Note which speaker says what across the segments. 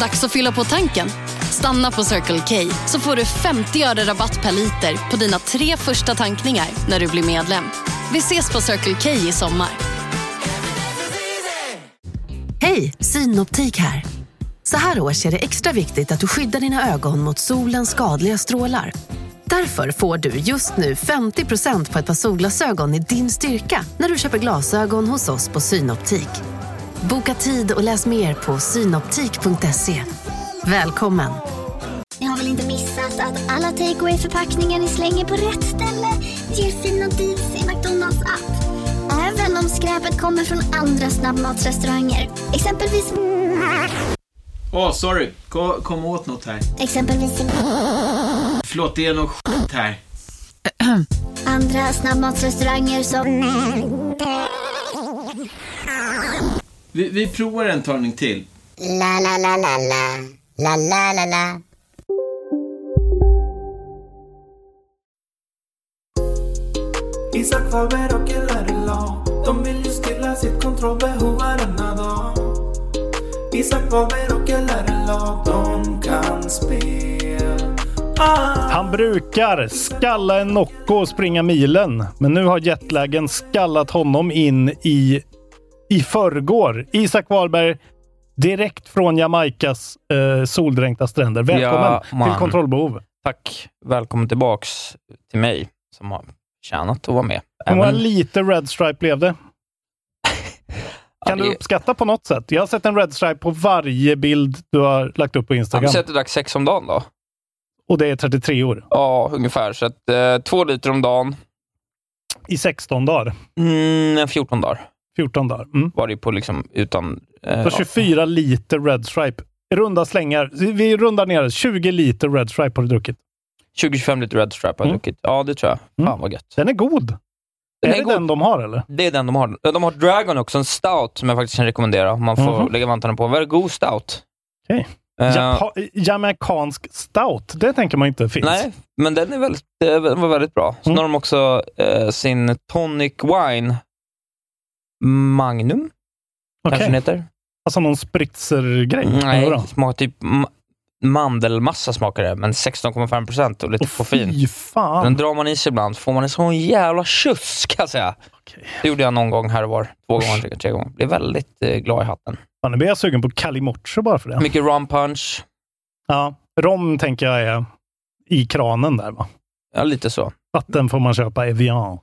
Speaker 1: Dags att fylla på tanken. Stanna på Circle K så får du 50 öre rabatt per liter på dina tre första tankningar när du blir medlem. Vi ses på Circle K i sommar.
Speaker 2: Hej, Synoptik här. Så här års är det extra viktigt att du skyddar dina ögon mot solens skadliga strålar. Därför får du just nu 50% på ett par solglasögon i din styrka när du köper glasögon hos oss på Synoptik. Boka tid och läs mer på synoptik.se. Välkommen!
Speaker 3: Ni har väl inte missat att alla takeaway förpackningar ni slänger på rätt ställe ger fina deals i McDonalds app. Även om skräpet kommer från andra snabbmatsrestauranger. Exempelvis...
Speaker 4: Åh, sorry. Kom, kom åt något här.
Speaker 3: Exempelvis...
Speaker 4: Förlåt, det är något skit här.
Speaker 3: Andra snabbmatsrestauranger som...
Speaker 4: Vi, vi provar en talning till.
Speaker 5: La la la la la. La la la la.
Speaker 6: Isak Faber och LRLA De vill ju stilla sitt kontrollbehov varenda dag Isak Faber och LRLA De kan spel ah.
Speaker 7: Han brukar skalla en Nocco och springa milen, men nu har jetlagen skallat honom in i, i förrgår. Isak Wahlberg, direkt från Jamaikas eh, soldränkta stränder. Välkommen
Speaker 8: Ja, man.
Speaker 7: till Kontrollbehov.
Speaker 8: Tack. Välkommen tillbaks till mig som har tjänat att vara med.
Speaker 7: Hur många
Speaker 8: Även-
Speaker 7: liter Red Stripe blev det?
Speaker 8: Ja,
Speaker 7: Kan
Speaker 8: det-
Speaker 7: du uppskatta på något sätt? Jag har sett en Red Stripe på varje bild du har lagt upp på
Speaker 8: Ja,
Speaker 7: Instagram.
Speaker 8: men säg att du drack sex om dagen då?
Speaker 7: Och det är 33 år.
Speaker 8: Ja, ungefär. Så att, eh, två liter om dagen,
Speaker 7: I 16 dagar.
Speaker 8: mm, 14 dagar
Speaker 7: 14 dagar. Mm.
Speaker 8: var det ju på liksom utan... Eh,
Speaker 7: Så 24 liter Red Stripe. Runda slängar. Vi rundar ner. 20 liter Red Stripe har du druckit.
Speaker 8: 20-25 liter Red Stripe har jag
Speaker 7: Mm.
Speaker 8: druckit. Ja, det tror jag.
Speaker 7: Mm.
Speaker 8: Fan vad gött.
Speaker 7: Den är god.
Speaker 8: Den
Speaker 7: är,
Speaker 8: är
Speaker 7: det
Speaker 8: god.
Speaker 7: den de har eller?
Speaker 8: Det är den de har. De har Dragon också, en stout som jag faktiskt kan rekommendera. om Man får
Speaker 7: Mhm.
Speaker 8: lägga vantarna på. Väldigt god stout.
Speaker 7: Okej.
Speaker 8: Eh,
Speaker 7: Japa- Jamaicansk stout. Det tänker man inte finns.
Speaker 8: Nej, men den är väldigt, eh, var väldigt bra. Sen
Speaker 7: Mm.
Speaker 8: har de också eh, sin Tonic Wine Magnum,
Speaker 7: Okej.
Speaker 8: kanske den heter. Mm,
Speaker 7: Alltså någon spritzer-grej.
Speaker 8: Nej,
Speaker 7: Eller vadå?
Speaker 8: det smakar typ ma- mandelmassa, smakar det, men 16,5 procent och lite
Speaker 7: Åh,
Speaker 8: koffein.
Speaker 7: Fy fan.
Speaker 8: Den drar man i sig ibland, får man en sån jävla tjus kan jag säga.
Speaker 7: Okej.
Speaker 8: Det gjorde jag någon gång här och var. Två
Speaker 7: Usch.
Speaker 8: gånger, tre, tre gånger. Blev väldigt eh, glad i hatten.
Speaker 7: Fan, nu blir jag sugen på Kalimocho bara för det.
Speaker 8: Mycket rum punch,
Speaker 7: Ja. Rom tänker jag är i kranen där va?
Speaker 8: ja, lite så.
Speaker 7: Vatten får man köpa Evian.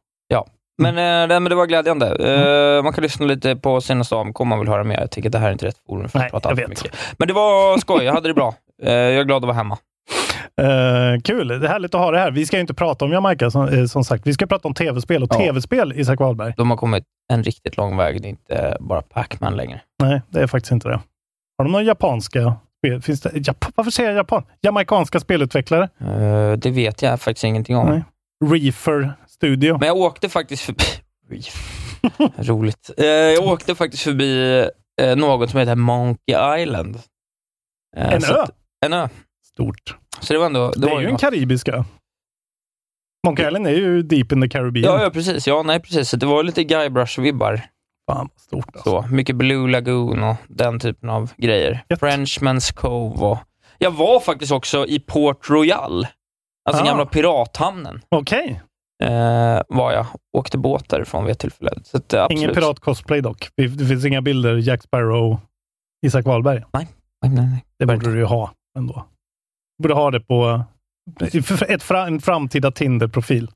Speaker 8: Men, eh, nej, men det var glädjande. Eh,
Speaker 7: Mm.
Speaker 8: man kan lyssna lite på senaste AMK om man vill höra mer. Jag tycker det här är inte rätt forum för att
Speaker 7: Nej,
Speaker 8: prata
Speaker 7: jag
Speaker 8: allt
Speaker 7: vet.
Speaker 8: för mycket. Men det var skoj. Jag hade det bra. Eh, jag är glad att vara hemma.
Speaker 7: Eh, kul, det är härligt att ha det här. Vi ska ju inte prata om Jamaica som, eh, som sagt. Vi ska prata om tv-spel och
Speaker 8: Ja.
Speaker 7: tv-spel, Isak Wahlberg.
Speaker 8: De har kommit en riktigt lång väg. Det är inte bara Pac-Man längre.
Speaker 7: Nej, det är faktiskt inte det. Har de några japanska spel? Finns det, Jap- varför säger jag japan? Jamaicanska spelutvecklare?
Speaker 8: Eh, det vet jag faktiskt ingenting om.
Speaker 7: Nej. Reefer Studio.
Speaker 8: Men jag åkte faktiskt förbi... Roligt. Eh, jag åkte faktiskt förbi eh, något som heter Monkey Island. Eh,
Speaker 7: en
Speaker 8: så
Speaker 7: ö?
Speaker 8: Att, en ö.
Speaker 7: Stort.
Speaker 8: Så det var ändå...
Speaker 7: Det, är
Speaker 8: var
Speaker 7: ju en
Speaker 8: något.
Speaker 7: karibisk ö. Monkey Island är ju deep in the Caribbean.
Speaker 8: Ja, ja, precis. Ja, nej, precis. Så Det var lite Guybrush-vibbar.
Speaker 7: Fan, vad stort. Alltså.
Speaker 8: Så, mycket Blue Lagoon och den typen av grejer.
Speaker 7: Gött.
Speaker 8: Frenchman's Cove och... Jag var faktiskt också i Port Royal, alltså
Speaker 7: Ah.
Speaker 8: gamla pirathamnen,
Speaker 7: Okej.
Speaker 8: eh, var jag. Åkte båt därifrån vid ett tillfälle. Så att, eh, absolut.
Speaker 7: Ingen pirat-cosplay dock. Det- Det finns inga bilder Jack Sparrow, Isak Wahlberg.
Speaker 8: Nej, nej, nej.
Speaker 7: Det borde du ju ha ändå. Du borde ha det på för ett, fra- en framtida Tinder-profil.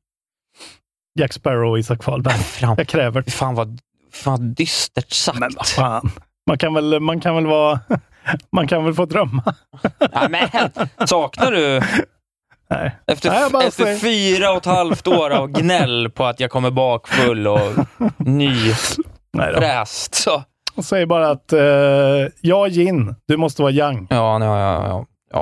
Speaker 7: Jack Sparrow och Isak Wahlberg.
Speaker 8: Fram.
Speaker 7: Jag kräver.
Speaker 8: Fan vad, fan vad dystert sagt.
Speaker 7: Men vad fan. Man kan väl, man kan väl vara... Man kan väl få drömma?
Speaker 8: Nej, men, saknar du,
Speaker 7: Nej.
Speaker 8: efter,
Speaker 7: Nej, jag bara
Speaker 8: efter
Speaker 7: säger-
Speaker 8: fyra och ett halvt år av gnäll på att jag kommer bakfull och nyfräst,
Speaker 7: Nej då.
Speaker 8: så...
Speaker 7: Jag säger bara att eh, jag är yin, du måste vara yang.
Speaker 8: Ja, ja, ja, ja.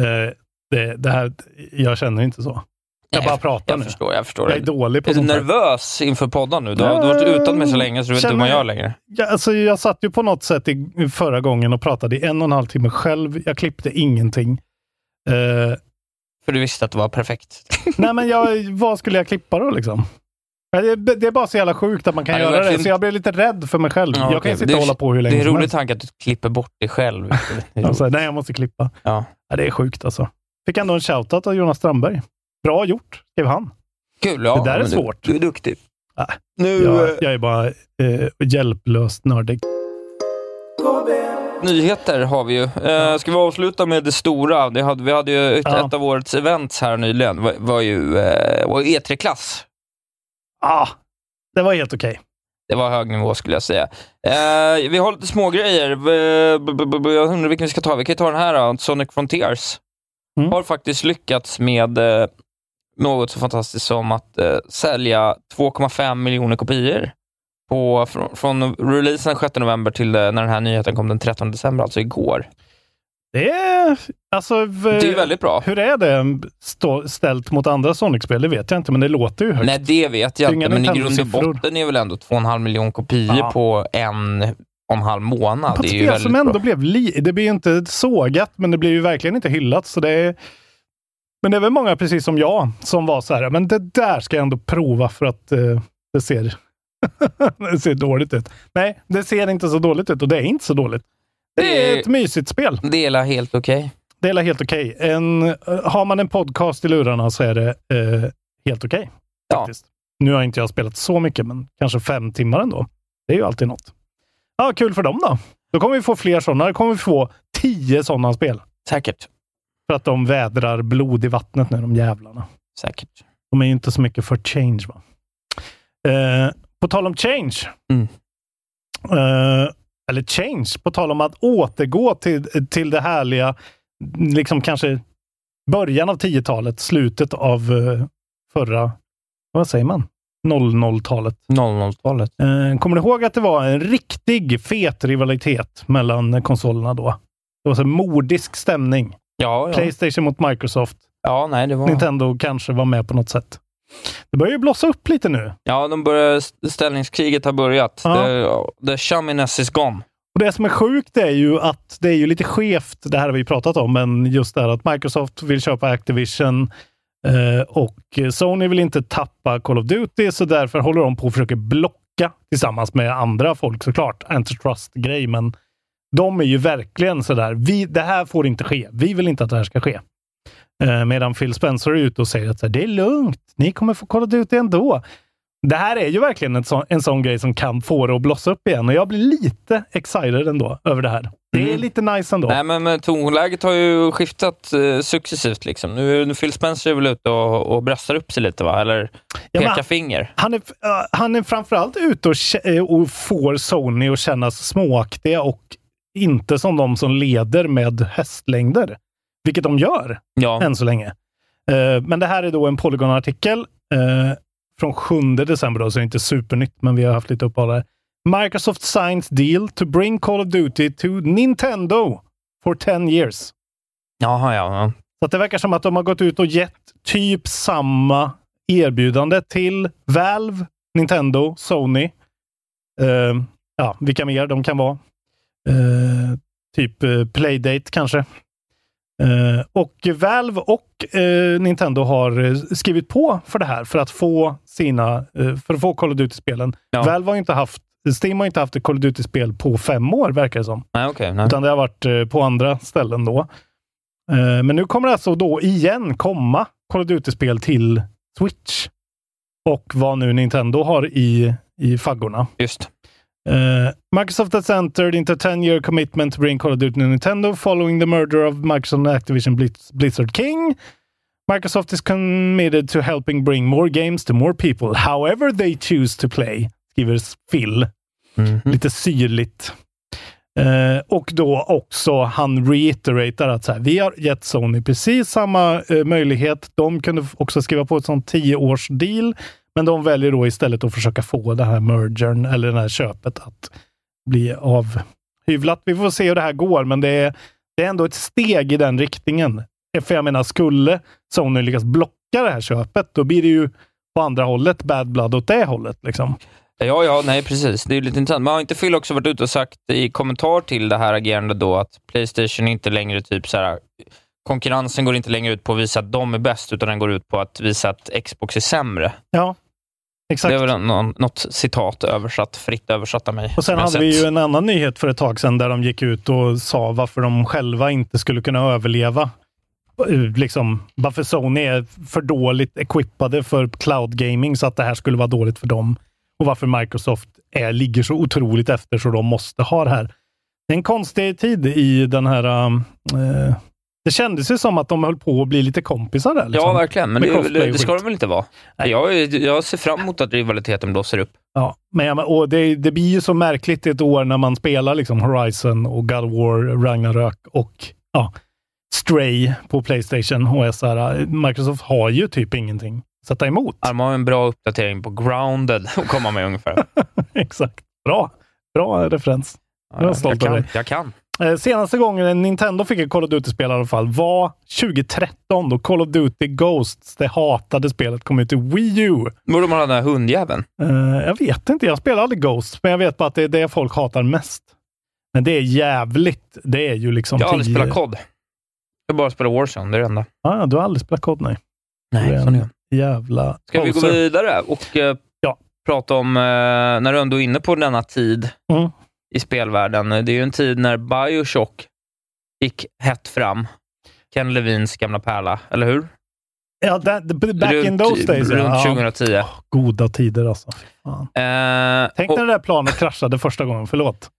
Speaker 7: Eh, det, det här, jag känner inte så. Jag
Speaker 8: Nej,
Speaker 7: bara pratar
Speaker 8: Jag
Speaker 7: nu.
Speaker 8: förstår, jag förstår.
Speaker 7: Jag är dålig på
Speaker 8: Är du
Speaker 7: sånt här.
Speaker 8: nervös inför podden nu? Du har, du har varit utan mig så länge så du vet inte hur man
Speaker 7: Känner-
Speaker 8: gör längre.
Speaker 7: Ja, alltså jag satt ju på något sätt i, förra gången och pratade i en och en halv timme själv. Jag klippte ingenting. Eh,
Speaker 8: För du visste att det var perfekt.
Speaker 7: nej, men jag, vad skulle jag klippa då liksom? Men Det, det är bara så jävla sjukt att man kan
Speaker 8: Ja, det är
Speaker 7: göra det,
Speaker 8: verkligen-
Speaker 7: så jag blir lite rädd för mig själv.
Speaker 8: Ja,
Speaker 7: jag kan
Speaker 8: okej.
Speaker 7: ju sitta
Speaker 8: Det
Speaker 7: och
Speaker 8: är-
Speaker 7: hålla på hur länge
Speaker 8: Det är en
Speaker 7: som
Speaker 8: rolig
Speaker 7: helst.
Speaker 8: tanke att du klipper bort dig själv. Det är
Speaker 7: Alltså,
Speaker 8: roligt.
Speaker 7: nej, jag måste klippa.
Speaker 8: Ja.
Speaker 7: Ja, det är sjukt alltså. Fick ändå en shoutout av Jonas Strandberg. Bra gjort, skrev han.
Speaker 8: Kul, ja.
Speaker 7: Det där är
Speaker 8: men du-
Speaker 7: svårt. Ah.
Speaker 8: Du är duktig.
Speaker 7: Ja.
Speaker 8: Nu,
Speaker 7: Jag,
Speaker 8: eh,
Speaker 7: jag är bara eh, hjälplöst nördig.
Speaker 8: Nyheter har vi ju. Eh, ska vi avsluta med det stora? Det hade, vi hade ju ett,
Speaker 7: Ja.
Speaker 8: ett av årets events här nyligen. var, var ju eh, var E3-klass.
Speaker 7: Ah, det var helt okej.
Speaker 8: Det var hög nivå skulle jag säga. Eh, vi har lite smågrejer. Eh, b- b- b- Jag undrar vilken vi ska ta. Vi kan ju ta den här då. Sonic Frontiers.
Speaker 7: Mm.
Speaker 8: Har faktiskt lyckats med eh, något så fantastiskt som att eh, sälja 2,5 miljoner kopior. På, från, från releasen 6 november till eh, när den här nyheten kom den 13 december, alltså igår.
Speaker 7: Det är... Alltså, v-
Speaker 8: Det är ju väldigt bra.
Speaker 7: Hur är det stå, ställt mot andra Sonic-spel? Det vet jag inte, men det låter ju högt.
Speaker 8: Nej, det vet
Speaker 7: Det
Speaker 8: jag
Speaker 7: är
Speaker 8: inte,
Speaker 7: inga
Speaker 8: men i grund och
Speaker 7: Nintendo-siffror.
Speaker 8: botten är väl ändå 2,5 miljon kopior
Speaker 7: Ja.
Speaker 8: på en och en halv månad.
Speaker 7: på ett
Speaker 8: det är ju
Speaker 7: spel
Speaker 8: väldigt
Speaker 7: som
Speaker 8: bra.
Speaker 7: ändå blev li- Det blir ju inte sågat, men det blir ju verkligen inte hyllat. Så det är... Men det är väl många, precis som jag, som var så här, men det där ska jag ändå prova för att eh, det ser det ser dåligt ut. Nej, det ser inte så dåligt ut och det är inte så dåligt. Det är
Speaker 8: Det-
Speaker 7: ett mysigt spel.
Speaker 8: Det är helt okej.
Speaker 7: Det är väl helt okej. En, eh, har man en podcast i lurarna så är det eh, helt okej.
Speaker 8: Ja.
Speaker 7: faktiskt. Nu har inte jag spelat så mycket, men kanske fem timmar ändå. Det är ju alltid något. Ja, kul för dem då. Då kommer vi få fler sådana. Då kommer vi få tio sådana spel.
Speaker 8: Säkert.
Speaker 7: För att de vädrar blod i vattnet nu, de jävlarna.
Speaker 8: Säkert.
Speaker 7: De är ju inte så mycket för change. Va? Eh, på tal om change.
Speaker 8: Mm.
Speaker 7: Eh, eller change, på tal om att återgå till, till det härliga, liksom kanske början av 10-talet, slutet av eh, förra, vad säger man? 00-talet.
Speaker 8: 00-talet.
Speaker 7: Eh, Kommer du ihåg att det var en riktig fet rivalitet mellan konsolerna då? Det var så här mordisk stämning.
Speaker 8: Ja, ja.
Speaker 7: Playstation mot Microsoft.
Speaker 8: ja, nej, det var...
Speaker 7: Nintendo kanske var med på något sätt. Det börjar ju blossa upp lite nu.
Speaker 8: Ja, de började, ställningskriget har börjat.
Speaker 7: Ja.
Speaker 8: The, the chaminess is gone.
Speaker 7: Och Det som är sjukt är ju att det är ju lite skevt, det här har vi pratat om, men just det här att Microsoft vill köpa Activision eh, och Sony vill inte tappa Call of Duty, så därför håller de på och försöker blocka tillsammans med andra folk såklart. Antitrust-grej, men de är ju verkligen sådär, vi, det här får inte ske. Vi vill inte att det här ska ske. Eh, medan Phil Spencer är ute och säger att så här, det är lugnt, ni kommer få Call of Duty ändå. Det här är ju verkligen en sån, en sån grej som kan få det att blossa upp igen och jag blir lite excited ändå över det här. Det är
Speaker 8: Mm.
Speaker 7: lite nice ändå.
Speaker 8: Nej, men, men tonläget har ju skiftat eh, successivt. Liksom. Nu, nu Phil Spencer är väl ute och, och bröstar upp sig lite, va? eller
Speaker 7: Ja, men-
Speaker 8: pekar finger.
Speaker 7: Han är, eh, han är framförallt ute och, kä- eh, och får Sony att kännas småaktiga och inte som de som leder med hästlängder. Vilket de gör
Speaker 8: Ja.
Speaker 7: än så länge. Eh, men det här är då en Polygon-artikel eh, från 7 december, då, så det är inte supernytt, men vi har haft lite uppehåll här. Microsoft signs deal to bring Call of Duty to Nintendo for 10 years.
Speaker 8: Jaha, ja. ja.
Speaker 7: Så att det verkar som att de har gått ut och gett typ samma erbjudande till Valve, Nintendo, Sony. Eh, ja, vilka mer de kan vara. Eh, typ eh, Playdate kanske. Eh, och Valve och eh, Nintendo har eh, skrivit på för det här för att få sina, eh, för att få Call of Duty-spelen.
Speaker 8: Ja.
Speaker 7: Valve har ju inte haft, Steam har ju inte haft ett Call of Duty-spel på fem år verkar det som.
Speaker 8: Nej, okej. nej.
Speaker 7: Utan det har varit eh, på andra ställen då. Eh, Men nu kommer det alltså då igen komma Call of Duty-spel till Switch. Och vad nu Nintendo har i, i faggorna.
Speaker 8: Just.
Speaker 7: Eh, Microsoft has entered into a 10-year commitment to bring Call of Duty to Nintendo following the merger of Microsoft and Activision Blitz- Blizzard King. Microsoft is committed to helping bring more games to more people, however they choose to play, skriver Phil
Speaker 8: Mhm.
Speaker 7: lite syrligt. Eh, och då också han reiteratar att så här, vi har gett Sony precis samma eh, möjlighet. De kunde f- också skriva på ett sånt 10 års deal, men de väljer då istället att försöka få den här mergern eller det här köpet att bli avhyvlat. Vi får se hur det här går, men det är, det är ändå ett steg i den riktningen. För jag menar, skulle Sony lyckas blocka det här köpet, då blir det ju på andra hållet bad blood åt det hållet. Liksom.
Speaker 8: Ja, ja, nej precis. Det är ju lite intressant. Men har inte Phil också varit ute och sagt i kommentar till det här agerandet då att Playstation inte längre typ så här, konkurrensen går inte längre ut på att visa att de är bäst, utan den går ut på att visa att Xbox är sämre.
Speaker 7: Ja. Exakt.
Speaker 8: Det var någon, något citat översatt, fritt översatt av mig.
Speaker 7: Och sen
Speaker 8: som jag
Speaker 7: hade vi
Speaker 8: sett.
Speaker 7: ju en annan nyhet för ett tag sedan där de gick ut och sa varför de själva inte skulle kunna överleva. Eh, Liksom, varför Sony är för dåligt equippade för cloud gaming så att det här skulle vara dåligt för dem. Och varför Microsoft är, ligger så otroligt efter så de måste ha det här. Det är en konstig tid i den här... eh, det kändes ju som att de höll på att bli lite kompisar där. Liksom.
Speaker 8: Ja, verkligen. Men
Speaker 7: Med
Speaker 8: det,
Speaker 7: cosplay
Speaker 8: det,
Speaker 7: och
Speaker 8: det ska
Speaker 7: skit.
Speaker 8: de väl inte vara? Jag, jag ser fram emot att rivaliteten blåser upp.
Speaker 7: Ja, men, ja, men- och det, det blir ju så märkligt ett år när man spelar liksom Horizon och God of War, Ragnarök och ja, Stray på Playstation. Och är så här, Microsoft har ju typ ingenting att sätta emot.
Speaker 8: De har en bra uppdatering på Grounded att komma med ungefär.
Speaker 7: Exakt. Bra. Bra referens. Jag är stolt över
Speaker 8: kan,
Speaker 7: dig.
Speaker 8: jag kan.
Speaker 7: Eh, Senaste gången Nintendo fick ett Call of Duty-spel i alla fall var 2013 då Call of Duty Ghosts, det hatade spelet, kom ut i Wii U.
Speaker 8: Borde man ha den här hundjäveln?
Speaker 7: Eh, jag vet inte. Jag spelar aldrig Ghosts, men jag vet bara att det är det folk hatar mest. Men det är jävligt. Det är ju liksom...
Speaker 8: Jag har aldrig
Speaker 7: tio-
Speaker 8: spelat kod. Jag bara spelar Warzone, det är det enda.
Speaker 7: Ah, du har aldrig spelat kod, nej.
Speaker 8: Nej,
Speaker 7: Det är
Speaker 8: sån är
Speaker 7: en
Speaker 8: jag.
Speaker 7: Jävla...
Speaker 8: Ska vi gå
Speaker 7: poser.
Speaker 8: vidare och eh,
Speaker 7: Ja.
Speaker 8: prata om, eh, när du ändå är inne på denna tid
Speaker 7: Mm.
Speaker 8: i spelvärlden. Det är ju en tid när Bioshock gick hett fram. Ken Levins gamla pärla, eller hur?
Speaker 7: Ja, that, the- back in
Speaker 8: runt,
Speaker 7: those days.
Speaker 8: Runt
Speaker 7: ja.
Speaker 8: 2010.
Speaker 7: Ja. Goda tider alltså. Fy Fan.
Speaker 8: Eh,
Speaker 7: Tänk
Speaker 8: och-
Speaker 7: när det där planet kraschade första gången. Förlåt.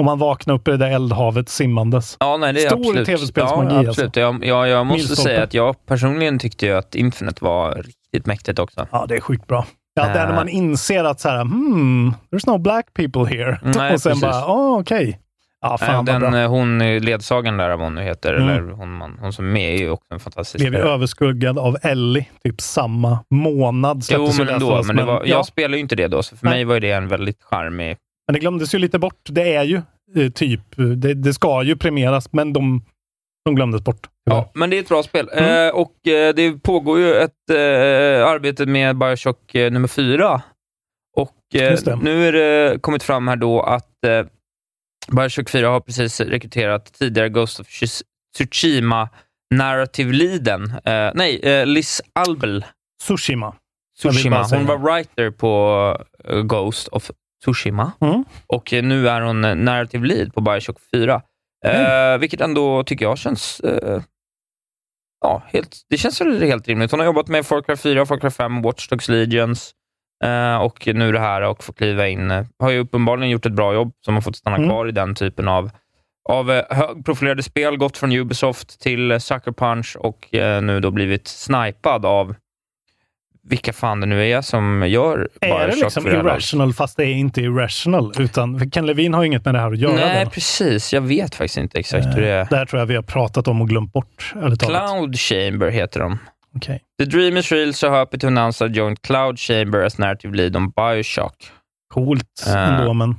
Speaker 7: Om man vaknar upp i det där eldhavet simmandes.
Speaker 8: Ja, nej, det är
Speaker 7: Stor
Speaker 8: absolut.
Speaker 7: tv-spelsmagi,
Speaker 8: ja, absolut.
Speaker 7: alltså.
Speaker 8: Jag, jag, jag måste
Speaker 7: Milstolpe.
Speaker 8: säga att jag personligen tyckte ju att Infinite var riktigt mäktigt också.
Speaker 7: Ja, det är sjukt bra. Ja, där när man inser att så här, hmm, there's no black people here.
Speaker 8: Nej,
Speaker 7: och sen
Speaker 8: precis.
Speaker 7: bara, oh, okej. Ja, fan
Speaker 8: Eh,
Speaker 7: vad
Speaker 8: Den,
Speaker 7: bra.
Speaker 8: eh, hon är ledsagaren där, vad hon nu heter,
Speaker 7: Mm.
Speaker 8: eller hon, man, hon som är med, är ju också en fantastisk
Speaker 7: blev ju
Speaker 8: spelare.
Speaker 7: överskuggad av Ellie, typ samma månad.
Speaker 8: Jo,
Speaker 7: släpptes ju
Speaker 8: men
Speaker 7: Last of
Speaker 8: ändå.
Speaker 7: Us,
Speaker 8: Men det var,
Speaker 7: ja,
Speaker 8: Jag spelade ju inte det då, så för
Speaker 7: Nej.
Speaker 8: mig var ju det en väldigt charmig...
Speaker 7: men det glömdes ju lite bort. Det är ju eh, typ, eh, det, det ska ju premieras, men de, de glömdes bort.
Speaker 8: Ja, men det är ett bra spel.
Speaker 7: Mm.
Speaker 8: Eh, och eh, det pågår ju ett eh, arbete med Bioshock eh, nummer fyra. Och
Speaker 7: Just det.
Speaker 8: eh, nu är det kommit fram här då att eh, Bioshock 4 har precis rekryterat tidigare Ghost of Tsush- Tsushima narrative leaden. Eh, nej, eh, Liz Albel
Speaker 7: Tsushima. Jag vill bara
Speaker 8: Tsushima.
Speaker 7: säga
Speaker 8: Hon var
Speaker 7: det.
Speaker 8: writer på eh, Ghost of Tsushima.
Speaker 7: Mm.
Speaker 8: Och eh, nu är hon eh, narrative lead på Bioshock 4. Eh, Vilket ändå tycker jag känns... Eh, ja, helt, det känns väl helt rimligt. Hon har jobbat med Far Cry 4, Far Cry 5, Watch Dogs Legions eh, och nu det här och får kliva in. eh, Har ju uppenbarligen gjort ett bra jobb som har fått stanna
Speaker 7: Mm.
Speaker 8: kvar i den typen av av eh, högprofilerade spel, gått från Ubisoft till eh, Sucker Punch och eh, nu då blivit snipad av vilka fan det nu är som gör
Speaker 7: Är det
Speaker 8: Bioshock
Speaker 7: liksom
Speaker 8: för det här laget.
Speaker 7: irrational, fast det är inte irrational? Utan, för Ken Levin har ju inget med det här att göra.
Speaker 8: Nej,
Speaker 7: väl?
Speaker 8: precis. Jag vet faktiskt inte exakt
Speaker 7: Eh,
Speaker 8: hur det är.
Speaker 7: Det här tror jag vi har pratat om och glömt bort. Eller talat.
Speaker 8: Cloud Chamber heter de.
Speaker 7: Okej.
Speaker 8: The dream is real, so happy to announce a joint Cloud Chamber as narrative lead on Bioshock.
Speaker 7: Coolt
Speaker 8: Eh.
Speaker 7: ändå, men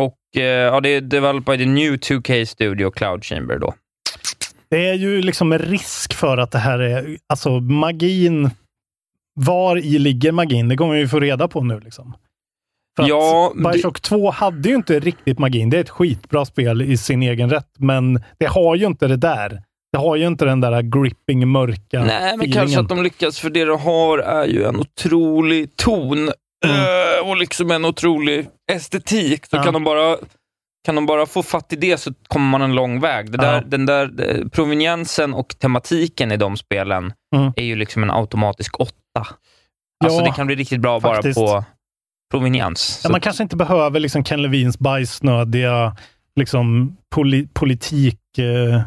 Speaker 8: Och eh, ja, det är developed by the new 2K Studio Cloud Chamber då.
Speaker 7: det är ju liksom en risk för att det här är, alltså magin, var i ligger magin? Det kommer vi få reda på nu. Liksom. För att
Speaker 8: Ja, det-
Speaker 7: Bioshock 2 hade ju inte riktigt magin. Det är ett skitbra spel i sin egen rätt, men det har ju inte det där. Det har ju inte den där gripping, mörka
Speaker 8: Nej, men
Speaker 7: feelingen.
Speaker 8: kanske att de lyckas, för det de har är ju en otrolig ton eh, och liksom en otrolig estetik. Så
Speaker 7: Mm. Ja.
Speaker 8: kan, de bara, kan de bara få fatt i det så kommer man en lång väg. Det
Speaker 7: Ja.
Speaker 8: där, Den där eh, proveniensen och tematiken i de spelen
Speaker 7: Mm.
Speaker 8: är ju liksom en automatisk åtta. Alltså
Speaker 7: Ja,
Speaker 8: det kan bli riktigt bra
Speaker 7: faktiskt.
Speaker 8: bara på proveniens.
Speaker 7: Ja,
Speaker 8: Så-
Speaker 7: man kanske inte behöver liksom Ken Levins bajsnödiga liksom, poli politik... Eh,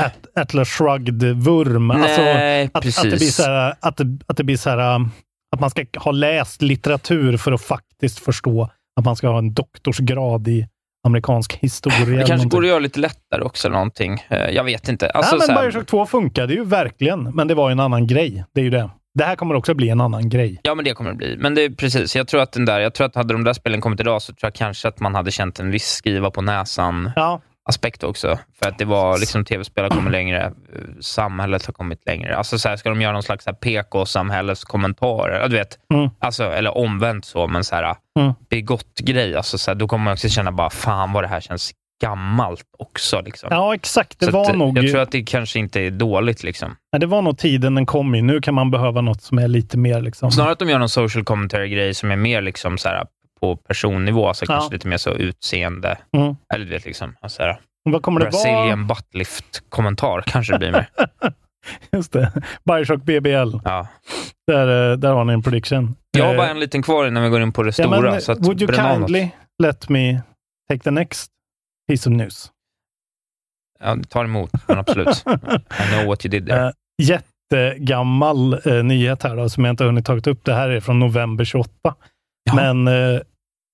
Speaker 7: At- Atlas Shrugged-vurm. Alltså,
Speaker 8: Nej,
Speaker 7: Att, att
Speaker 8: precis.
Speaker 7: det blir så här, att, det, att det blir så här, um, att man ska ha läst litteratur för att faktiskt förstå att man ska ha en doktorsgrad i amerikansk historia.
Speaker 8: det
Speaker 7: eller
Speaker 8: kanske
Speaker 7: någonting.
Speaker 8: borde göra lite lättare också, eller någonting. Eh, Jag vet inte. Alltså,
Speaker 7: Nej,
Speaker 8: så
Speaker 7: men
Speaker 8: här-
Speaker 7: Bioshock 2 funkade ju verkligen, men det var ju en annan grej. Det är ju det. Det här kommer också bli en annan grej.
Speaker 8: Ja, men det kommer det bli. Men det är precis. Jag tror att den där, jag tror att hade de där spelen kommit idag så tror jag kanske att man hade känt en viss skriva på näsan-aspekt
Speaker 7: Ja,
Speaker 8: också. För att det var liksom tv-spel har kommit längre, eh, samhället har kommit längre. Alltså så här, ska de göra någon slags så här PK-samhälleskommentar? Ja, Du vet,
Speaker 7: Mm.
Speaker 8: alltså, eller omvänt så, men så här
Speaker 7: Mm.
Speaker 8: begott grej. Alltså så här, då kommer man också känna bara, fan vad det här känns gammalt också. Liksom.
Speaker 7: Ja, exakt. Det
Speaker 8: Så
Speaker 7: var
Speaker 8: att, eh,
Speaker 7: nog...
Speaker 8: Jag tror att det kanske inte är dåligt. Liksom.
Speaker 7: Nej, det var nog tiden den kom i. Nu kan man behöva något som är lite mer liksom...
Speaker 8: Snarare att de gör någon social commentary-grej som är mer liksom, så här, på personnivå, alltså
Speaker 7: Ja.
Speaker 8: kanske lite mer så utseende.
Speaker 7: Mm.
Speaker 8: Eller du vet, liksom, alltså, här,
Speaker 7: Vad kommer det vara?
Speaker 8: Brazilian buttlift-kommentar kanske det blir mer.
Speaker 7: Just det. Bioshock BBL.
Speaker 8: Ja.
Speaker 7: Där, eh, där har ni en prediction.
Speaker 8: Jag har
Speaker 7: Eh,
Speaker 8: bara en liten kvar innan vi går in på det
Speaker 7: ja,
Speaker 8: stora.
Speaker 7: men,
Speaker 8: så att
Speaker 7: Would you
Speaker 8: bränna av något.
Speaker 7: kindly let me take the next piece of news?
Speaker 8: Ja, det tar emot, men absolut. I know what you did there.
Speaker 7: Eh, Jättegammal eh, nyhet här då, som jag inte har hunnit tagit upp. Det här är från november 28.
Speaker 8: Ja.
Speaker 7: Men eh,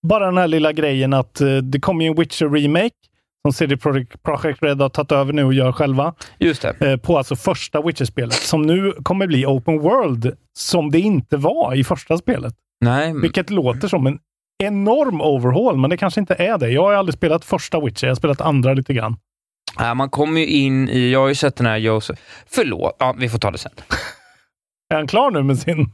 Speaker 7: bara den här lilla grejen att eh, det kommer ju en Witcher-remake som CD Projekt- Projekt Red har tagit över nu och gör själva.
Speaker 8: Just det.
Speaker 7: eh, på alltså första Witcher-spelet, som nu kommer bli open world, som det inte var i första spelet.
Speaker 8: Nej, m-
Speaker 7: Vilket låter som en enorm overhaul, men det kanske inte är det. Jag har ju aldrig spelat första Witcher, jag har spelat andra lite grann.
Speaker 8: äh, man kommer ju in i... Jag har ju sett den här Joseph... Förlåt, ja, vi får ta det sen.
Speaker 7: Är han klar nu med sin...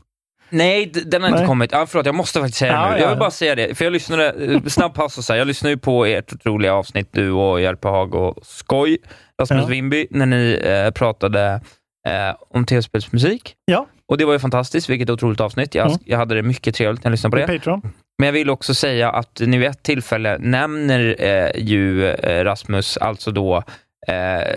Speaker 8: Nej, d- den har inte
Speaker 7: Nej.
Speaker 8: kommit. Ja, förlåt, jag måste faktiskt säga
Speaker 7: Ja,
Speaker 8: det
Speaker 7: ja,
Speaker 8: nu. Jag vill
Speaker 7: ja.
Speaker 8: bara säga det, för jag lyssnade, eh, snabb paus och så här, jag lyssnade ju på ert otroliga avsnitt, du och Järpehag och Skoj, Rasmus
Speaker 7: Ja.
Speaker 8: Wimby, när ni eh, pratade eh, om tv-spelsmusik.
Speaker 7: Ja.
Speaker 8: Och det var ju fantastiskt, vilket otroligt avsnitt. Jag,
Speaker 7: Mm.
Speaker 8: jag hade det mycket trevligt när jag lyssnade på det.
Speaker 7: Patreon?
Speaker 8: Men jag vill också säga att ni vid ett tillfälle nämner eh, ju eh, Rasmus, alltså då eh,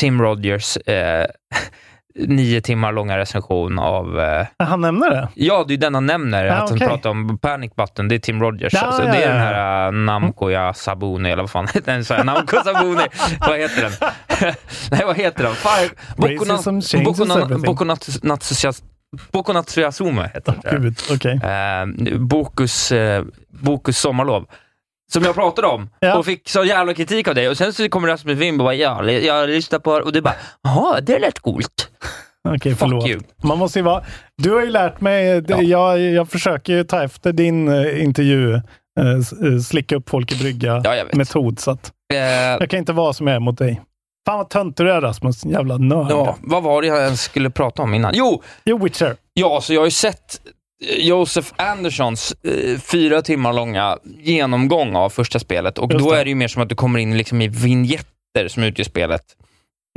Speaker 8: Tim Rogers eh, nio timmar långa recension av eh,
Speaker 7: Ja, Han nämner det?
Speaker 8: Ja, det är den han nämner.
Speaker 7: Ja,
Speaker 8: att
Speaker 7: Ah, okej.
Speaker 8: han pratar om Panic Button. Det är Tim Rogers.
Speaker 7: Ja,
Speaker 8: alltså,
Speaker 7: ja,
Speaker 8: det är
Speaker 7: ja,
Speaker 8: den här äh, Namcoja Sabuni, eller vad fan heter den? Så här, Namco Sabuni. vad heter den? Nej, vad heter den? Fire...
Speaker 7: Racism changes everything.
Speaker 8: Boko Natsuyasume heter den. tror jag.
Speaker 7: Gud, okej.
Speaker 8: Eh, Bokus, eh, Bokus sommarlov. Som jag pratade om
Speaker 7: Ja.
Speaker 8: och fick så jävla kritik av dig. Och sen så kommer Rasmus Wimbo och bara, ja, jag lyssnar på och du bara, jaha, det lät coolt.
Speaker 7: Okej,
Speaker 8: Fuck
Speaker 7: förlåt.
Speaker 8: you.
Speaker 7: Man måste ju vara... Du har ju lärt mig... det-
Speaker 8: Ja.
Speaker 7: Jag, jag försöker ju ta efter din eh, intervju, eh, s- eh, slicka upp folk i
Speaker 8: Ja, jag vet.
Speaker 7: brygga-metod, så att
Speaker 8: Eh,
Speaker 7: jag kan inte vara som jag är mot dig. Fan vad töntig du är Rasmus, din jävla nörd.
Speaker 8: Ja, vad var det jag ens skulle prata om innan? Jo,
Speaker 7: Jo, Witcher.
Speaker 8: ja, så jag har ju sett eh, Josef Anderssons eh, fyra timmar långa genomgång av första spelet och
Speaker 7: Just
Speaker 8: då
Speaker 7: det.
Speaker 8: är det ju mer som att du kommer in liksom i vignetter som utgör spelet.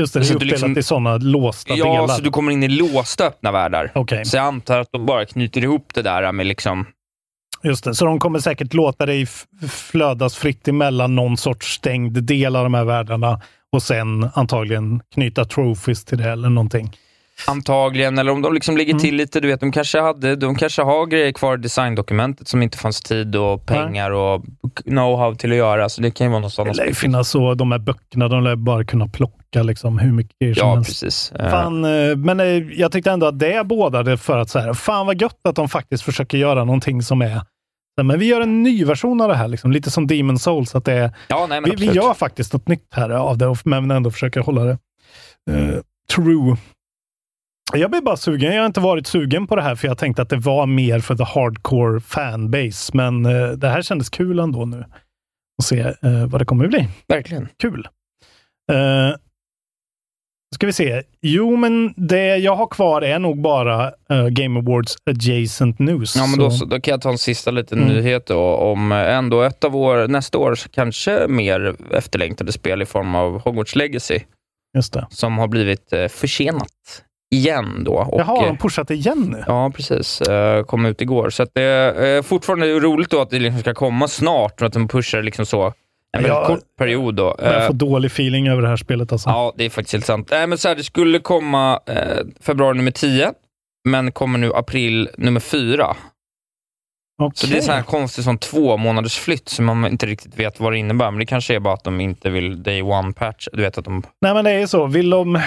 Speaker 7: Just det, det är
Speaker 8: Så
Speaker 7: uppdelat
Speaker 8: du liksom-
Speaker 7: i sådana låsta
Speaker 8: Ja,
Speaker 7: delar.
Speaker 8: så du kommer in i låsta öppna världar.
Speaker 7: Okej,
Speaker 8: Så jag antar att de bara knyter ihop det där med liksom...
Speaker 7: just det. Så de kommer säkert låta dig f- flödas fritt emellan någon sorts stängd del av de här världarna och sen antagligen knyta trophies till det eller någonting.
Speaker 8: Antagligen, eller om de liksom ligger
Speaker 7: Mm.
Speaker 8: till lite, du vet, de kanske, hade, de kanske har grejer kvar i designdokumentet som inte fanns tid och pengar och know-how till att göra, så det kan ju vara någon sån
Speaker 7: Det lär ju finnas så, de här böckerna, de lär bara kunna plocka liksom hur mycket grejer som
Speaker 8: Ja,
Speaker 7: helst.
Speaker 8: precis. Eh,
Speaker 7: Fan, eh, men eh, jag tyckte ändå att det bådade för att så här, fan vad gött att de faktiskt försöker göra någonting som är, Nej, men vi gör en ny version av det här, liksom. lite som Demon Souls, att det är
Speaker 8: Ja, nej, men
Speaker 7: Vi, vi
Speaker 8: absolut.
Speaker 7: gör faktiskt något nytt här av det, men ändå försöker hålla det eh, true. Jag blir bara sugen. Jag har inte varit sugen på det här, för jag tänkte att det var mer för the hardcore fanbase. Men eh, det här kändes kul ändå nu. Och se eh, vad det kommer bli.
Speaker 8: Verkligen.
Speaker 7: Kul. Eh, ska vi se. Jo, men det jag har kvar är nog bara eh, Game Awards adjacent news.
Speaker 8: Ja, men då,
Speaker 7: Så-
Speaker 8: så, då kan jag ta en sista liten
Speaker 7: Mm.
Speaker 8: nyhet då, om eh, ändå ett av år, nästa års kanske mer efterlängtade spel i form av Hogwarts Legacy,
Speaker 7: Just det.
Speaker 8: som har blivit eh, försenat igen då. Och,
Speaker 7: Jaha, har de
Speaker 8: eh,
Speaker 7: pushat igen nu?
Speaker 8: Ja, precis. Eh, kom ut igår. Så att det är fortfarande roligt då att det liksom ska komma snart och att de pushar liksom så en väldigt
Speaker 7: Ja.
Speaker 8: kort period. Då.
Speaker 7: Jag
Speaker 8: Eh,
Speaker 7: får dålig feeling över det här spelet alltså.
Speaker 8: Ja, det är faktiskt helt sant. Nej, men så här, det skulle komma eh, februari nummer 10, men kommer nu april nummer 4. Så det är
Speaker 7: Okej.
Speaker 8: så här konstigt som två månaders flytt som man inte riktigt vet vad det innebär. Men det kanske är bara att de inte vill day one patch. Du vet att de...
Speaker 7: Nej, men det är ju så. Vill de,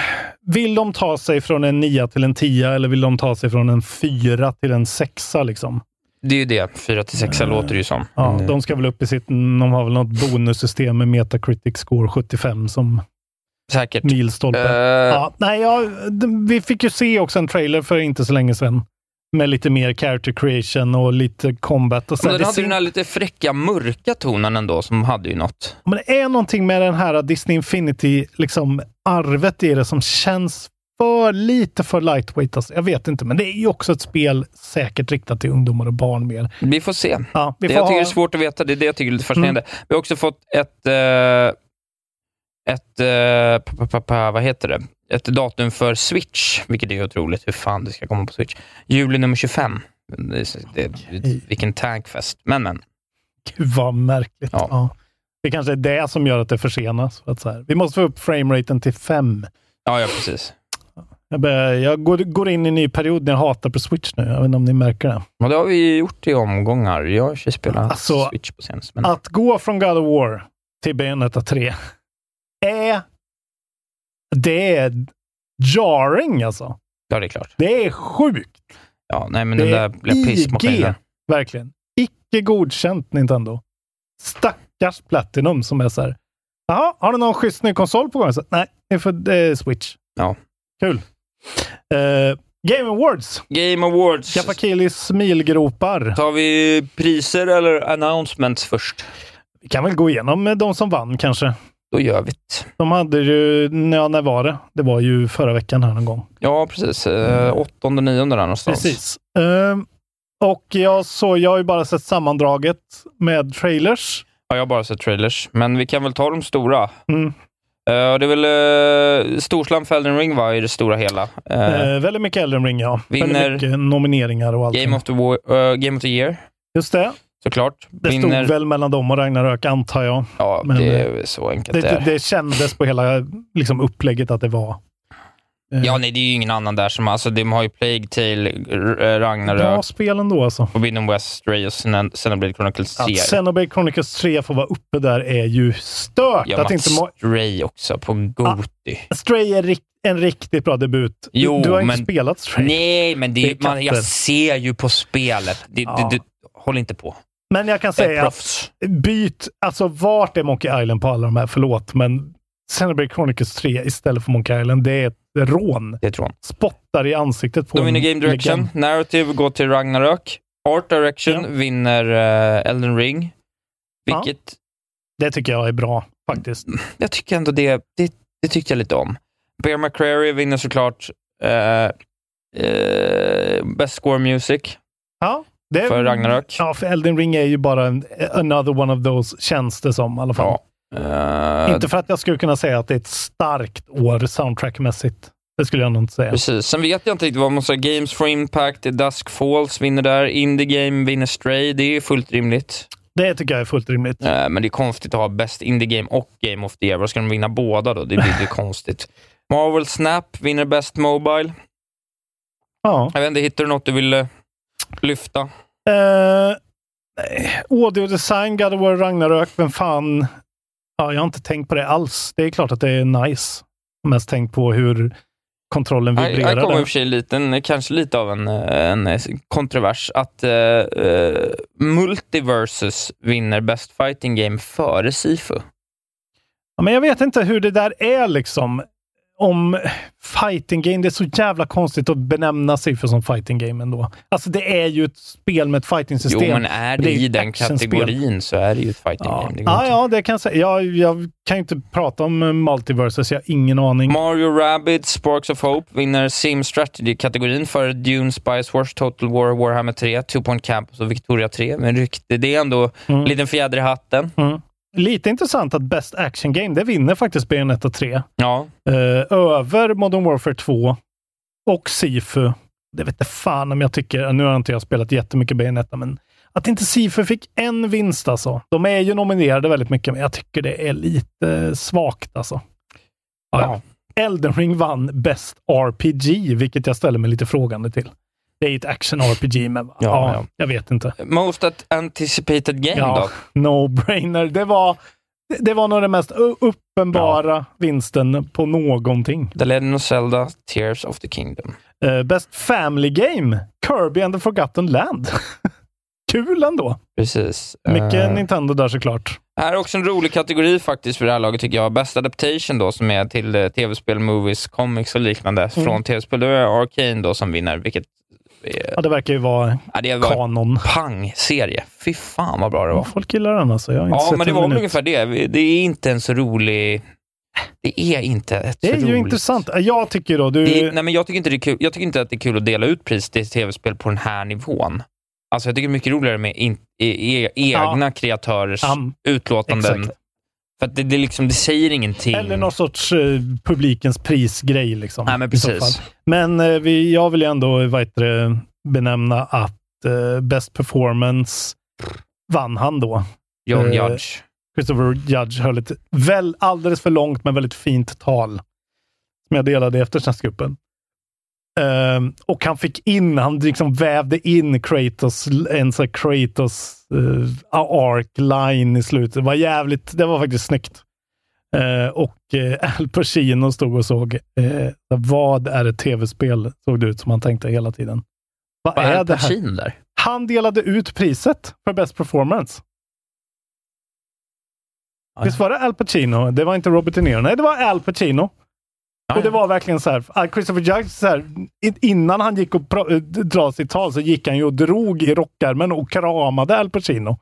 Speaker 7: vill de ta sig från en nia till en tia eller vill de ta sig från en fyra till en sexa? Liksom?
Speaker 8: Det är ju det. fyra till sexa låter det ju som.
Speaker 7: Ja,
Speaker 8: Mm.
Speaker 7: De ska väl upp i sitt... De har väl något bonussystem med Metacritic score 75 som
Speaker 8: Säkert.
Speaker 7: milstolpe.
Speaker 8: Eh,
Speaker 7: Mm. Ja, nej, ja, d- vi fick ju se också en trailer för inte så länge sedan. Med lite mer character creation och lite combat. Och så
Speaker 8: men
Speaker 7: här.
Speaker 8: den
Speaker 7: det,
Speaker 8: hade
Speaker 7: ser,
Speaker 8: ju den här lite fräcka, mörka tonen ändå, som hade ju något.
Speaker 7: liksom, men det är någonting med den här Disney Infinity-arvet i det som känns för lite för lightweight. Alltså. Jag vet inte, men det är ju också ett spel säkert riktat till ungdomar och barn mer.
Speaker 8: Vi får se.
Speaker 7: Ja, vi
Speaker 8: Det
Speaker 7: får ha...
Speaker 8: jag tycker
Speaker 7: Mm.
Speaker 8: det är svårt att veta. Det är det jag tycker är lite fascinerande. Vi har också fått ett... eh, ett eh, pa, pa, pa, pa, vad heter det? Ett datum för Switch, vilket är otroligt. Hur fan det ska komma på Switch. Juli nummer 25. Det, är- det,
Speaker 7: Okej.
Speaker 8: Vilken tankfest. Men, men.
Speaker 7: Gud vad märkligt. Ja.
Speaker 8: Ja.
Speaker 7: Det kanske är det som gör att det försenas. För att så här. Vi måste få upp frameraten till fem.
Speaker 8: Ja, ja precis.
Speaker 7: Jag, börjar, jag går, går in i en ny period när jag hatar på Switch nu. Jag vet inte om ni märker det.
Speaker 8: Och det har vi gjort i omgångar. Jag har ju spelat
Speaker 7: Alltså,
Speaker 8: Switch på senaste. Men,
Speaker 7: Att gå från God of War till Bayonetta 3 är... Det är jarring alltså.
Speaker 8: ja, det är klart.
Speaker 7: Det är sjukt.
Speaker 8: Ja, nej, men
Speaker 7: Det
Speaker 8: den
Speaker 7: är
Speaker 8: där blev piss mot mig.
Speaker 7: IG.
Speaker 8: där.
Speaker 7: Verkligen. Icke godkänt Nintendo. Stackars Platinum som är så här. Jaha, har du någon schysst ny konsol på gång? Så, Nej, det är för det är Switch.
Speaker 8: Ja.
Speaker 7: Kul. Eh, Game Awards.
Speaker 8: Game Awards.
Speaker 7: Kapakilis smilgropar.
Speaker 8: Tar vi priser eller announcements först?
Speaker 7: Vi kan väl gå igenom eh, de som vann kanske.
Speaker 8: Då gör vi det.
Speaker 7: De hade ju, ja, när var det? Det var ju förra veckan här någon gång.
Speaker 8: Ja, precis. Eh, Åttonde, nionde där någonstans.
Speaker 7: Mm. Precis. Eh, och jag såg, jag har ju bara sett sammandraget med trailers.
Speaker 8: Ja, jag har bara sett trailers, men vi kan väl ta de stora.
Speaker 7: Mm.
Speaker 8: Eh, och det är väl uh, Storslam Felden Ring var i det stora hela. Eh,
Speaker 7: Eh, väldigt mycket Elden Ring, ja.
Speaker 8: Vinner-
Speaker 7: Väldigt mycket nomineringar och allting.
Speaker 8: Game, of the War, eh, Game of the Year,
Speaker 7: Just det.
Speaker 8: såklart.
Speaker 7: Det stod väl mellan dem och Ragnarök, antar jag.
Speaker 8: ja,
Speaker 7: men,
Speaker 8: det
Speaker 7: eh,
Speaker 8: är väl så enkelt
Speaker 7: Det,
Speaker 8: det,
Speaker 7: det,
Speaker 8: är.
Speaker 7: det kändes på hela liksom, upplägget att det var... eh,
Speaker 8: Ja, nej, det är ju ingen annan där som... Alltså, de har ju Plague Tale, R- eh,
Speaker 7: bra
Speaker 8: Ragnarök,
Speaker 7: spel ändå alltså.
Speaker 8: Forbidden West, Stray och Xen- Xenoblade Chronicles 3.
Speaker 7: Att Xenoblade Chronicles 3 får vara uppe där är ju stört.
Speaker 8: Ja,
Speaker 7: att inte
Speaker 8: Mats
Speaker 7: må-
Speaker 8: Stray också, på Goti.
Speaker 7: Stray är rik- en riktigt bra debut.
Speaker 8: Jo,
Speaker 7: du, du har
Speaker 8: men-
Speaker 7: inte spelat Stray.
Speaker 8: Nej, men
Speaker 7: Ah, Det
Speaker 8: det,
Speaker 7: är
Speaker 8: man, jag
Speaker 7: katter.
Speaker 8: ser ju på spelet. Det,
Speaker 7: Ja.
Speaker 8: det, det, håll inte på.
Speaker 7: Men jag kan
Speaker 8: Jag är
Speaker 7: säga att
Speaker 8: proffs.
Speaker 7: byt... Alltså vart är Monkey Island på alla de här? Förlåt, men Xenoblade Chronicles 3 istället för Monkey Island, det är ett rån.
Speaker 8: Det tror jag.
Speaker 7: Spottar i ansiktet på
Speaker 8: De vinner
Speaker 7: en
Speaker 8: Game Direction,
Speaker 7: legend.
Speaker 8: Narrative går till Ragnarök, Art Direction
Speaker 7: Ja.
Speaker 8: vinner eh, Elden Ring.
Speaker 7: Ja.
Speaker 8: Vilket,
Speaker 7: Det tycker jag är bra, faktiskt.
Speaker 8: jag tycker ändå det, det, det tyckte jag lite om. Bear McCreary vinner såklart eh, eh, Best Score Music.
Speaker 7: Ja, det,
Speaker 8: För Ragnarök.
Speaker 7: Ja, för Elden Ring är ju bara en, another one of those, känns det som i alla fall.
Speaker 8: Ja. Eh,
Speaker 7: Inte för att jag skulle kunna säga att det är ett starkt år soundtrackmässigt. Det skulle jag nog inte säga.
Speaker 8: Precis. Sen vet jag inte riktigt vad man säger. Games for Impact, Dusk Falls vinner där. Indie Game vinner Stray. Det är fullt rimligt.
Speaker 7: Det tycker jag är fullt rimligt.
Speaker 8: Eh, Men det är konstigt att ha Best Indie Game och Game of the Year. Vad ska de vinna båda då? Det blir ju konstigt. Marvel Snap vinner Best Mobile.
Speaker 7: Ja.
Speaker 8: Jag vet inte, hittar du något du vill eh, lyfta?
Speaker 7: Eh, nej. audio design, God of War, Ragnarök, vem fan... Ja, jag har inte tänkt på det alls. Det är klart att det är nice. Jag har mest tänkt på hur kontrollen
Speaker 8: Här här
Speaker 7: vibrerar.
Speaker 8: kommer i och
Speaker 7: där.
Speaker 8: för sig lite, en- kanske lite av en, eh, en eh, kontrovers. Att eh, eh, Multiversus vinner Best Fighting Game före Sifu.
Speaker 7: Ja, men jag vet inte hur det där är liksom. Om fighting game, det är så jävla konstigt att benämna siffror som fighting game ändå. Alltså det är ju ett spel med ett
Speaker 8: Jo,
Speaker 7: fighting-system.
Speaker 8: men är det,
Speaker 7: Det är
Speaker 8: i
Speaker 7: ju
Speaker 8: den
Speaker 7: actionspel.
Speaker 8: kategorin så är det ju ett fighting
Speaker 7: Ja,
Speaker 8: game. Det går
Speaker 7: ja,
Speaker 8: inte.
Speaker 7: ja, det kan jag säga. Jag, jag kan ju inte prata om eh, multiverses, jag har ingen aning.
Speaker 8: Mario Rabbids Sparks of Hope vinner Sim Strategy-kategorin för Dune, Spice Wars, Total War, Warhammer 3, Two Point Campus och Victoria 3. Men rykte, det är ändå
Speaker 7: Mm.
Speaker 8: en liten fjäder i hatten.
Speaker 7: Lite intressant att Best Action Game, det vinner faktiskt Bayonetta 3.
Speaker 8: Ja,
Speaker 7: eh, över Modern Warfare 2 och Sifu. Det vet jag fan om jag tycker, nu har inte jag spelat jättemycket Bayonetta, men att inte Sifu fick en vinst alltså. De är ju nominerade väldigt mycket, men jag tycker det är lite svagt alltså. Ja, ja. Elden Ring vann Best RPG, vilket jag ställer mig lite frågande till. Det är ju ett action-RPG, men ja,
Speaker 8: ja.
Speaker 7: jag vet inte.
Speaker 8: Most at- Anticipated Game
Speaker 7: Ja,
Speaker 8: då?
Speaker 7: no-brainer. Det var, det- det var nog den mest u- uppenbara vinsten på någonting.
Speaker 8: The Legend of Zelda, Tears of the Kingdom.
Speaker 7: Eh, best Family Game, Kirby and the Forgotten Land. Kul ändå.
Speaker 8: Precis.
Speaker 7: Mycket
Speaker 8: Eh,
Speaker 7: Nintendo där såklart.
Speaker 8: här är också en rolig kategori faktiskt för det här laget tycker jag. Best Adaptation då, som är till eh, tv-spel, movies, comics och liknande
Speaker 7: Mm.
Speaker 8: från tv-spel. Då är det Arcane då som vinner, vilket...
Speaker 7: Ja, det verkar ju vara
Speaker 8: Ja, det var en
Speaker 7: kanon.
Speaker 8: pang-serie. Fy fan vad bra det var.
Speaker 7: Folk gillar den alltså. Jag har inte
Speaker 8: Ja,
Speaker 7: sett
Speaker 8: men det
Speaker 7: en
Speaker 8: var väl
Speaker 7: minut.
Speaker 8: ungefär det. Vi- Det är inte en så rolig... Det är inte ett
Speaker 7: Det är
Speaker 8: så
Speaker 7: ju
Speaker 8: roligt.
Speaker 7: intressant. Jag tycker då, du...
Speaker 8: Det är, nej, men jag, tycker inte det är kul, jag tycker inte att det är kul att dela ut pris till tv-spel på den här nivån. Alltså jag tycker det är mycket roligare med in, e, e, egna kreatörers
Speaker 7: Am,
Speaker 8: utlåtanden.
Speaker 7: exakt.
Speaker 8: För att det, det, är liksom, det säger ingenting.
Speaker 7: Eller någon sorts eh, publikens prisgrej. Liksom,
Speaker 8: Nej, men
Speaker 7: i så
Speaker 8: precis.
Speaker 7: fall. Men eh, vi, jag vill ju ändå vad heter det, benämna att eh, Best Performance vann han då. Eh,
Speaker 8: John Judge.
Speaker 7: Christopher Judge höll ett väl, alldeles för långt men väldigt fint tal som jag delade efter snacksgruppen. Ehm, och han fick in, han liksom vävde in Kratos, en sån här Kratos uh, arc line i slutet. Det var jävligt, det var faktiskt snyggt. Eh, och uh, Al Pacino stod och såg, eh, vad är ett tv-spel? Såg det ut som han tänkte hela tiden. Vad,
Speaker 8: Vad
Speaker 7: är,
Speaker 8: är
Speaker 7: det här?
Speaker 8: Pacino där?
Speaker 7: Han delade ut priset för Best Performance.
Speaker 8: Ja,
Speaker 7: Visst var det Al Pacino? Det var inte Robert De Niro. Nej, det var Al Pacino.
Speaker 8: Ja,
Speaker 7: Och det
Speaker 8: ja.
Speaker 7: var verkligen så här, att Christopher Judge, så här, in- innan han gick och pra- eh, dra sitt tal så gick han ju och drog i rockärmen och kramade Al Pacino.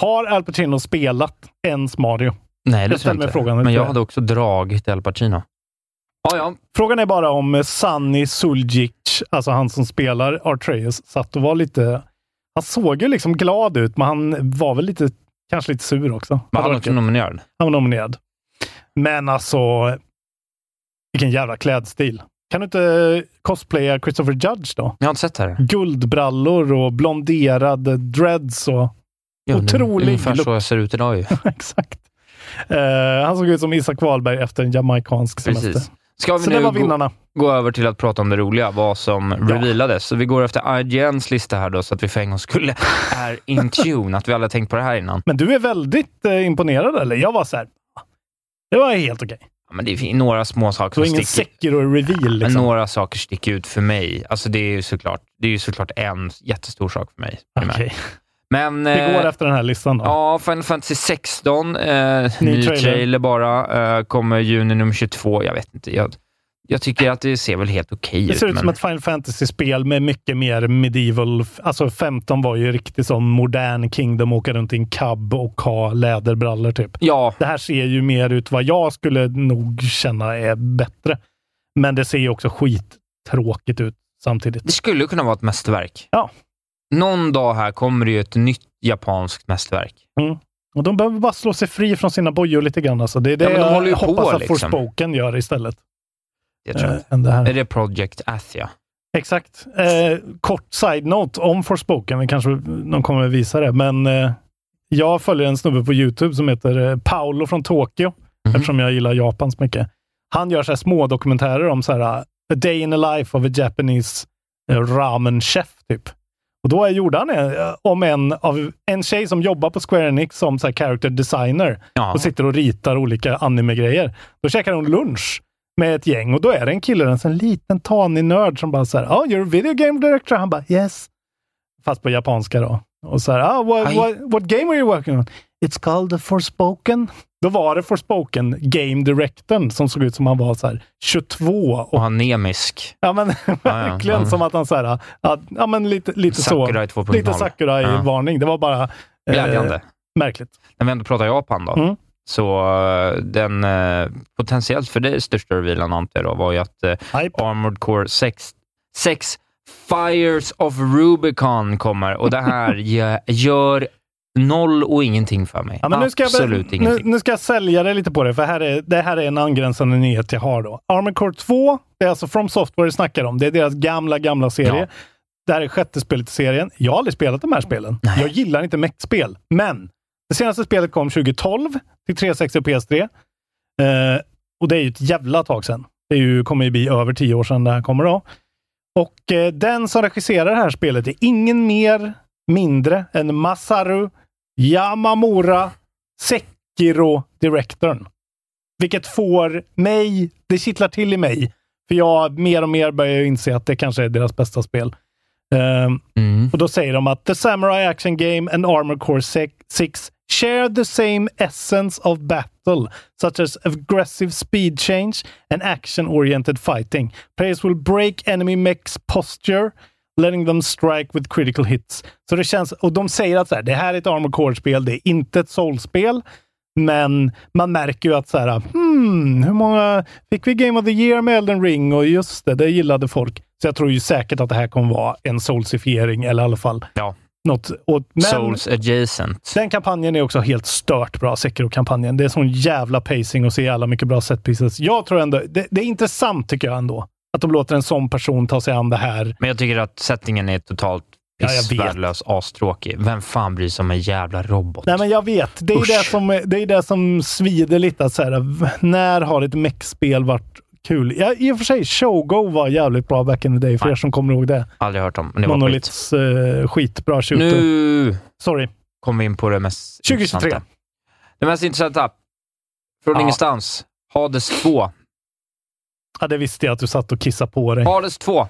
Speaker 7: Har Al Pacino spelat ens Mario?
Speaker 8: Nej, det
Speaker 7: jag ställer
Speaker 8: tror jag
Speaker 7: mig
Speaker 8: inte.
Speaker 7: frågan,
Speaker 8: men
Speaker 7: tror
Speaker 8: jag
Speaker 7: jag.
Speaker 8: hade också dragit Al Pacino. Ja, ja.
Speaker 7: Frågan är bara om eh, Sunny Suljic, alltså han som spelar Artreus, satt och var lite... Han såg ju liksom glad ut, men han var väl lite, kanske lite sur också.
Speaker 8: Men
Speaker 7: Hade
Speaker 8: han var
Speaker 7: varit
Speaker 8: också
Speaker 7: kul.
Speaker 8: nominerad.
Speaker 7: Han var nominerad. Men alltså, vilken jävla klädstil. Kan du inte cosplaya Christopher Judge då?
Speaker 8: Jag har inte sett det här.
Speaker 7: Guldbrallor och blonderade dreads och...
Speaker 8: Jo, det är
Speaker 7: Otrolig
Speaker 8: Ungefär
Speaker 7: look.
Speaker 8: så jag ser ut idag ju.
Speaker 7: Exakt. Eh, han såg ut som Isak Wahlberg efter en jamaicansk semester.
Speaker 8: Precis. Ska vi
Speaker 7: Så det
Speaker 8: nu
Speaker 7: var
Speaker 8: gå,
Speaker 7: vinnarna.
Speaker 8: gå över till att prata om det roliga, vad som revealades. Så vi går efter IGNs lista här då, så att vi för en gång skulle är in tune, att vi alla tänkt på det här innan.
Speaker 7: Men du är väldigt eh, imponerad, eller? Jag var så här... "Ah." Det var helt okej.
Speaker 8: Ja, men det är några små
Speaker 7: Det
Speaker 8: saker
Speaker 7: var
Speaker 8: som
Speaker 7: ingen
Speaker 8: sticker
Speaker 7: Sekiro-reveal. Liksom.
Speaker 8: Men några saker sticker ut för mig. Alltså det är ju såklart, det är ju såklart en jättestor sak för mig. primärt.
Speaker 7: Okej.
Speaker 8: Men...
Speaker 7: Vi går
Speaker 8: eh,
Speaker 7: efter den här listan då.
Speaker 8: Ja, Final Fantasy 16, eh,
Speaker 7: Ny
Speaker 8: ny, trailer.
Speaker 7: trailer.
Speaker 8: bara, eh, kommer juni nummer 22. Jag vet inte. Jag, jag tycker att det ser väl helt okej
Speaker 7: Det
Speaker 8: ut.
Speaker 7: ser ut som
Speaker 8: men-
Speaker 7: ett Final Fantasy-spel med mycket mer medieval. Alltså 15 var ju riktigt som modern Kingdom, åka runt i en cab och ha läderbrallor typ.
Speaker 8: Ja,
Speaker 7: Det här ser ju mer ut vad jag skulle nog känna är bättre. Men det ser ju också skittråkigt ut samtidigt.
Speaker 8: det skulle kunna vara ett mästerverk.
Speaker 7: Ja.
Speaker 8: Någon dag här kommer det ju ett nytt japanskt mästerverk.
Speaker 7: Och de behöver bara slå sig fri från sina bojor lite grann. Alltså. Det är det
Speaker 8: Ja, men de håller ju
Speaker 7: jag hoppas
Speaker 8: på,
Speaker 7: att
Speaker 8: liksom.
Speaker 7: Forspoken gör istället.
Speaker 8: Det tror jag.
Speaker 7: eh, än det här.
Speaker 8: Är det Project Athia?
Speaker 7: Exakt. Eh, kort side-note om Forspoken. Vi kanske någon kommer att visa det, men eh, jag följer en snubbe på YouTube som heter eh, Paolo från Tokyo,
Speaker 8: Mhm.
Speaker 7: eftersom jag gillar Japan så mycket. Han gör så här små dokumentärer om så här, eh, A Day in the Life of a Japanese eh, Ramen Chef, typ. Och då är- gjorde han eh, om en, av, en tjej som jobbar på Square Enix som så här character designer
Speaker 8: Ja.
Speaker 7: och sitter och ritar olika anime-grejer. Då käkar hon lunch med ett gäng och då är det en kille, en sån liten tanig nörd som bara så här, oh, you're a video game director. Han bara, yes. Fast på japanska då. Och så här, ah, what,
Speaker 8: Aj.
Speaker 7: what, what game are you working on? It's called the Forspoken. Då var det Forspoken, game directorn, som såg ut som han var så här 22.
Speaker 8: Och
Speaker 7: Och,
Speaker 8: han Nemisk.
Speaker 7: ja, men verkligen
Speaker 8: ja.
Speaker 7: som att han så här, ja, ja men lite, lite
Speaker 8: Sakurai
Speaker 7: så. Lite
Speaker 8: 2.0.
Speaker 7: Sakurai-varning. Det var bara eh,
Speaker 8: Glädjande.
Speaker 7: märkligt.
Speaker 8: När vi ändå pratar Japan då.
Speaker 7: Mm.
Speaker 8: Så eh, den eh, potentiellt för dig största revealen antar jag då, var ju att eh,
Speaker 7: Hype.
Speaker 8: Armored Core 6, 6 Fires of Rubicon kommer och det här gö- gör noll och ingenting för mig.
Speaker 7: Ja, men nu, ska jag,
Speaker 8: Absolut
Speaker 7: nu,
Speaker 8: ingenting.
Speaker 7: nu ska jag sälja dig lite på det, för här är, det här är en angränsande nyhet jag har. då. Armored Core 2, det är alltså From Software vi snackar om. Det är deras gamla, gamla serie.
Speaker 8: Ja.
Speaker 7: Det här är sjätte spelet i serien. Jag har aldrig spelat de här spelen. Jag gillar inte mech-spel, men det senaste spelet kom 2012 till 360 och PS3. Eh, och det är ju ett jävla tag sedan. Det är ju, kommer ju bli över tio år sedan det här kommer då. Och eh, den som regisserar det här spelet är ingen mer, mindre än Masaru Yamamura Sekiro-direktorn. Vilket får mig, det kittlar till i mig. För jag mer och mer börjar ju inse att det kanske är deras bästa spel. Ehm,
Speaker 8: Mm.
Speaker 7: och då säger de att The Samurai Action Game and Armor Core 6 share the same essence of battle, such as aggressive speed change and action-oriented fighting. Players will break enemy mechs posture, letting them strike with critical hits. Så det känns, och de säger att så här, det här är ett Armor Core-spel, det är inte ett Souls-spel. Men man märker ju att så här, hmm, hur många fick vi Game of the Year med Elden Ring? Och just det, det gillade folk. Så jag tror ju säkert att det här kommer vara en soulsifiering, eller i alla fall
Speaker 8: Ja.
Speaker 7: något. Och, men
Speaker 8: Souls adjacent.
Speaker 7: den kampanjen är också helt stört bra, Sekiro-kampanjen. Det är sån jävla pacing och så jävla mycket bra set pieces. Jag tror ändå, det, det är intressant tycker jag ändå, att de låter en sån person ta sig an det här.
Speaker 8: Men jag tycker att settingen är totalt
Speaker 7: Ja, jag vet.
Speaker 8: pissvärdelös, astråkig. Vem fan bryr sig om en jävla robot?
Speaker 7: Nej, men jag vet. Det är
Speaker 8: Usch.
Speaker 7: det som, det är det som svider lite. Att så här, v- när har ett mech-spel varit kul? Ja, I och för sig, Shogo var jävligt bra back in the day, för
Speaker 8: Nej.
Speaker 7: er som kommer ihåg det.
Speaker 8: Aldrig hört om. men Det var skit.
Speaker 7: Monoliths eh, skitbra shooter.
Speaker 8: Nu
Speaker 7: Sorry.
Speaker 8: kom vi in på det mest
Speaker 7: 2023.
Speaker 8: intressanta. Det mest intressanta. Från
Speaker 7: Ja.
Speaker 8: ingenstans. Hades 2.
Speaker 7: Ja, det visste jag att du satt och kissade på dig.
Speaker 8: Hades 2.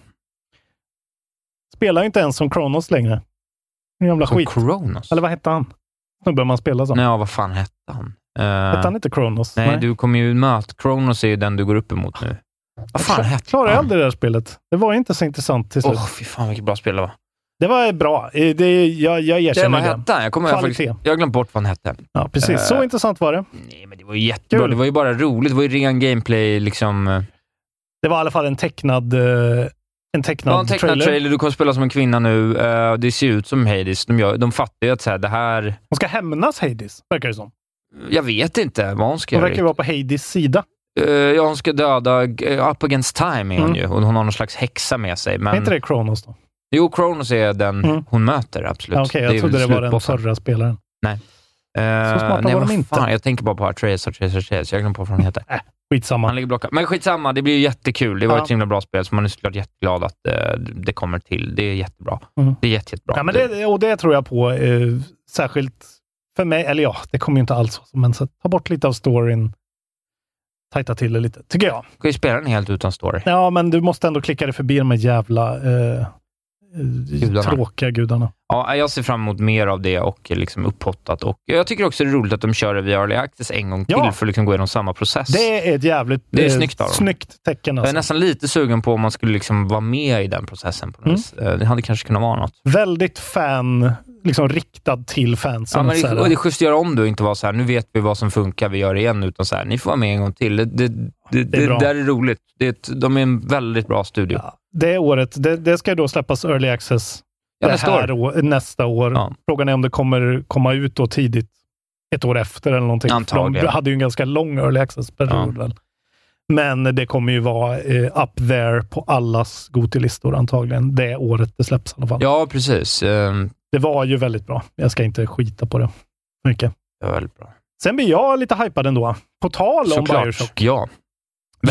Speaker 7: Spelar ju inte ens som Kronos längre. En jävla
Speaker 8: Som
Speaker 7: skit.
Speaker 8: Kronos.
Speaker 7: Eller vad hette han? Snubben man spelar som.
Speaker 8: Nej, ja, vad fan hette han? Eh,
Speaker 7: Hette han inte Kronos?
Speaker 8: nej, du kommer ju möta... Kronos är ju den du går upp emot nu. Vad fan hette
Speaker 7: Klarade jag
Speaker 8: han?
Speaker 7: aldrig det där spelet. Det var ju inte så intressant till slut.
Speaker 8: Åh, fy fan vilket bra spel det var.
Speaker 7: Det var bra. Eh, Det, jag, jag
Speaker 8: Det, vad
Speaker 7: erkänner det.
Speaker 8: hette han? Jag kommer jag faktiskt...
Speaker 7: Kvalitet.
Speaker 8: Jag har glömt bort vad han hette.
Speaker 7: Ja, precis. Så
Speaker 8: Eh.
Speaker 7: intressant var det.
Speaker 8: Nej, men det var ju jättebra.
Speaker 7: Kul.
Speaker 8: Det var ju bara roligt. Det var ju ren gameplay liksom. eh,
Speaker 7: Det var i alla fall en tecknad, eh, en
Speaker 8: Det
Speaker 7: tecknad,
Speaker 8: var en tecknad trailer.
Speaker 7: trailer.
Speaker 8: Du kommer spela som en kvinna nu. eh, det ser ut som Hades. De, gör, de fattar ju att så här, det här...
Speaker 7: Hon ska hämnas Hades, verkar det som.
Speaker 8: Jag vet inte vad hon ska
Speaker 7: Hon
Speaker 8: göra.
Speaker 7: verkar ju vara på Hades sida.
Speaker 8: riktigt. Eh, ja, hon ska döda... eh, up against time är hon
Speaker 7: Mm.
Speaker 8: ju. Och hon har någon slags häxa med sig.
Speaker 7: Är inte
Speaker 8: Men...
Speaker 7: det Kronos då?
Speaker 8: Jo, Kronos är den
Speaker 7: Mm.
Speaker 8: hon möter, absolut.
Speaker 7: Ja, Okej, jag
Speaker 8: är
Speaker 7: trodde
Speaker 8: väl
Speaker 7: det var den
Speaker 8: slutbossen.
Speaker 7: förra spelaren.
Speaker 8: Eh,
Speaker 7: Så smarta
Speaker 8: nej,
Speaker 7: var
Speaker 8: vad
Speaker 7: de inte.
Speaker 8: Fan, jag tänker bara på Atreus, Atreus, Atreus. Jag glömde på vad han heter. Han
Speaker 7: Skitsamma.
Speaker 8: ligger blockad. Men skitsamma, det blir ju jättekul. Det var
Speaker 7: Ja.
Speaker 8: ett så himla bra spel, så man är såklart jätteglad att eh, det kommer till. Det är jättebra.
Speaker 7: Mm.
Speaker 8: Det är jätte, jättebra.
Speaker 7: Ja, men det, och det tror jag på. Eh, särskilt för mig. Eller ja, det kommer ju inte alls vara så, men så ta bort lite av storyn. Tajta till det lite, tycker jag.
Speaker 8: Du kan ju spela den helt utan story.
Speaker 7: Ja, men du måste ändå klicka dig förbi de här jävla eh, eh, tråkiga gudarna.
Speaker 8: Ja, jag ser fram emot mer av det och liksom upphottat. Och jag tycker också det är roligt att de kör det via Early Access en gång till
Speaker 7: Ja.
Speaker 8: för att liksom gå igenom samma process.
Speaker 7: Det är ett jävligt
Speaker 8: Det är
Speaker 7: eh,
Speaker 8: snyggt av dem.
Speaker 7: snyggt tecken.
Speaker 8: Jag är
Speaker 7: Alltså.
Speaker 8: nästan lite sugen på om man skulle liksom vara med i den processen. på något
Speaker 7: Mm.
Speaker 8: vis. Eh, Det hade kanske kunnat vara något.
Speaker 7: Väldigt fan, liksom riktad till fansen.
Speaker 8: Ja, men
Speaker 7: så
Speaker 8: det,
Speaker 7: här.
Speaker 8: och det är schysst att göra om det och inte vara så här, nu vet vi vad som funkar, vi gör det igen, utan så här, ni får vara med en gång till. Det, det, det,
Speaker 7: Det är
Speaker 8: det,
Speaker 7: bra.
Speaker 8: där är roligt. Det, är ett- de är en väldigt bra studio.
Speaker 7: Ja, det året, det, det ska då släppas early access
Speaker 8: Ja,
Speaker 7: det
Speaker 8: nästa
Speaker 7: här
Speaker 8: år.
Speaker 7: År, nästa år.
Speaker 8: Ja.
Speaker 7: Frågan är om det kommer komma ut då tidigt, ett år efter eller någonting. För
Speaker 8: Antagligen.
Speaker 7: De hade ju en ganska lång early access-period. väl. Men det kommer ju vara eh, up there på allas Gotilistor antagligen. Det året det släpps i alla fall.
Speaker 8: Ja, precis. Eh,
Speaker 7: Det var ju väldigt bra. Jag ska inte skita på det för mycket.
Speaker 8: Det var väldigt bra.
Speaker 7: Sen blir jag lite hypad ändå. På tal om Bioshock.
Speaker 8: ja.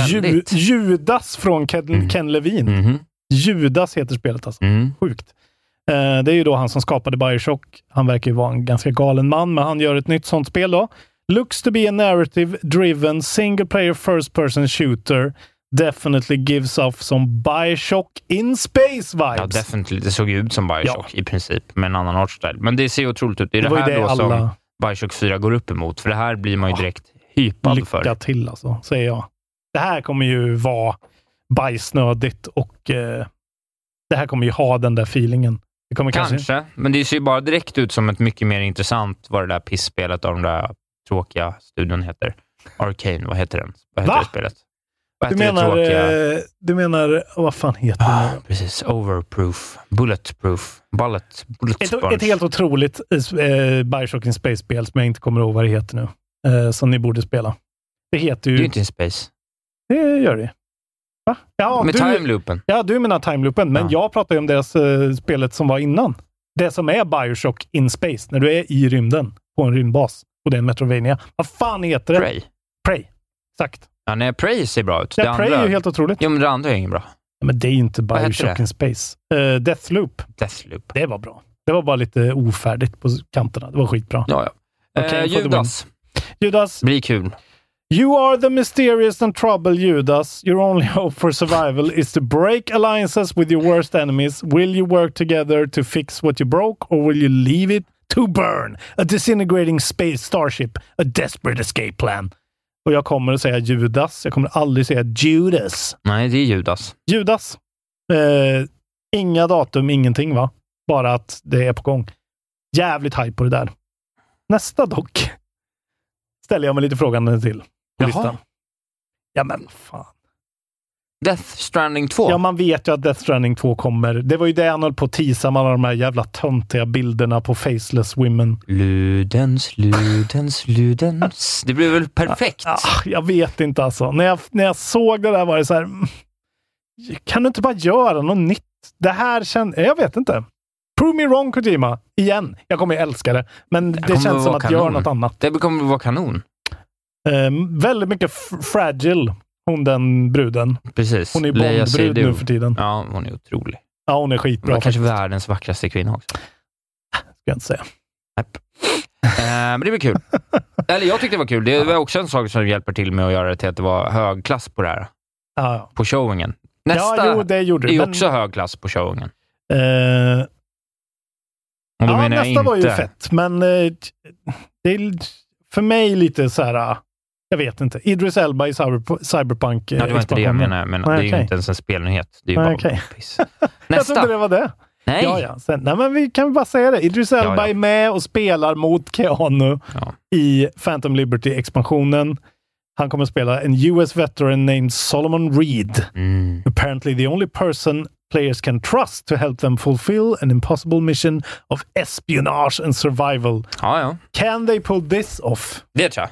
Speaker 7: Ju,
Speaker 8: Väldigt.
Speaker 7: Judas från Ken,
Speaker 8: Mm.
Speaker 7: Ken Levin.
Speaker 8: Mhm.
Speaker 7: Judas heter spelet alltså.
Speaker 8: Mm.
Speaker 7: Sjukt. Eh, det är ju då han som skapade Bioshock. Han verkar ju vara en ganska galen man, men han gör ett nytt sånt spel då. Looks to be a narrative driven single player first person shooter. Definitely gives off some Bioshock in space
Speaker 8: Ja,
Speaker 7: vibes.
Speaker 8: definitivt. Det såg ju ut som Bioshock i princip, med en annan art style. Men det ser ju otroligt ut. Det är det,
Speaker 7: var ju
Speaker 8: här
Speaker 7: det
Speaker 8: då som
Speaker 7: alla Ah,
Speaker 8: Bioshock 4 går upp emot, för det här blir man ju direkt hypad
Speaker 7: lycka
Speaker 8: för.
Speaker 7: till alltså, säger jag. Det här kommer ju vara bajsnödigt och eh, det här kommer ju ha den där feelingen. Det kommer kanske,
Speaker 8: Kanske, men det ser ju bara direkt ut som ett mycket mer intressant, vad det där pissspelet av den där tråkiga studion heter. Arcane, vad heter den? Vad heter
Speaker 7: Va?
Speaker 8: det spelet? Vad
Speaker 7: Du
Speaker 8: heter det
Speaker 7: menar,
Speaker 8: tråkiga?
Speaker 7: eh, du menar, vad fan heter det?
Speaker 8: Ah,
Speaker 7: nu då?
Speaker 8: precis. Overproof. Bulletproof. Bullet. Bullet
Speaker 7: Ett,
Speaker 8: sponge.
Speaker 7: ett helt otroligt eh, Bioshock in Space-spel som jag inte kommer ihåg vad det heter nu. Eh, som ni borde spela. Det heter
Speaker 8: Det är
Speaker 7: ju...
Speaker 8: ju
Speaker 7: Det,
Speaker 8: inte in space.
Speaker 7: gör det. Va? Ja,
Speaker 8: Med
Speaker 7: du,
Speaker 8: timeloopen.
Speaker 7: ja, du menar timeloopen, men
Speaker 8: Ja.
Speaker 7: jag pratar ju om deras eh, spelet som var innan. Det som är Bioshock in Space, när du är i rymden på en rymdbas och det är en Metrovania. Vad fan heter det?
Speaker 8: Prey.
Speaker 7: Prey. Exakt.
Speaker 8: Ja, nej, Prey ser bra ut. det
Speaker 7: Ja, Prey
Speaker 8: andra...
Speaker 7: är ju helt otroligt.
Speaker 8: Jo, men det andra är inget bra.
Speaker 7: Men det är ju inte
Speaker 8: heter
Speaker 7: Bioshock
Speaker 8: det?
Speaker 7: in Space. Eh, Deathloop,
Speaker 8: Deathloop.
Speaker 7: det var bra. Det var bara lite ofärdigt på kanterna. Det var skitbra.
Speaker 8: Ja, ja.
Speaker 7: Okej,
Speaker 8: eh,
Speaker 7: for the
Speaker 8: Judas.
Speaker 7: Judas,
Speaker 8: Blir kul.
Speaker 7: You are the mysterious and troubled Judas. Your only hope for survival is to break alliances with your worst enemies. Will you work together to fix what you broke, or will you leave it to burn? A disintegrating space starship, a desperate escape plan. Och jag kommer att säga Judas. Jag kommer aldrig säga Judas.
Speaker 8: Nej, det är Judas.
Speaker 7: Judas. Eh, inga datum, ingenting va? Bara att det är på gång. Jävligt hype på det där. Nästa dock. ställer jag mig lite frågande till. På
Speaker 8: Jaha.
Speaker 7: listan. Ja, men fan.
Speaker 8: Death Stranding 2.
Speaker 7: Ja, man vet ju att Death Stranding 2 kommer. Det var ju det han höll på att teasa med alla de här jävla töntiga bilderna på faceless women.
Speaker 8: Ludens, Ludens, Ludens. Det blir väl perfekt?
Speaker 7: Ah, jag vet inte alltså. När jag, när jag såg det där var det så här... mm, Kan du inte bara göra något nytt? Det här känns... Jag vet inte. Prove me wrong, Kojima. Igen. Jag kommer ju älska det. Men det,
Speaker 8: kommer
Speaker 7: känns som
Speaker 8: vara
Speaker 7: att göra
Speaker 8: kanon.
Speaker 7: något annat.
Speaker 8: Det kommer vara kanon.
Speaker 7: Ehm, väldigt mycket f- fragile, hon den bruden.
Speaker 8: Precis.
Speaker 7: Hon är
Speaker 8: Leia
Speaker 7: Bondbrud
Speaker 8: Seydoux.
Speaker 7: nu för tiden. Ja,
Speaker 8: Ja, hon är otrolig.
Speaker 7: hon är
Speaker 8: Hon
Speaker 7: skitbra.
Speaker 8: är kanske
Speaker 7: faktiskt,
Speaker 8: världens vackraste kvinna också.
Speaker 7: ska jag inte säga.
Speaker 8: Eh, men det blir kul. Eller jag tyckte det var kul. Det var också en sak som hjälper till med att göra det till att det var hög klass på det här.
Speaker 7: Ja, ja.
Speaker 8: På showingen. Nästa
Speaker 7: ja, jo, det gjorde
Speaker 8: är
Speaker 7: du.
Speaker 8: ju
Speaker 7: men,
Speaker 8: också hög klass på showingen.
Speaker 7: eh,
Speaker 8: Och då
Speaker 7: ja,
Speaker 8: menar jag
Speaker 7: nästa
Speaker 8: inte...
Speaker 7: var ju fett, men eh, det är för mig lite så här... ah, Jag vet inte. Idris Elba i cyber, Cyberpunk. eh,
Speaker 8: Ja, det var inte det jag
Speaker 7: expansionen.
Speaker 8: menade, men
Speaker 7: Nej,
Speaker 8: det är ju
Speaker 7: okej.
Speaker 8: inte ens en spelnyhet. Det är ju
Speaker 7: Nej,
Speaker 8: bara
Speaker 7: okej.
Speaker 8: piss.
Speaker 7: Jag trodde det
Speaker 8: Nästa!
Speaker 7: var det.
Speaker 8: Nej!
Speaker 7: Ja, ja. Sen, nej, men vi kan väl bara säga det. Idris Elba
Speaker 8: ja.
Speaker 7: är med och spelar mot Keanu
Speaker 8: Ja.
Speaker 7: i Phantom Liberty-expansionen. Han kommer att spela en US veteran named Solomon Reed.
Speaker 8: Mm.
Speaker 7: Apparently the only person players can trust to help them fulfill an impossible mission of espionage and survival.
Speaker 8: ja, ja.
Speaker 7: Can they pull this off?
Speaker 8: Det tror jag.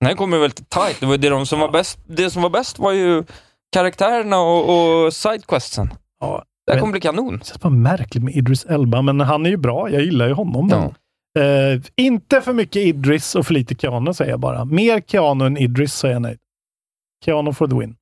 Speaker 8: Den här kommer väl tight. Det, var det, de som var bäst, det som var bäst var ju karaktärerna och, och sidequestsen.
Speaker 7: Ja,
Speaker 8: Det här
Speaker 7: men-
Speaker 8: kommer bli kanon.
Speaker 7: Det känns bara märkligt med Idris Elba, men han är ju bra. Jag gillar ju honom.
Speaker 8: Ja.
Speaker 7: Eh, inte för mycket Idris och för lite Keanu säger jag bara. Mer Keanu än Idris säger jag nej. Keanu for the win.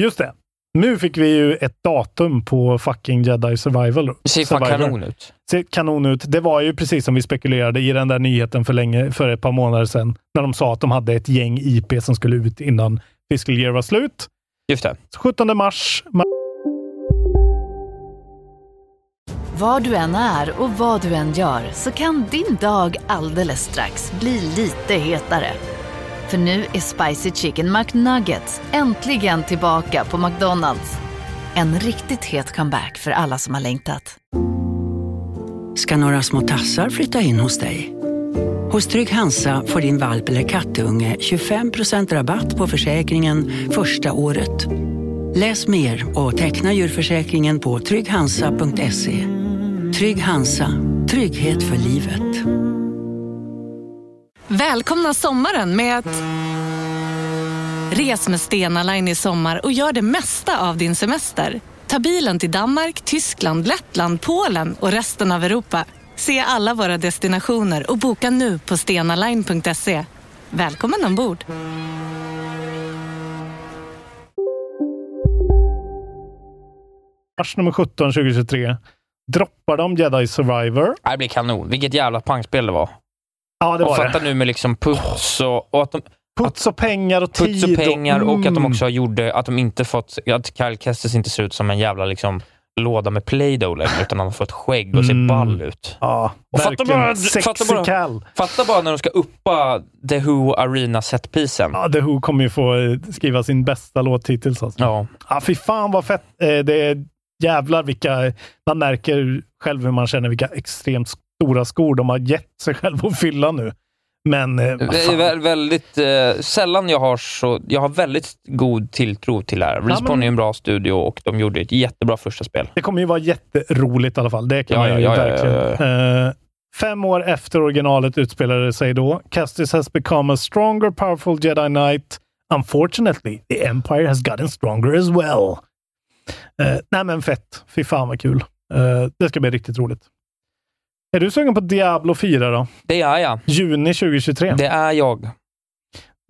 Speaker 7: Just det. Nu fick vi ju ett datum på fucking Jedi Survival.
Speaker 8: Det ser fan
Speaker 7: Survivor.
Speaker 8: kanon ut.
Speaker 7: Ser kanon ut. Det var ju precis som vi spekulerade i den där nyheten för, länge, för ett par månader sedan. När de sa att de hade ett gäng IP som skulle ut innan fiscal year var slut.
Speaker 8: Just det.
Speaker 7: 17 mars.
Speaker 2: Var du än är och vad du än gör så kan din dag alldeles strax bli lite hetare. För nu är Spicy Chicken McNuggets äntligen tillbaka på McDonalds. En riktigt het comeback för alla som har längtat.
Speaker 9: ska några små tassar flytta in hos dig. Hos Trygg Hansa får din valp eller kattunge 25% rabatt på försäkringen första året. Läs mer och teckna djurförsäkringen på trygghansa.se. Trygg Hansa, trygghet för livet.
Speaker 10: Välkomna sommaren med att... Res med Stena Line i sommar och gör det mesta av din semester. Ta bilen till Danmark, Tyskland, Lettland, Polen och resten av Europa. Se alla våra destinationer och boka nu på stenaline.se. Välkommen ombord!
Speaker 7: mars nummer 17 2023 droppar de Jedi Survivor.
Speaker 8: Ja, Det blir kanon. Vilket jävla pangspel det var.
Speaker 7: Ja, det
Speaker 8: och
Speaker 7: var
Speaker 8: fatta
Speaker 7: det.
Speaker 8: nu med liksom puts och, och att de
Speaker 7: Puts och pengar och tid.
Speaker 8: puts och pengar och att de
Speaker 7: mm.
Speaker 8: också gjorde att de inte fått, att Kyle Kestis inte ser ut som en jävla liksom låda med Play-Doh längre, utan han har fått skägg och ser
Speaker 7: Mm.
Speaker 8: ball ut.
Speaker 7: Ja,
Speaker 8: Och fatta bara-
Speaker 7: verkligen.
Speaker 8: fatta bara-
Speaker 7: Sexikal.
Speaker 8: Fatta bara när de ska uppa The Who Arena setpisen.
Speaker 7: Ja, The Who kommer ju få eh, skriva sin bästa låt hittills. Alltså.
Speaker 8: Ja.
Speaker 7: Ja, fy fan vad fett. Eh, Det är jävlar vilka... Man märker själv hur man känner vilka extremt stora skor de har gett sig själv att fylla nu. Men... eh, vad
Speaker 8: Det är
Speaker 7: fan.
Speaker 8: väl, väldigt eh, sällan jag har så... Jag har väldigt god tilltro till det här.
Speaker 7: men-
Speaker 8: Respawn är en bra studio och de gjorde ett jättebra första spel.
Speaker 7: Det kommer ju vara jätteroligt i alla fall. Det kan
Speaker 8: Ja,
Speaker 7: man ju
Speaker 8: ja, ja, ja,
Speaker 7: verkligen. Eh, fem år efter originalet utspelade det sig då. Castis has become a stronger powerful jedi knight. Unfortunately, the empire has gotten stronger as well. Uh, nej men fett. Fy fan vad kul. Eh, det ska bli riktigt roligt. Är du sugen på Diablo 4 då?
Speaker 8: Det är jag.
Speaker 7: Juni 2023.
Speaker 8: Det är jag.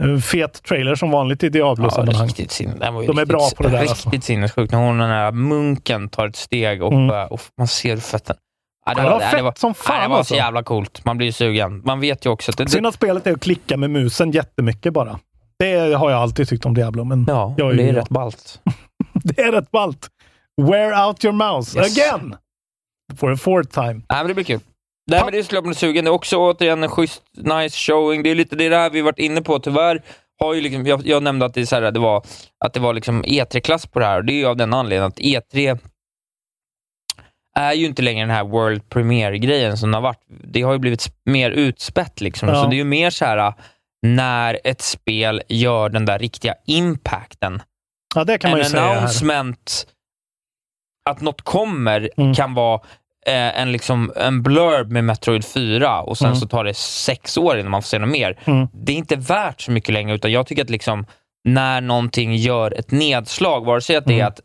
Speaker 7: Eh, fet trailer som vanligt i
Speaker 8: Ja,
Speaker 7: Diablo-sammanhang.
Speaker 8: riktigt sin, den var ju
Speaker 7: De är
Speaker 8: riktigt,
Speaker 7: bra på det där,
Speaker 8: Riktigt
Speaker 7: alltså.
Speaker 8: sinnessjukt. När hon, den här munken, tar ett steg och,
Speaker 7: Mm.
Speaker 8: bara- och man ser fötterna. Ja,
Speaker 7: Det var
Speaker 8: ja,
Speaker 7: fett som
Speaker 8: ja, det
Speaker 7: fan
Speaker 8: var
Speaker 7: alltså.
Speaker 8: så jävla coolt. Man blir ju sugen. Man vet ju också att det,
Speaker 7: Synd
Speaker 8: det,
Speaker 7: att spelet är att klicka med musen jättemycket bara. Det har jag alltid tyckt om Diablo, men
Speaker 8: ja,
Speaker 7: jag
Speaker 8: det är
Speaker 7: ju-
Speaker 8: rätt ballt.
Speaker 7: det är rätt ballt. Wear out your mouse
Speaker 8: Yes.
Speaker 7: again! For a fourth time.
Speaker 8: Nej, men det blir kul. Nej, men det är såklart man är sugen. Det är också återigen en schysst, nice showing. Det är lite det där vi varit inne på. Tyvärr har ju liksom, jag, jag nämnde att det, är så här, det var, att det var liksom E3-klass på det här och det är ju av den anledningen att E3 är ju inte längre den här World Premiere-grejen som det har varit. Det har ju blivit sp- mer utspätt liksom.
Speaker 7: Ja.
Speaker 8: Så det är ju mer så här, när ett spel gör den där riktiga impacten.
Speaker 7: Ja, det kan
Speaker 8: en
Speaker 7: man ju säga här.
Speaker 8: announcement, att något kommer,
Speaker 7: Mm.
Speaker 8: kan vara eh, en, liksom, en blurb med Metroid 4 och sen
Speaker 7: Mm.
Speaker 8: så tar det sex år innan man får se något mer.
Speaker 7: Mm.
Speaker 8: Det är inte värt så mycket längre, utan jag tycker att liksom, när någonting gör ett nedslag, vare sig att
Speaker 7: Mm.
Speaker 8: det är att,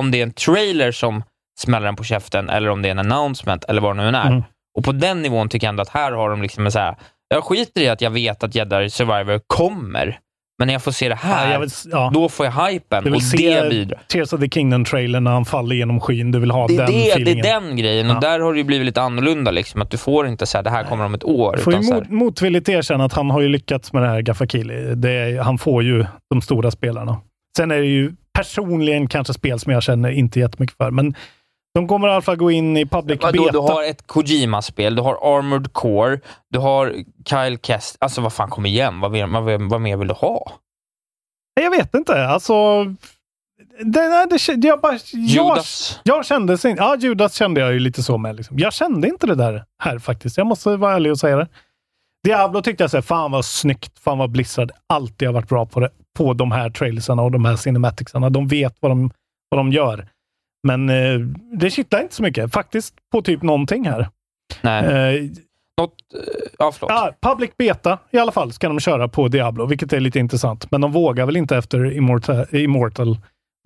Speaker 8: om det är en trailer som smäller en på käften eller om det är en announcement eller vad det nu än
Speaker 7: Mm.
Speaker 8: är. Och på den nivån tycker jag ändå att här har de liksom en så här, jag skiter i att jag vet att Jedi Survivor kommer, men när jag får se det här,
Speaker 7: Ja, jag vill- ja.
Speaker 8: då får jag hypen
Speaker 7: Du
Speaker 8: och
Speaker 7: vill
Speaker 8: det
Speaker 7: se
Speaker 8: bidrar.
Speaker 7: Tears of the Kingdom-trailern när han faller genom skyn. Du vill ha
Speaker 8: Det
Speaker 7: den
Speaker 8: är, det, det
Speaker 7: feelingen.
Speaker 8: är den grejen och
Speaker 7: Ja.
Speaker 8: där har det ju blivit lite annorlunda. Liksom, att Du får inte säga det här kommer om ett år.
Speaker 7: Jag får ju
Speaker 8: Utan så
Speaker 7: mot,
Speaker 8: här,
Speaker 7: motvilligt erkänna att han har ju lyckats med det här Gaffakili. Det är, han får ju de stora spelarna. Sen är det ju personligen kanske spel som jag känner inte jättemycket för, men de kommer i alla fall gå in i public
Speaker 8: vadå,
Speaker 7: beta.
Speaker 8: du har ett Kojima-spel, du har Armored Core, du har Kyle Kest. Alltså vad fan, kom igen. Vad, mer- vad, vad mer vill du ha?
Speaker 7: Nej, Jag vet inte. Alltså, det, nej, det, kän- jag bara, jag,
Speaker 8: Judas.
Speaker 7: jag kände sin, ja, Judas kände jag ju lite så med. Liksom. Jag kände inte det där här faktiskt. Jag måste vara ärlig och säga det. Diablo tyckte jag så här, fan vad snyggt, fan vad Blizzard alltid har varit bra på det. På de här trailersarna och de här cinematicsarna. De vet vad de, vad de gör. Men eh, det kittlar inte så mycket faktiskt på typ någonting här.
Speaker 8: Nej.
Speaker 7: Eh,
Speaker 8: Något, eh, ja, förlåt.
Speaker 7: Ja, public beta i alla fall ska de köra på Diablo, vilket är lite intressant. Men de vågar väl inte efter Immortal, Immortal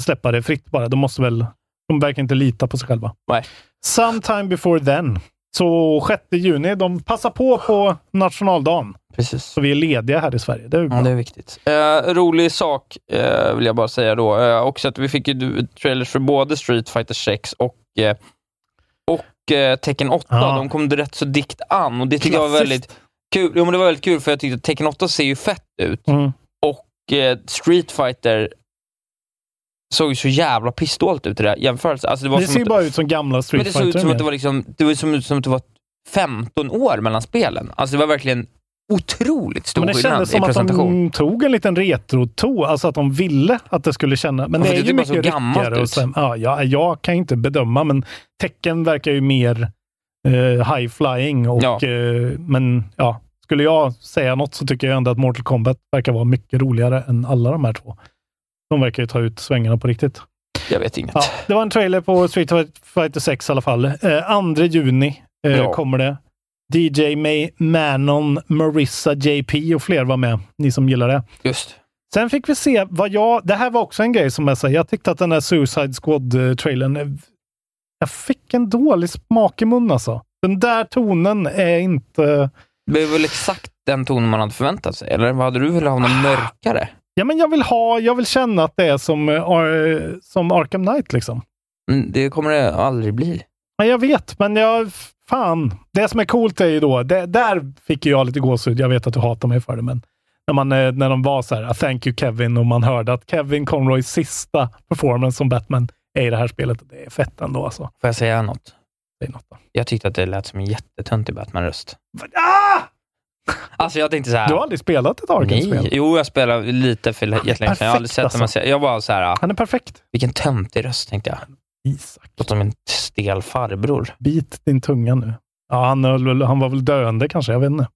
Speaker 7: släppa det fritt bara. De måste väl... De verkar inte lita på sig själva.
Speaker 8: Nej.
Speaker 7: Sometime before then. Så 6 juni. De passar på på nationaldagen.
Speaker 8: Precis.
Speaker 7: Så vi är lediga här i Sverige. Det är ju bra.
Speaker 8: Ja, det är viktigt. Eh, rolig sak eh, vill jag bara säga då. Eh, också att vi fick ju du- trailers för både Street Fighter 6 och, eh, och eh, Tekken 8.
Speaker 7: Ja.
Speaker 8: De kom rätt så dikt an och det tyckte jag var
Speaker 7: Klassiskt.
Speaker 8: väldigt kul. Jo, men det var väldigt kul för jag tyckte att Tekken 8 ser ju fett ut
Speaker 7: Mm.
Speaker 8: och eh, Street Fighter såg ju så jävla pistolt ut i det här jämförelsen. Alltså, det var
Speaker 7: Det
Speaker 8: som
Speaker 7: ser ju
Speaker 8: att-
Speaker 7: bara ut som gamla
Speaker 8: men
Speaker 7: Street
Speaker 8: det såg ut
Speaker 7: Fighter.
Speaker 8: som att det
Speaker 7: mer.
Speaker 8: var, liksom, det var, som, ut som att det var 15 år mellan spelen. Alltså det var verkligen otroligt stor
Speaker 7: men det
Speaker 8: skillnad
Speaker 7: kändes
Speaker 8: i
Speaker 7: som att
Speaker 8: presentation.
Speaker 7: de tog en liten retro-to, alltså att de ville att det skulle känna. Men
Speaker 8: Ja,
Speaker 7: det
Speaker 8: för
Speaker 7: är ju
Speaker 8: det typ bara så
Speaker 7: mycket
Speaker 8: gammalt
Speaker 7: ryckigare. Och
Speaker 8: ut.
Speaker 7: sen, ja, jag, jag kan ju inte bedöma, men tecken verkar ju mer eh, high-flying. och
Speaker 8: Ja.
Speaker 7: eh, men ja, skulle jag säga något så tycker jag ändå att Mortal Kombat verkar vara mycket roligare än alla de här två. De verkar ju ta ut svängarna på riktigt.
Speaker 8: Jag vet inget.
Speaker 7: Ja, det var en trailer på Street Fighter 6 i alla fall. Eh, 2 juni eh,
Speaker 8: Ja.
Speaker 7: kommer det. DJ May, Manon, Marissa, JP och fler var med. Ni som gillar det.
Speaker 8: Just.
Speaker 7: Sen fick vi se vad jag... Det här var också en grej som jag säger. Jag tyckte att den där Suicide Squad-trailern... eh, Jag fick en dålig smak i munnen alltså. Den där tonen är inte...
Speaker 8: Det är väl exakt den ton man hade förväntat sig? Eller vad hade du velat ha
Speaker 7: Ah.
Speaker 8: någon mörkare?
Speaker 7: Ja, men jag vill ha... Jag vill känna att det är som, eh, Ar- som Arkham Knight liksom.
Speaker 8: Mm, Det kommer det aldrig bli.
Speaker 7: Ja, jag vet, men jag... Fan. Det som är coolt är ju då... Det, där fick ju jag lite gåshud. Jag vet att du hatar mig för det, men... När, man, eh, när de var så här, "Ah, thank you Kevin, och man hörde att Kevin Conroys sista performance som Batman är i det här spelet. Det är fett ändå alltså.
Speaker 8: Får jag säga något?
Speaker 7: Det är något. då.
Speaker 8: Jag tyckte att det lät som en jättetöntig Batman-röst.
Speaker 7: Ah!
Speaker 8: Alltså jag tänkte så
Speaker 7: Du har
Speaker 8: här.
Speaker 7: aldrig spelat ett Arkham-spel?
Speaker 8: Nej. Jo, jag spelade lite för jättelänge sedan. Jag har aldrig
Speaker 7: Perfekt,
Speaker 8: sett
Speaker 7: alltså.
Speaker 8: alltså. Jag var så här, ah,
Speaker 7: Han är perfekt.
Speaker 8: vilken töntig röst tänkte jag.
Speaker 7: Isak,
Speaker 8: Låter som en stel farbror.
Speaker 7: bit din tunga nu. Ja, han, höll väl- han var väl döende kanske, jag vet inte.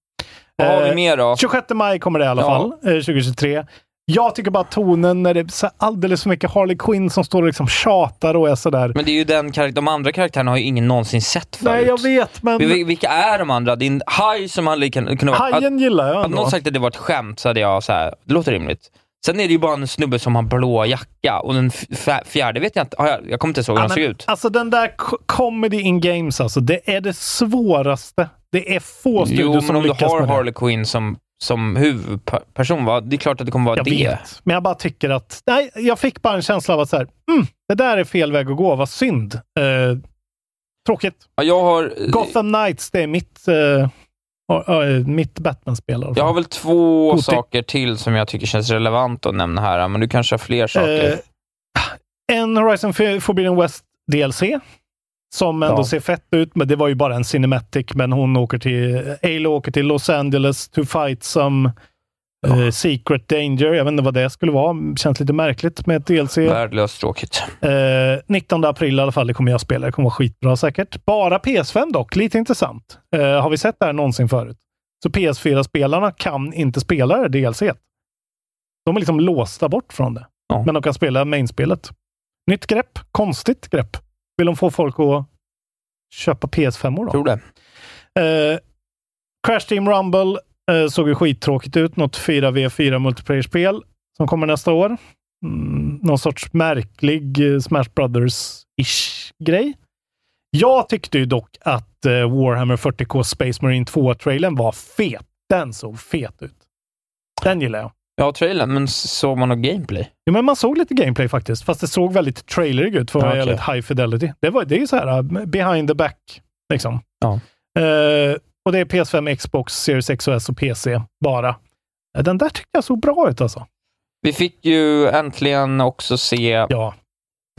Speaker 8: Vad har vi
Speaker 7: Eh,
Speaker 8: mer då?
Speaker 7: 26 maj kommer det i alla
Speaker 8: Ja.
Speaker 7: fall, eh, 2023. Jag tycker bara att tonen när det är så här alldeles för mycket Harley Quinn som står och liksom tjatar och är sådär.
Speaker 8: Men det är ju den karaktär, de andra karaktärerna har ju ingen någonsin sett förut.
Speaker 7: Nej, jag vet, men
Speaker 8: Vi- vi- Vilka är de andra? Din haj som han lika kunde vara...
Speaker 7: hajen gillar jag
Speaker 8: Hade någon
Speaker 7: ändå.
Speaker 8: sagt att det var ett skämt så hade jag så här, det låter rimligt. Sen är det ju bara en snubbe som har blå jacka och den f- f- fjärde vet jag inte, har jag, jag kommer inte ens ihåg hur
Speaker 7: Ja,
Speaker 8: han såg
Speaker 7: men,
Speaker 8: ut.
Speaker 7: Alltså den där co- comedy in games, alltså, det är det svåraste. Det är få
Speaker 8: Jo,
Speaker 7: studios
Speaker 8: men
Speaker 7: som
Speaker 8: om
Speaker 7: lyckas
Speaker 8: du har
Speaker 7: med det.
Speaker 8: Harley Quinn som, som huvudperson, va? det är klart att det kommer vara
Speaker 7: Jag
Speaker 8: det.
Speaker 7: vet, men jag bara tycker att... Nej, jag fick bara en känsla av att så här, mm, det där är fel väg att gå. Vad synd. Eh, tråkigt.
Speaker 8: Ja, Jag har,
Speaker 7: Gotham Knights, det är mitt, eh, ja, ja, mitt Batman-spel. i alla
Speaker 8: jag har
Speaker 7: fall.
Speaker 8: väl två
Speaker 7: Gothic.
Speaker 8: saker till som jag tycker känns relevant att nämna här, men du kanske har fler saker.
Speaker 7: Eh, en Horizon F- Forbidden West DLC, som ändå
Speaker 8: Ja.
Speaker 7: ser fett ut, men det var ju bara en cinematic. Men hon åker till... Alo åker till Los Angeles to fight some eh, secret danger. Jag vet inte vad det skulle vara. Känns lite märkligt med ett DLC.
Speaker 8: Värdelöst tråkigt.
Speaker 7: Eh, 19 april i alla fall, det kommer jag spela. Det kommer vara skitbra säkert. Bara PS5 dock, lite intressant. Eh, har vi sett det här någonsin förut? Så PS4-spelarna kan inte spela det DLC. -et. De är liksom låsta bort från det.
Speaker 8: Ja.
Speaker 7: Men de kan spela mainspelet. Nytt grepp. Konstigt grepp. Vill de få folk att köpa PS5 -or då?
Speaker 8: Tror det.
Speaker 7: Eh, Crash Team Rumble eh, såg ju skittråkigt ut. Något 4v4 multiplayer-spel som kommer nästa år. Mm, någon sorts märklig eh, Smash Brothers-ish grej. Jag tyckte ju dock att eh, Warhammer 40K Space Marine 2-trailern var fet. Den såg fet ut. Den gillar jag.
Speaker 8: Ja, trailern, men såg man något gameplay?
Speaker 7: Ja, men man såg lite gameplay faktiskt, fast det såg väldigt trailerig ut för att vara
Speaker 8: Ja, okej.
Speaker 7: jävligt high fidelity. Det, var, det är ju så här, uh, behind the back, liksom.
Speaker 8: Ja.
Speaker 7: Eh, och det är PS5, Xbox, Series X och S och PC, bara. Eh, Den där tyckte jag såg bra ut alltså.
Speaker 8: Vi fick ju äntligen också se
Speaker 7: Ja,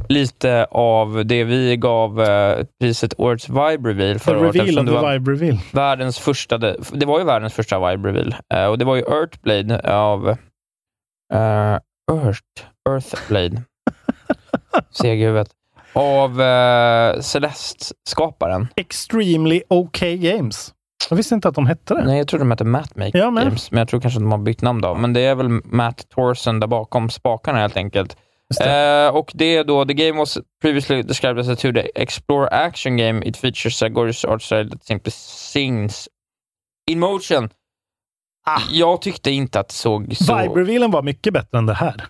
Speaker 8: lite av det vi gav eh, priset Årets Vibe Reveal
Speaker 7: the
Speaker 8: förra året.
Speaker 7: reveal
Speaker 8: eftersom
Speaker 7: of
Speaker 8: det var
Speaker 7: the vibe reveal.
Speaker 8: världens första, det var ju världens första Vibe Reveal. Eh, och det var ju Earthblade av eh, Earth, Earthblade. Seg i huvudet. Av eh, Celeste-skaparen.
Speaker 7: Extremely OK Games. Jag visste inte att de hette det.
Speaker 8: Nej, jag tror de heter Matt Make
Speaker 7: Ja, men-
Speaker 8: Games, men jag tror kanske att de har bytt namn då. Men det är väl Matt Torsen där bakom spakarna helt enkelt.
Speaker 7: Just det.
Speaker 8: Eh, och det är då, the game was previously described as a 2D explore action game. It features a gorgeous art style that simply sings in motion.
Speaker 7: Ah.
Speaker 8: Jag tyckte inte att det såg så...
Speaker 7: Vibe revealen var mycket bättre än det här.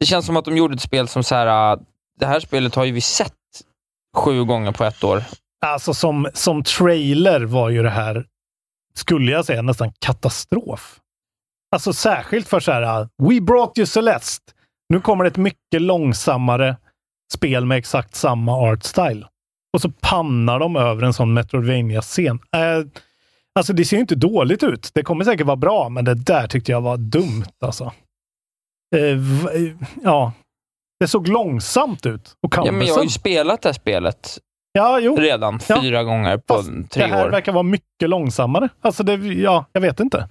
Speaker 8: Det känns som att de gjorde ett spel som så här, ah, det här spelet har ju vi sett sju gånger på ett år.
Speaker 7: Alltså som, som trailer var ju det här, skulle jag säga, nästan katastrof. Alltså särskilt för så här, uh, We brought you Celeste. Nu kommer ett mycket långsammare spel med exakt samma art style. Och så pannar de över en sån metroidvania scen eh, Alltså det ser ju inte dåligt ut. Det kommer säkert vara bra, men det där tyckte jag var dumt alltså. Eh, v- ja, det såg långsamt ut. Och
Speaker 8: Ja, men jag har ju
Speaker 7: canvasen-
Speaker 8: spelat det här spelet
Speaker 7: ja, jo.
Speaker 8: redan
Speaker 7: Ja.
Speaker 8: fyra gånger på
Speaker 7: Fast
Speaker 8: tre
Speaker 7: det här
Speaker 8: år.
Speaker 7: verkar vara mycket långsammare. Alltså, det, ja, jag vet inte.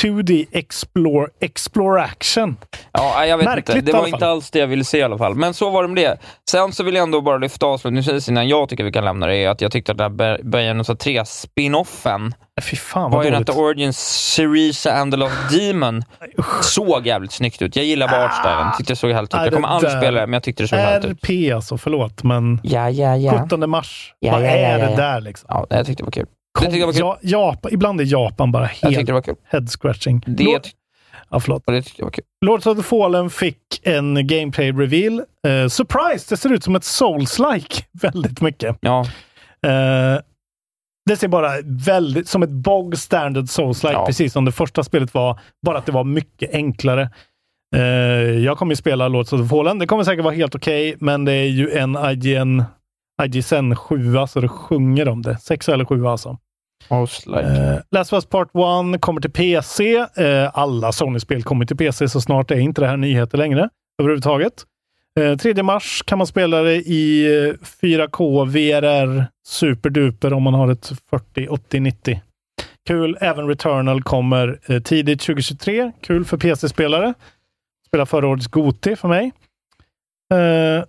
Speaker 7: 2D Explore, Explore Action.
Speaker 8: Ja, nej, jag vet
Speaker 7: Märkligt
Speaker 8: inte.
Speaker 7: i
Speaker 8: Det
Speaker 7: alla
Speaker 8: var
Speaker 7: fall.
Speaker 8: inte alls det jag ville se i alla fall. Men så var det med det. Sen så vill jag ändå bara lyfta avslutningsvis innan jag tycker vi kan lämna det, är att jag tyckte att den här Bayonetta 3-spinoffen,
Speaker 7: Äh, Fy fan vad dåligt.
Speaker 8: Bayonetta Origins Syriza and the Lost Demon, såg jävligt snyggt ut. Jag gillar bara artstylen. Tyckte det såg härligt ut.
Speaker 7: Ah. Nej,
Speaker 8: Jag kommer
Speaker 7: det
Speaker 8: aldrig
Speaker 7: där-
Speaker 8: spela det, men jag tyckte det såg härligt ut.
Speaker 7: RP alltså, förlåt, men
Speaker 8: Ja, ja, ja.
Speaker 7: 17 mars.
Speaker 8: Ja,
Speaker 7: vad
Speaker 8: ja, ja,
Speaker 7: är
Speaker 8: ja,
Speaker 7: det
Speaker 8: ja.
Speaker 7: där liksom?
Speaker 8: Ja, jag tyckte det var kul. Det tyckte jag var kul.
Speaker 7: ja, Japan, ibland är Japan bara
Speaker 8: Jag
Speaker 7: helt
Speaker 8: tyckte det var kul.
Speaker 7: head-scratching.
Speaker 8: Det,
Speaker 7: Lord, ja, förlåt.
Speaker 8: det tyckte jag var kul.
Speaker 7: Lords of the Fallen fick en gameplay-reveal. Eh, surprise! Det ser ut som ett Souls-like väldigt mycket.
Speaker 8: Ja,
Speaker 7: Eh, det ser bara väldigt som ett bog standard Souls-like,
Speaker 8: Ja.
Speaker 7: precis som det första spelet var. Bara att det var mycket enklare. Eh, jag kommer ju spela Lords of the Fallen. Det kommer säkert vara helt okej, men det är ju en IGN, IGSN 7, så alltså det sjunger om det. 6 eller 7 alltså.
Speaker 8: most like.
Speaker 7: Eh, Last of Us Part 1 kommer till PC. Eh, alla Sony-spel kommer till PC, så snart är inte det här nyheter längre överhuvudtaget. Eh, 3 mars kan man spela det i eh, 4K VRR superduper om man har ett 40, 80, 90. Kul. Även Returnal kommer eh, tidigt 2023. Kul för PC-spelare. Spelar förra årets Goti för mig. Eh,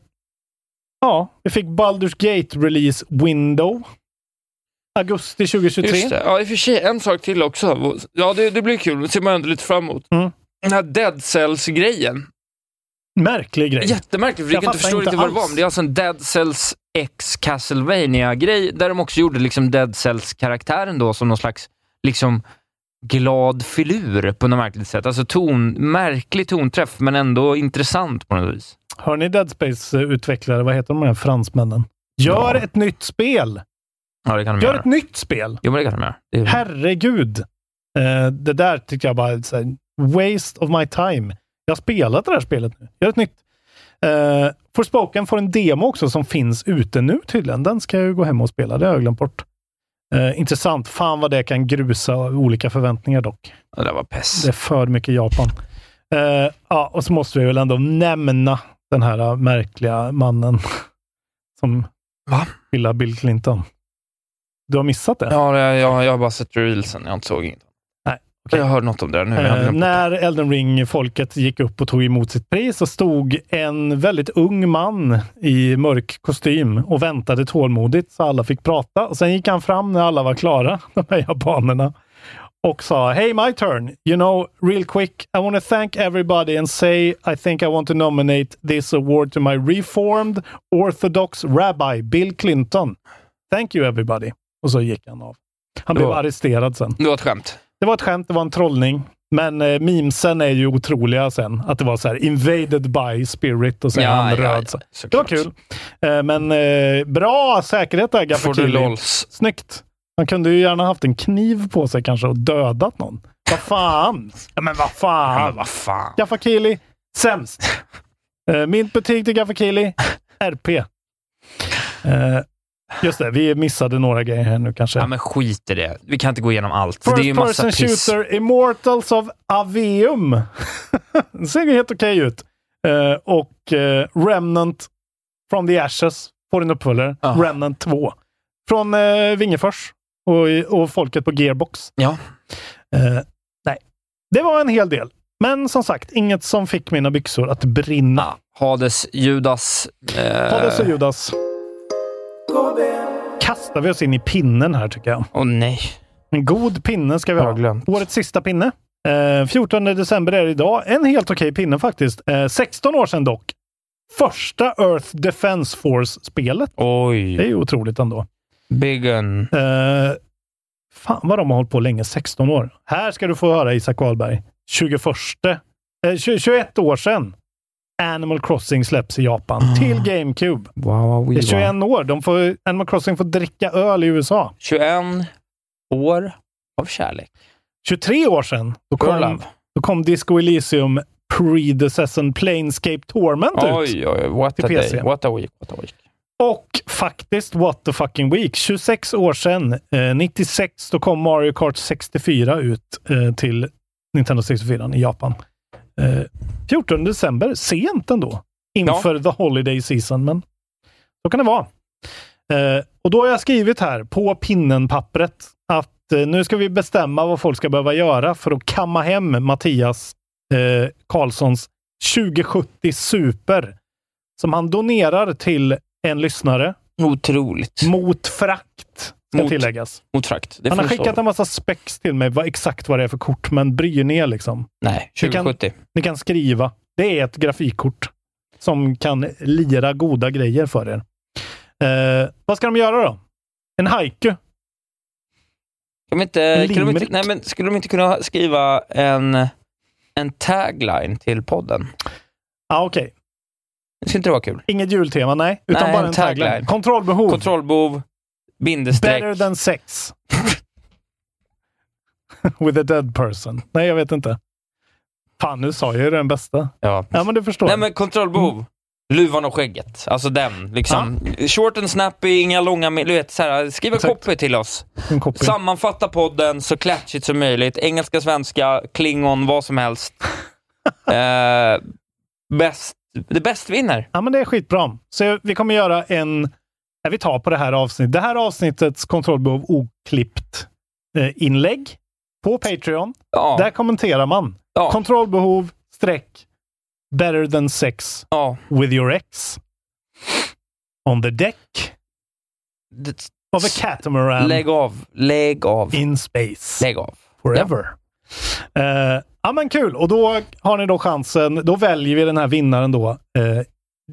Speaker 7: ja, vi fick Baldur's Gate Release Window. Augusti 2023.
Speaker 8: Just det. Ja, i och för sig, en sak till också. Ja, det, det blir kul. Det ser man ändå lite fram emot.
Speaker 7: Mm.
Speaker 8: Den här Dead Cells-grejen.
Speaker 7: Märklig grej.
Speaker 8: Jättemärkligt, för
Speaker 7: Jag
Speaker 8: jag inte
Speaker 7: fattar
Speaker 8: förstår
Speaker 7: inte
Speaker 8: inte vad det var.
Speaker 7: alls.
Speaker 8: Men det är alltså en Dead Cells X castlevania grej där de också gjorde liksom Dead Cells-karaktären då som någon slags liksom glad filur på något märkligt sätt. Alltså ton, märklig tonträff, men ändå intressant på något vis.
Speaker 7: Hör ni Dead Space-utvecklare? Vad heter de här fransmännen? Gör
Speaker 8: Ja.
Speaker 7: ett nytt spel!
Speaker 8: Ja, det kan de
Speaker 7: Gör
Speaker 8: göra.
Speaker 7: ett nytt spel!
Speaker 8: Jo, men det kan de göra. Det är-
Speaker 7: Herregud! Eh, det där tycker jag bara är så här, waste of my time. Jag har spelat det här spelet nu. Gör ett nytt. Uh, Forspoken får en demo också som finns ute nu tydligen. Den ska jag ju gå hem och spela. Det har jag glömt bort. Eh, intressant. Fan vad det kan grusa olika förväntningar dock.
Speaker 8: Det där var pess.
Speaker 7: Det är för mycket Japan. Eh, ja, och så måste vi väl ändå nämna den här eh, märkliga mannen som
Speaker 8: Va?
Speaker 7: gillar Bill Clinton. Du har missat det?
Speaker 8: Ja, det, jag, jag har bara sett reelsen. Jag såg inget. Jag hörde något om det där nu. Jag hade
Speaker 7: Eh,
Speaker 8: glömt bort
Speaker 7: när Elden Ring-folket gick upp och tog emot sitt pris så stod en väldigt ung man i mörk kostym och väntade tålmodigt så alla fick prata. Och sen gick han fram när alla var klara, de här japanerna, och sa Hey my turn! You know, real quick, I want to thank everybody and say I think I want to nominate this award to my reformed orthodox rabbi Bill Clinton. Thank you everybody! Och så gick han av. Han
Speaker 8: Det
Speaker 7: blev
Speaker 8: var-
Speaker 7: arresterad sen.
Speaker 8: det. Det var ett skämt.
Speaker 7: Det var ett skämt, det var en trollning. Men eh, memesen är ju otroliga sen. Att det var så här invaded by spirit och sen
Speaker 8: Ja,
Speaker 7: han
Speaker 8: ja,
Speaker 7: röd.
Speaker 8: ja,
Speaker 7: så. det var kul. Eh, men eh, bra säkerhet där,
Speaker 8: Får du
Speaker 7: Gaffakili.
Speaker 8: lols?
Speaker 7: Snyggt. Han kunde ju gärna haft en kniv på sig kanske och dödat någon. Vad fan! Ja, men vad
Speaker 8: Ja,
Speaker 7: fan!
Speaker 8: vad fan.
Speaker 7: Gaffakili, sämst. Eh, mitt betyg till Gaffakili, RP. Eh, just det, vi missade några grejer här nu kanske.
Speaker 8: Ja, men skit i det. Vi kan inte gå igenom allt.
Speaker 7: First
Speaker 8: det är ju massa
Speaker 7: person
Speaker 8: piss.
Speaker 7: shooter, Immortals of Aveum. det ser ju helt okej ut. Eh, och eh, Remnant from the Ashes får en uppföljare.
Speaker 8: Ja.
Speaker 7: Remnant 2. Från eh, Vingefors och, och folket på Gearbox.
Speaker 8: Ja.
Speaker 7: Eh, nej, det var en hel del. Men som sagt, inget som fick mina byxor att brinna.
Speaker 8: Hades, Judas. Eh,
Speaker 7: Ta det så Judas.
Speaker 6: KB,
Speaker 7: Kastar vi oss in i pinnen här tycker jag.
Speaker 8: Åh nej.
Speaker 7: En god pinne ska vi
Speaker 8: Jag har
Speaker 7: ha.
Speaker 8: glömt.
Speaker 7: Årets sista pinne. Eh, 14 december är det idag. En helt okej pinne faktiskt. Eh, 16 år sedan dock. Första Earth Defense Force-spelet. Det är
Speaker 8: Oj.
Speaker 7: ju otroligt ändå.
Speaker 8: Biggen.
Speaker 7: Eh, fan vad de har hållit på länge. 16 år. Här ska du få höra Isak Wahlberg. 21, eh, 20 21 år sedan Animal Crossing släpps i Japan.
Speaker 8: Ah.
Speaker 7: Till GameCube.
Speaker 8: Wow, wow,
Speaker 7: Det
Speaker 8: wow.
Speaker 7: är 21 år. De får, Animal Crossing får dricka öl i USA.
Speaker 8: 21 år av kärlek.
Speaker 7: 23 år sedan. Då
Speaker 8: Girl
Speaker 7: kom,
Speaker 8: love.
Speaker 7: då kom Disco Elysium Predecessor Planescape Torment ut.
Speaker 8: Oj, oj, what
Speaker 7: Till
Speaker 8: a
Speaker 7: PC.
Speaker 8: day. What a week. What a week.
Speaker 7: Och faktiskt, what the fucking week. 26 år sedan, eh, 96, då kom Mario Kart 64 ut eh, till Nintendo 64 i Japan. Eh, 14 december, sent ändå. Inför the holiday season, men så kan det vara. Eh, och då har jag skrivit här på pinnen-pappret att eh, nu ska vi bestämma vad folk ska behöva göra för att kamma hem Mattias eh, Karlssons 2070 Super som han donerar till en lyssnare
Speaker 8: Otroligt.
Speaker 7: mot frakt. Ska
Speaker 8: Mot-
Speaker 7: tilläggas.
Speaker 8: Motfrakt. Det
Speaker 7: Mm. Han har
Speaker 8: får vi
Speaker 7: skickat
Speaker 8: stå-
Speaker 7: en massa spex till mig, vad, exakt vad det är för kort, men bryr ni er liksom?
Speaker 8: Nej,
Speaker 7: Du kan-
Speaker 8: 2070.
Speaker 7: Ni kan skriva. Det är ett grafikkort som kan lira goda grejer för er. Eh, vad ska de göra då? En haiku?
Speaker 8: Kan de inte,
Speaker 7: En
Speaker 8: kan de inte,
Speaker 7: limerick.
Speaker 8: nej, men skulle de inte kunna skriva en, en tagline till podden?
Speaker 7: Ah, Okej,
Speaker 8: Det skulle inte det vara kul?
Speaker 7: inget jultema, nej. Utan
Speaker 8: Nej,
Speaker 7: bara
Speaker 8: en
Speaker 7: en tagline.
Speaker 8: tagline.
Speaker 7: Kontrollbehov.
Speaker 8: Kontrollbov, bindestreck.
Speaker 7: Oh. Better than sex. With a dead person. Nej, jag vet inte. Fan, nu sa jag ju den bästa.
Speaker 8: Ja.
Speaker 7: Ja, men du förstår.
Speaker 8: Nej, men
Speaker 7: Mm.
Speaker 8: kontrollbehov. Luvan och skägget. Alltså den. Liksom. Short and snappy, inga långa... me- Du vet, så här, skriv en
Speaker 7: Exakt.
Speaker 8: copy till oss.
Speaker 7: En copy.
Speaker 8: Sammanfatta podden så klatschigt som möjligt. Engelska, svenska, klingon, vad som helst. eh, bäst, det bäst vinner.
Speaker 7: Ja, men det är skitbra. Så vi kommer göra en... Nej, vi tar på det här avsnittet. Det här avsnittets kontrollbehov oklippt eh, inlägg på Patreon.
Speaker 8: Ja,
Speaker 7: Där kommenterar man.
Speaker 8: Ja.
Speaker 7: Kontrollbehov streck better than sex
Speaker 8: ja.
Speaker 7: with your ex. On the deck
Speaker 8: Det,
Speaker 7: of a catamaran
Speaker 8: lägg av. Lägg av.
Speaker 7: in space.
Speaker 8: Lägg av.
Speaker 7: forever. Eh, ja, men kul. Och då har ni då chansen. Då väljer vi den här vinnaren då eh,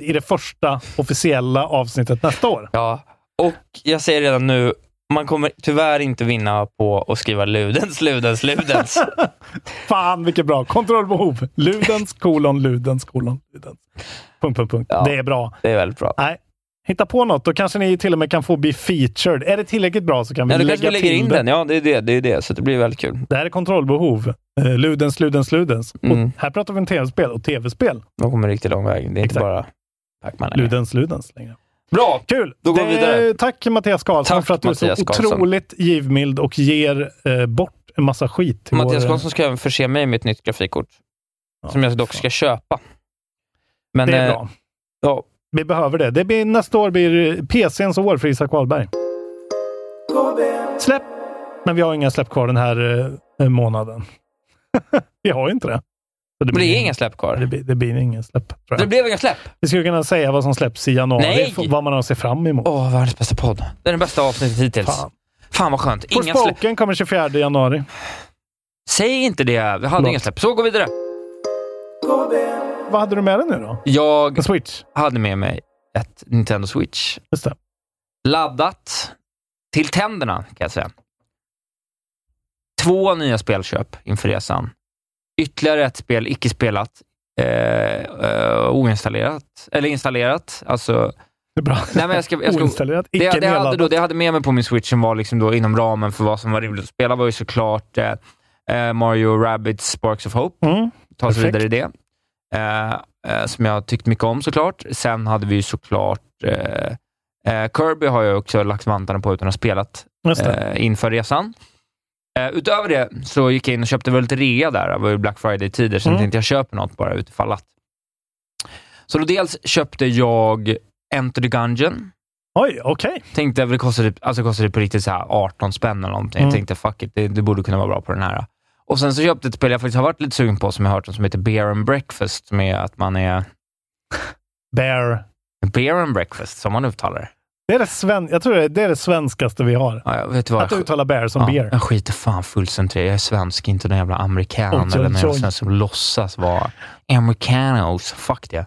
Speaker 7: i det första officiella avsnittet nästa år.
Speaker 8: Ja, och jag säger redan nu, man kommer tyvärr inte vinna på att skriva ludens, ludens, ludens.
Speaker 7: Fan vilket bra. Kontrollbehov. Ludens, kolon, ludens, kolon, ludens. Punkt, punkt, punkt.
Speaker 8: Ja.
Speaker 7: Det är bra.
Speaker 8: Det är väldigt bra.
Speaker 7: Nej, hitta på något. Då kanske ni till och med kan få bli featured. Är det tillräckligt bra så kan vi
Speaker 8: Ja, du
Speaker 7: lägga
Speaker 8: kanske vi
Speaker 7: till
Speaker 8: lägger in
Speaker 7: det.
Speaker 8: den. Ja, det är det. det, är det. Så det blir väldigt kul.
Speaker 7: Det här är kontrollbehov. Eh, ludens, ludens, ludens.
Speaker 8: Mm.
Speaker 7: Och här pratar vi om tv-spel och tv-spel.
Speaker 8: De kommer riktigt lång väg. Det är inte
Speaker 7: Exakt.
Speaker 8: bara Pac-Man. längre.
Speaker 7: Ludens, ludens längre.
Speaker 8: Bra!
Speaker 7: Kul!
Speaker 8: Då går vi vidare.
Speaker 7: Tack Mattias Karlsson
Speaker 8: Tack,
Speaker 7: för att du är så
Speaker 8: Mattias Karlsson.
Speaker 7: otroligt givmild och ger eh, bort en massa skit. Till
Speaker 8: Mattias
Speaker 7: vår-
Speaker 8: Karlsson ska även förse mig med ett nytt grafikkort,
Speaker 7: Ja,
Speaker 8: som jag dock
Speaker 7: fan.
Speaker 8: ska köpa. Men,
Speaker 7: Det är
Speaker 8: eh,
Speaker 7: bra.
Speaker 8: Ja,
Speaker 7: Vi behöver det. det blir, nästa år blir PCns år för Isak Wahlberg.
Speaker 6: KB,
Speaker 7: Släpp! Men vi har inga släpp kvar den här eh, månaden. Vi har ju inte det. Så
Speaker 8: Men det är inga släpp kvar.
Speaker 7: Det blir, det blir inga släpp. Tror jag.
Speaker 8: Det blev inga släpp.
Speaker 7: Vi skulle kunna säga vad som släpps i januari,
Speaker 8: Nej!
Speaker 7: f- vad man har att se fram emot.
Speaker 8: Åh, världens bästa podd. Det är den bästa avsnittet hittills.
Speaker 7: Fan.
Speaker 8: Fan, vad skönt. Inga släpp.
Speaker 7: Forspoken kommer 24 januari.
Speaker 8: Säg inte det. Vi hade
Speaker 7: Förlåt.
Speaker 8: inga släpp. Så går vi vidare.
Speaker 7: Vad hade du med dig nu då?
Speaker 8: Jag
Speaker 7: En Switch?
Speaker 8: hade med mig ett Nintendo Switch.
Speaker 7: Just det.
Speaker 8: Laddat till tänderna, kan jag säga. Två nya spelköp inför resan. Ytterligare ett spel icke spelat. Eh, eh, oinstallerat. Eller installerat. Alltså,
Speaker 7: Det är bra.
Speaker 8: nej, men jag ska, jag ska,
Speaker 7: Oinstallerat.
Speaker 8: det,
Speaker 7: Icke
Speaker 8: jag- det, jag hade då,
Speaker 7: nedladdat.
Speaker 8: det jag hade med mig på min Switch som var liksom då inom ramen för vad som var rimligt att spela var ju såklart eh, eh, Mario Rabbids Sparks of Hope.
Speaker 7: Mm.
Speaker 8: Ta sig
Speaker 7: Perfekt.
Speaker 8: vidare i det. Eh, eh, som jag tyckte mycket om såklart. Sen hade vi ju såklart eh, eh, Kirby har jag också lagt vantarna på utan att ha spelat
Speaker 7: Just det.
Speaker 8: eh, inför resan. Eh, utöver det så gick jag in och köpte väl lite rea där. Det var ju Black Friday-tider, så
Speaker 7: Mm.
Speaker 8: jag tänkte jag köper något bara utifall att. Så då dels köpte jag Enter the Gungeon.
Speaker 7: Oj, okej.
Speaker 8: Tänkte, det kostade, alltså det kostade på riktigt så här 18 spänn eller någonting.
Speaker 7: Mm.
Speaker 8: Jag tänkte, fuck it, det, det borde kunna vara bra på den här. Och sen så köpte jag ett spel jag faktiskt har varit lite sugen på, som jag har hört om, som heter Beer and Breakfast, som är att man är...
Speaker 7: Bear.
Speaker 8: Beer and Breakfast, som man uttalar det.
Speaker 7: Det är det, sven- jag tror det, är- det är det svenskaste vi har.
Speaker 8: ja, jag vet vad
Speaker 7: Att uttala bear som
Speaker 8: ja,
Speaker 7: beer.
Speaker 8: Jag skiter fan fullständigt i det. Jag är svensk, inte någon jävla amerikan
Speaker 7: Oj, oj,
Speaker 8: eller någon
Speaker 7: oj.
Speaker 8: sån här som låtsas vara americanos. Fuck det.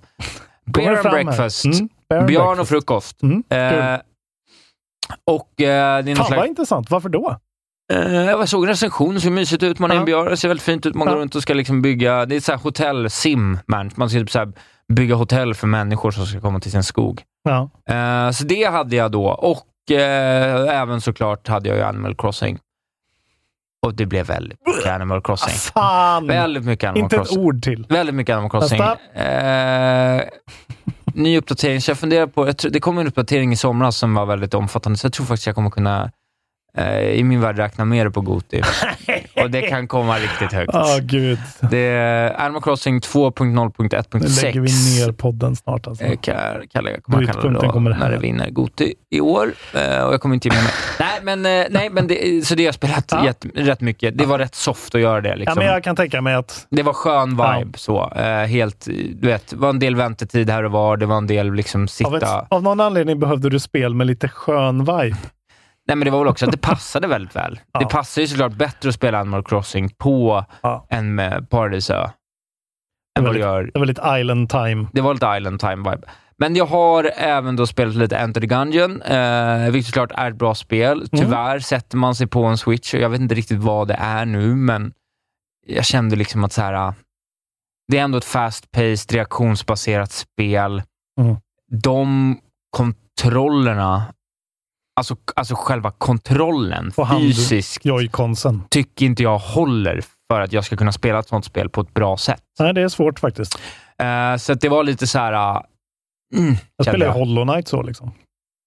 Speaker 8: Beer and
Speaker 7: fram här.
Speaker 8: Breakfast.
Speaker 7: Mm, bear and
Speaker 8: Björn och
Speaker 7: breakfast.
Speaker 8: frukost.
Speaker 7: Mm, kul.
Speaker 8: Eh, och eh, det är någon
Speaker 7: Fan
Speaker 8: slags...
Speaker 7: vad intressant. Varför då?
Speaker 8: Eh, Jag såg en recension, det ser mysigt ut. Man är
Speaker 7: Ja.
Speaker 8: en björn, det ser väldigt fint ut. Man går
Speaker 7: Ja.
Speaker 8: runt och ska liksom bygga, det är så här hotell, sim, man. man ska typ så här bygga hotell för människor som ska komma till sin skog.
Speaker 7: Ja.
Speaker 8: Eh, Så det hade jag då och eh, även såklart hade jag ju Animal Crossing. Och det blev väldigt mycket Animal
Speaker 7: Ah,
Speaker 8: Crossing.
Speaker 7: fan!
Speaker 8: Väldigt mycket Animal
Speaker 7: Inte ett
Speaker 8: Crossing.
Speaker 7: ord till.
Speaker 8: Väldigt mycket Animal Crossing.
Speaker 7: Nästa.
Speaker 8: Eh, ny uppdatering, så jag funderar på, jag tror, det kom en uppdatering i somras som var väldigt omfattande, så jag tror faktiskt jag kommer kunna eh, i min värld räkna med det på Goti. Och det kan komma riktigt högt.
Speaker 7: Åh Ah, gud.
Speaker 8: Det är Animal Crossing
Speaker 7: Nu lägger vi
Speaker 8: 2.0.1.6.
Speaker 7: ner podden snart alltså.
Speaker 8: Eh, Kar- Kalle jag kommer att kalla det
Speaker 7: Brytpunkten
Speaker 8: då,
Speaker 7: kommer
Speaker 8: när
Speaker 7: här.
Speaker 8: det vinner Goti i år. Eh, och jag kommer inte ge mig med. Nej, men, eh, nej, men det, så det har jag spelat
Speaker 7: Ja.
Speaker 8: jätt, rätt mycket. Det var rätt soft att göra det.
Speaker 7: Ja,
Speaker 8: Liksom.
Speaker 7: men jag kan tänka mig att...
Speaker 8: Det var skön
Speaker 7: Ja.
Speaker 8: vibe. Så, eh, helt, du vet, det var en del väntetid här och var. Det var en del liksom
Speaker 7: Av, ett,
Speaker 8: sitta...
Speaker 7: av någon anledning behövde du spel med lite skön vibe.
Speaker 8: Nej, men det var väl också att det passade väldigt väl.
Speaker 7: Ja.
Speaker 8: Det passar ju såklart bättre att spela Animal Crossing på
Speaker 7: Ja.
Speaker 8: en eh, Paradisö än vad det
Speaker 7: Väldigt-
Speaker 8: gör
Speaker 7: Det var lite island time.
Speaker 8: Det var lite Island Time-vibe. Men jag har även då spelat lite Enter the Gungeon, eh, vilket såklart är ett bra
Speaker 7: Mm.
Speaker 8: spel. Tyvärr sätter man sig på en Switch och jag vet inte riktigt vad det är nu, men jag kände liksom att så här, ah, det är ändå ett fast-paced, reaktionsbaserat spel.
Speaker 7: Mm.
Speaker 8: De kontrollerna, alltså, alltså själva kontrollen
Speaker 7: Och hand-
Speaker 8: fysiskt,
Speaker 7: Joy-consen.
Speaker 8: tycker inte jag håller för att jag ska kunna spela ett sånt spel på ett bra sätt.
Speaker 7: Nej, det är svårt faktiskt.
Speaker 8: Eh, så att det var lite så här... ah, mm,
Speaker 7: Jag
Speaker 8: kände
Speaker 7: spelar ju Hollow Knight så liksom.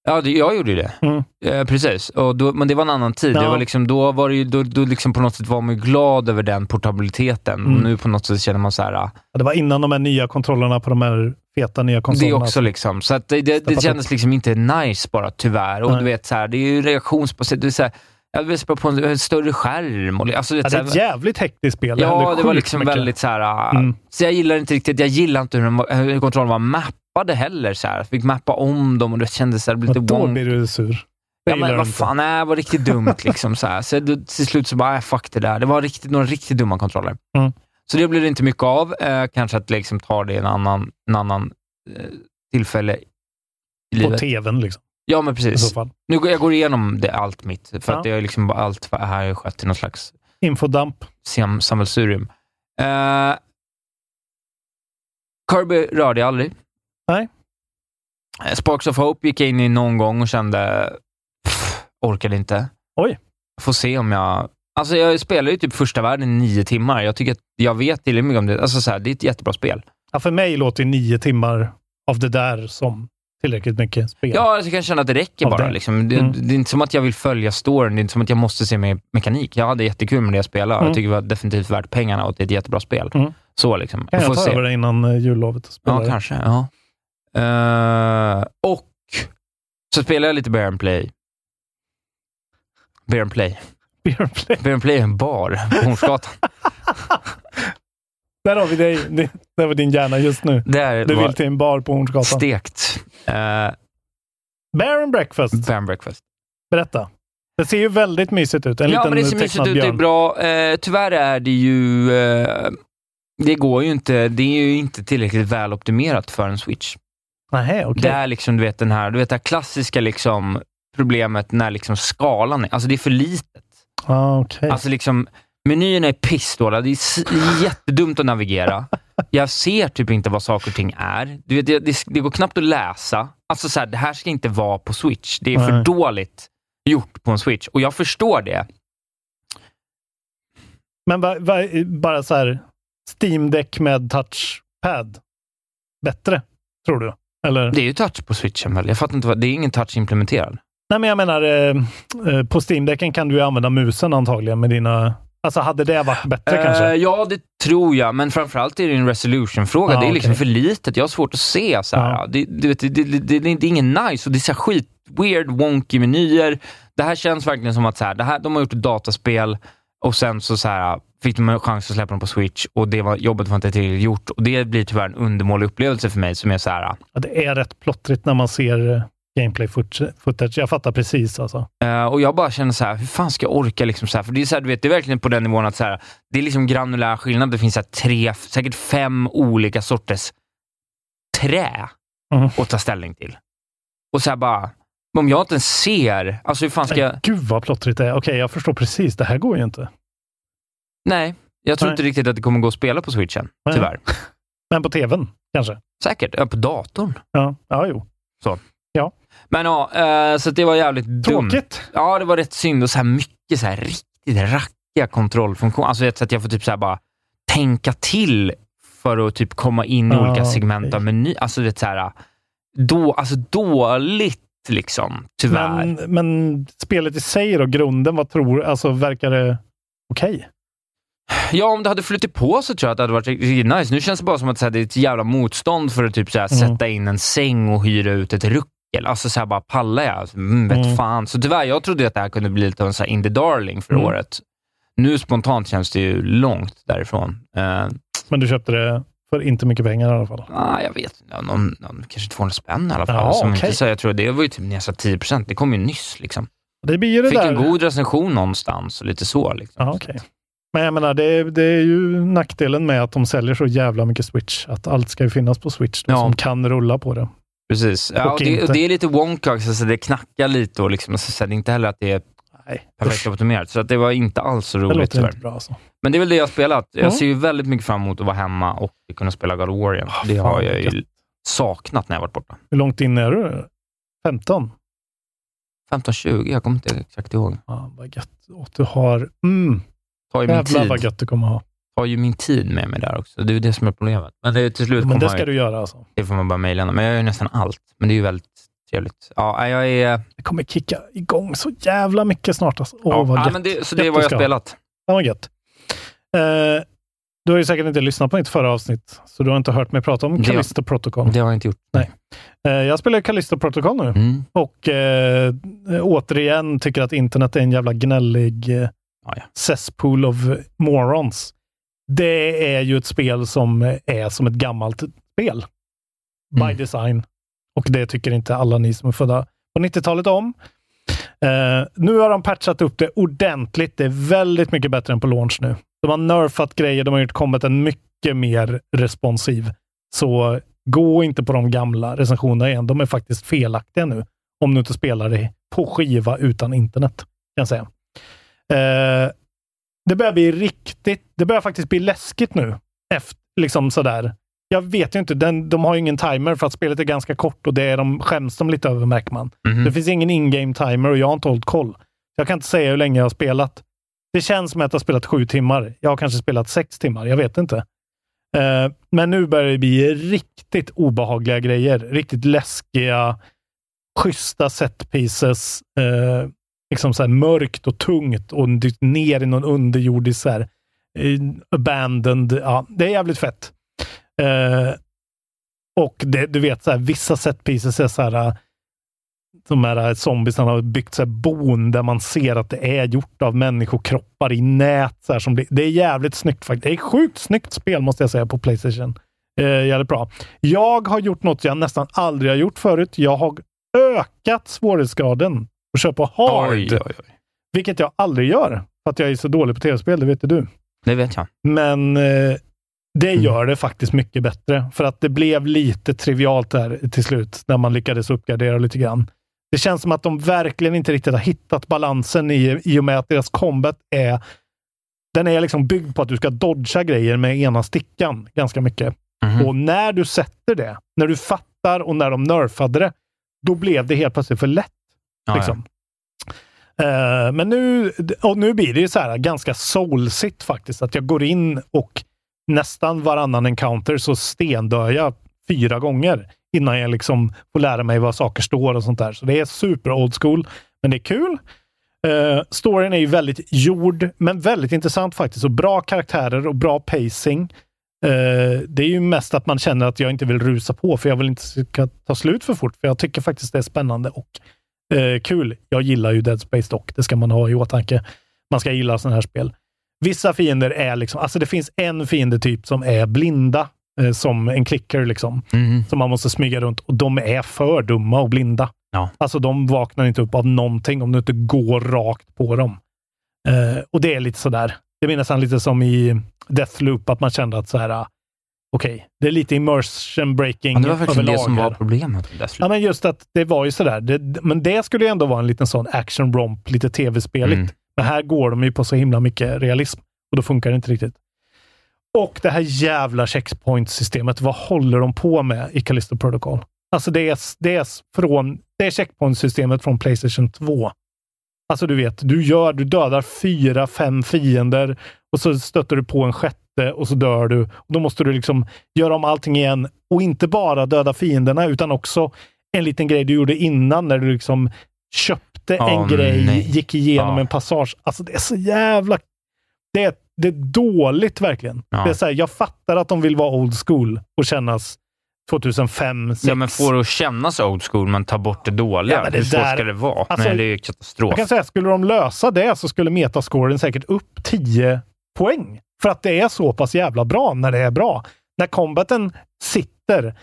Speaker 8: Ja, det, jag gjorde ju det.
Speaker 7: Mm.
Speaker 8: Eh, precis, och då, men det var en annan tid.
Speaker 7: Ja.
Speaker 8: Det var liksom, då var det ju, då, då liksom på något sätt var man ju glad över den portabiliteten.
Speaker 7: Mm.
Speaker 8: Och nu på något sätt känner man så här, ah,
Speaker 7: Ja, Det var innan de här nya kontrollerna på de här feta nya
Speaker 8: det är
Speaker 7: konsolerna.
Speaker 8: också liksom. Så att det, det,
Speaker 7: Steppat
Speaker 8: det kändes liksom inte nice bara, tyvärr. Och
Speaker 7: Nej.
Speaker 8: du vet, så här, det är ju reaktionsbaserat. Det är så här, Jag vill spela på en, en större skärm. Och, li- alltså, du
Speaker 7: Ja, det
Speaker 8: vet, så
Speaker 7: är
Speaker 8: här,
Speaker 7: ett jävligt hektiskt spel.
Speaker 8: Ja,
Speaker 7: händer
Speaker 8: det var
Speaker 7: sjukt
Speaker 8: liksom
Speaker 7: mycket.
Speaker 8: väldigt så här. ah,
Speaker 7: Mm.
Speaker 8: Så jag gillar inte riktigt. Jag gillar inte hur, den, var- hur kontrollen var mappade heller. Så här. Jag fick mappa om dem och det kändes så här, det blev
Speaker 7: Men
Speaker 8: lite
Speaker 7: Då
Speaker 8: wonky.
Speaker 7: blir du sur. Jag
Speaker 8: Ja, men
Speaker 7: gillar det
Speaker 8: vad
Speaker 7: inte.
Speaker 8: fan, nej, det var riktigt dumt. liksom så här. Så då, till slut så bara, äh, fuck det där. Det var riktigt, några riktigt dumma kontroller.
Speaker 7: Mm.
Speaker 8: Så det blev det inte mycket av. Eh, kanske att liksom ta det i en annan, en annan eh, tillfälle i
Speaker 7: På
Speaker 8: livet.
Speaker 7: tvn liksom.
Speaker 8: Ja, men
Speaker 7: I så
Speaker 8: precis.
Speaker 7: fall.
Speaker 8: Nu går, jag går igenom det, allt mitt, för
Speaker 7: Ja.
Speaker 8: att det är liksom bara allt vad- här har jag skett till någon slags
Speaker 7: Infodump.
Speaker 8: sam- sammelsurium. Eh, Kirby rörde jag aldrig.
Speaker 7: Nej.
Speaker 8: Eh, Sparks of Hope gick jag in i någon gång och kände, pff, orkade inte.
Speaker 7: Oj.
Speaker 8: Får se om jag... Alltså jag spelar ju typ första världen i nio timmar. Jag tycker att jag vet tillräckligt mycket om det. Alltså så här, det är ett jättebra spel.
Speaker 7: Ja, för mig låter ju nio timmar av det där som tillräckligt mycket spel.
Speaker 8: Ja, alltså jag kan känna att det räcker
Speaker 7: Av
Speaker 8: bara.
Speaker 7: det.
Speaker 8: Det. Liksom. Det,
Speaker 7: Mm.
Speaker 8: det är inte som att jag vill följa storyn. Det är inte som att jag måste se mer mekanik. Jag hade jättekul med det jag spelade.
Speaker 7: Mm.
Speaker 8: Jag tycker det var definitivt värt pengarna och det är ett jättebra spel.
Speaker 7: Mm.
Speaker 8: Så liksom.
Speaker 7: kan
Speaker 8: Vi
Speaker 7: jag
Speaker 8: får
Speaker 7: ta
Speaker 8: se.
Speaker 7: över det innan eh, jullovet? Och spela
Speaker 8: Ja,
Speaker 7: det?
Speaker 8: kanske. Ja. Eh, och så spelar jag lite Bear and Play. Bear and Play.
Speaker 7: Beer and Play.
Speaker 8: Beer and Play är en bar på Hornsgatan.
Speaker 7: Där har vi dig. Det, där var din hjärna just nu.
Speaker 8: Där
Speaker 7: Du
Speaker 8: var
Speaker 7: vill till en bar på Hornsgatan.
Speaker 8: stekt. Eh,
Speaker 7: Bear and breakfast.
Speaker 8: Bear and breakfast.
Speaker 7: Berätta. Det ser ju väldigt mysigt ut. En
Speaker 8: ja,
Speaker 7: liten
Speaker 8: men det ser
Speaker 7: tecknad
Speaker 8: mysigt ut. Det är
Speaker 7: björn.
Speaker 8: bra. Eh, tyvärr är det ju... Eh, det går ju inte. Det är ju inte tillräckligt väl optimerat för en switch.
Speaker 7: Nähä, okej.
Speaker 8: Det är liksom, du vet, den här, du vet, det här klassiska liksom, problemet när liksom skalan är... Alltså det är för litet.
Speaker 7: Ah, okej.
Speaker 8: Alltså liksom, menyerna är pissdåliga. Det är s- jättedumt att navigera. Jag ser typ inte vad saker och ting är. Du vet, det, det, det går knappt att läsa. Alltså så här, det här ska inte vara på Switch. Det är för
Speaker 7: Nej.
Speaker 8: dåligt gjort på en Switch. Och jag förstår det.
Speaker 7: Men va, va, bara så här, steam Deck med touchpad. Bättre, tror du? Eller?
Speaker 8: Det är ju touch på switchen väl? Jag fattar inte vad, det är ingen touch implementerad.
Speaker 7: Nej, men jag menar, eh, eh, på steam Decken kan du ju använda musen antagligen med dina... Alltså, hade det varit bättre
Speaker 8: Eh,
Speaker 7: kanske?
Speaker 8: ja, det tror jag, men framförallt är det en resolution-fråga.
Speaker 7: Ja,
Speaker 8: det är liksom
Speaker 7: okej.
Speaker 8: för litet. Jag har svårt att se. Så här.
Speaker 7: Ja.
Speaker 8: Det, du vet, det, det, det, det är ingen nice och det är så här skit weird, wonky menyer. Det här känns verkligen som att så här, det här, de har gjort ett dataspel och sen så, så här, fick de en chans att släppa dem på Switch och det var, jobbet var inte tillräckligt gjort. Och det blir tyvärr en undermålig upplevelse för mig som är så här,
Speaker 7: Ja, det är rätt plottrigt när man ser eh, gameplay footage- footage. Jag fattar precis alltså.
Speaker 8: Eh, och jag bara känner så här, hur fan ska jag orka? Liksom så här? För det är, så här, du vet, det är verkligen på den nivån att så här, det är liksom granulär skillnad. Det finns så här tre, säkert fem olika sorters trä
Speaker 7: Mm.
Speaker 8: att ta ställning till. Och så här bara, men om jag inte ens ser, alltså hur fan ska
Speaker 7: Men
Speaker 8: jag?
Speaker 7: Gud vad plottrigt det är. Okej, jag förstår precis. Det här går ju inte.
Speaker 8: Nej, jag tror
Speaker 7: Nej.
Speaker 8: inte riktigt att det kommer gå att spela på switchen,
Speaker 7: Nej.
Speaker 8: tyvärr.
Speaker 7: Men på tvn kanske?
Speaker 8: Säkert, ja, på datorn.
Speaker 7: Ja, ja jo.
Speaker 8: Men ja, eh, så att det var jävligt dumt.
Speaker 7: Tråkigt.
Speaker 8: Ja, det var rätt synd. Och så här mycket så här riktigt rackiga kontrollfunktioner. Alltså vet, så att jag får typ så här bara tänka till för att typ komma in i
Speaker 7: Ah,
Speaker 8: olika segment
Speaker 7: okej.
Speaker 8: av meny. Alltså vet, så här, då, alltså dåligt liksom, tyvärr.
Speaker 7: Men, men spelet i sig då, grunden, vad tror Alltså verkar det okej?
Speaker 8: Ja, om det hade flutit på så tror jag att det hade varit riktigt nice. Nu känns det bara som att så här, det är ett jävla motstånd för att typ så här,
Speaker 7: Mm.
Speaker 8: sätta in en säng och hyra ut ett ruckel. Alltså så här, bara pallar jag? Alltså, Mm, vet
Speaker 7: Mm.
Speaker 8: fan. Så tyvärr, jag trodde att det här kunde bli lite av en så här indie darling för
Speaker 7: Mm.
Speaker 8: året. Nu spontant känns det ju långt därifrån. Eh,
Speaker 7: Men du köpte det för inte mycket pengar i alla fall.
Speaker 8: ah, jag vet inte, någon, någon, kanske 200 spänn i alla fall.
Speaker 7: Ja,
Speaker 8: som
Speaker 7: okej.
Speaker 8: inte, så här, jag tror det var ju typ nästan 10 procent. Det kom ju nyss. Liksom.
Speaker 7: Det blir ju det
Speaker 8: Fick
Speaker 7: där.
Speaker 8: en god recension någonstans och lite så. Liksom.
Speaker 7: Ja, okej. Men jag menar, det, är- det är ju nackdelen med att de säljer så jävla mycket Switch. Att allt ska ju finnas på Switch då,
Speaker 8: Ja.
Speaker 7: som kan rulla på det.
Speaker 8: Precis. Ja,
Speaker 7: Och
Speaker 8: och det,
Speaker 7: inte.
Speaker 8: och det är lite wonka också, så det knackar lite och liksom, så, så det är inte heller att det är
Speaker 7: Nej,
Speaker 8: perfekt optimerat. Så att det var inte alls så
Speaker 7: det
Speaker 8: roligt
Speaker 7: låter
Speaker 8: tyvärr.
Speaker 7: inte bra alltså.
Speaker 8: Men det är väl det jag har spelat. Jag
Speaker 7: Mm.
Speaker 8: ser ju väldigt mycket fram emot att vara hemma och kunna spela God of War igen.
Speaker 7: Ah,
Speaker 8: det
Speaker 7: fan,
Speaker 8: har jag
Speaker 7: gött.
Speaker 8: ju saknat när jag varit borta.
Speaker 7: Hur långt in är du? 15?
Speaker 8: 15-20, jag kommer inte exakt ihåg.
Speaker 7: Ja, vad gött. Och du har... Mm,
Speaker 8: Tar ju, min
Speaker 7: jävlar vad
Speaker 8: tid,
Speaker 7: gött du kommer ha.
Speaker 8: tar ju min tid med mig där också. Det är ju det som är problemet. Men det, är till slut
Speaker 7: Men
Speaker 8: kommer
Speaker 7: det
Speaker 8: man
Speaker 7: ska
Speaker 8: ju,
Speaker 7: du göra alltså.
Speaker 8: det får man bara mejla. Men jag gör ju nästan allt. Men det är ju väldigt trevligt. Ja, jag är...
Speaker 7: Det kommer kicka igång så jävla mycket snart alltså. Åh,
Speaker 8: ja,
Speaker 7: vad gött.
Speaker 8: men det, så
Speaker 7: Gött
Speaker 8: det är vad
Speaker 7: du
Speaker 8: jag
Speaker 7: ska
Speaker 8: har
Speaker 7: ha.
Speaker 8: spelat.
Speaker 7: Fan vad gött. Eh, du har ju säkert inte lyssnat på mitt förra avsnitt, så du har inte hört mig prata om
Speaker 8: Det-
Speaker 7: Callisto Protocol.
Speaker 8: Det har jag inte gjort.
Speaker 7: Nej. Eh, jag spelar Callisto Protocol nu
Speaker 8: Mm.
Speaker 7: och eh, återigen tycker att internet är en jävla gnällig eh,
Speaker 8: Ja, ja.
Speaker 7: cesspool of morons. Det är ju ett spel som är som ett gammalt spel. By
Speaker 8: Mm.
Speaker 7: design. Och det tycker inte alla ni som är födda på 90-talet om. Eh, nu har de patchat upp det ordentligt. Det är väldigt mycket bättre än på launch nu. De har nerfat grejer, de har gjort combaten mycket mer responsiv. Så gå inte på de gamla recensionerna igen. De är faktiskt felaktiga nu. Om du inte spelar det på skiva utan internet, kan jag säga. Eh, det börjar bli riktigt, det börjar faktiskt bli läskigt nu. Efter, liksom sådär. Jag vet ju inte, den, de har ju ingen timer för att spelet är ganska kort och det är de, skäms de lite över märker man.
Speaker 8: Mhm.
Speaker 7: Det finns ingen in-game timer och jag har inte hållit koll. Jag kan inte säga hur länge jag har spelat. Det känns som att jag har spelat sju timmar. Jag har kanske spelat sex timmar, jag vet inte. Eh, men nu börjar det bli riktigt obehagliga grejer. Riktigt läskiga, schyssta set pieces. Eh, liksom så här mörkt och tungt och dykt ner i någon underjordisk så här, eh, abandoned. Ja, det är jävligt fett. Eh, och det, du vet, så här, vissa set pieces är så här eh, de här zombiesarna har byggt så här bon där man ser att det är gjort av människokroppar i nät. Så här, som blir, det är jävligt snyggt faktiskt. Det är ett sjukt snyggt spel måste jag säga på Playstation. Eh, jävligt bra. Jag har gjort något jag nästan aldrig har gjort förut. Jag har ökat svårighetsgraden och kör på hard.
Speaker 8: Oj, oj, oj.
Speaker 7: Vilket jag aldrig gör, för att jag är så dålig på tv-spel, det vet ju du.
Speaker 8: Det vet jag.
Speaker 7: Men eh, det gör det faktiskt mycket bättre, för att det blev lite trivialt där till slut, när man lyckades uppgradera lite grann. Det känns som att de verkligen inte riktigt har hittat balansen i, i och med att deras combat är... Den är liksom byggd på att du ska dodga grejer med ena stickan ganska mycket.
Speaker 8: Mm-hmm. Mm.
Speaker 7: Och när du sätter det, när du fattar och när de nerfade det, då blev det helt plötsligt för lätt.
Speaker 8: Ja,
Speaker 7: liksom. Eh, men nu, och nu blir det ju så här ganska soulsigt faktiskt, att jag går in och nästan varannan encounter så stendör jag fyra gånger innan jag liksom får lära mig vad saker står och sånt där. Så det är super old school, men det är kul. Uh, storyn är ju väldigt gjord, men väldigt intressant faktiskt. Och bra karaktärer och bra pacing. Eh, det är ju mest att man känner att jag inte vill rusa på, för jag vill inte ska ta slut för fort, för jag tycker faktiskt det är spännande och eh, kul. Jag gillar ju Dead Space dock, det ska man ha i åtanke. Man ska gilla sådana här spel. Vissa fiender är liksom, alltså det finns en fiendetyp som är blinda, eh, som en klicker liksom,
Speaker 8: Mm-hmm.
Speaker 7: som man måste smyga runt och de är för dumma och blinda.
Speaker 8: Ja.
Speaker 7: Alltså de vaknar inte upp av någonting om du inte går rakt på dem. Eh, och det är lite sådär. Det minns han lite som i Deathloop, att man kände att så här, ah, okej, det är lite immersion breaking
Speaker 8: Ja, det var faktiskt det som
Speaker 7: här.
Speaker 8: var problemet. med Deathloop.
Speaker 7: Ja, men just att det var ju sådär. Det, men det skulle ju ändå vara en liten sån action romp, lite tv-speligt.
Speaker 8: Mm.
Speaker 7: Men här går de ju på så himla mycket realism och då funkar det inte riktigt. Och det här jävla checkpoint-systemet, vad håller de på med i Callisto Protocol? Alltså det är, det är, från, det är checkpoint-systemet från Playstation 2. Alltså du vet, du, gör, du dödar fyra, fem fiender och så stöter du på en sjätte och så dör du. Och då måste du liksom göra om allting igen och inte bara döda fienderna utan också en liten grej du gjorde innan när du liksom köpte
Speaker 8: Åh,
Speaker 7: en grej,
Speaker 8: nej.
Speaker 7: gick igenom
Speaker 8: Ja.
Speaker 7: en passage. Alltså det är så jävla... Det är, det är dåligt verkligen.
Speaker 8: Ja.
Speaker 7: Det är så här, jag fattar att de vill vara old school och kännas 2005, 2006.
Speaker 8: Ja, men får det att kännas old school, men ta bort det dåliga.
Speaker 7: Ja, men det
Speaker 8: Hur svårt
Speaker 7: där-
Speaker 8: ska det vara?
Speaker 7: Alltså,
Speaker 8: Nej, det är ju katastrof.
Speaker 7: Jag kan säga, skulle de lösa det så skulle metascoren säkert upp 10 poäng. För att det är så pass jävla bra när det är bra. När combaten sitter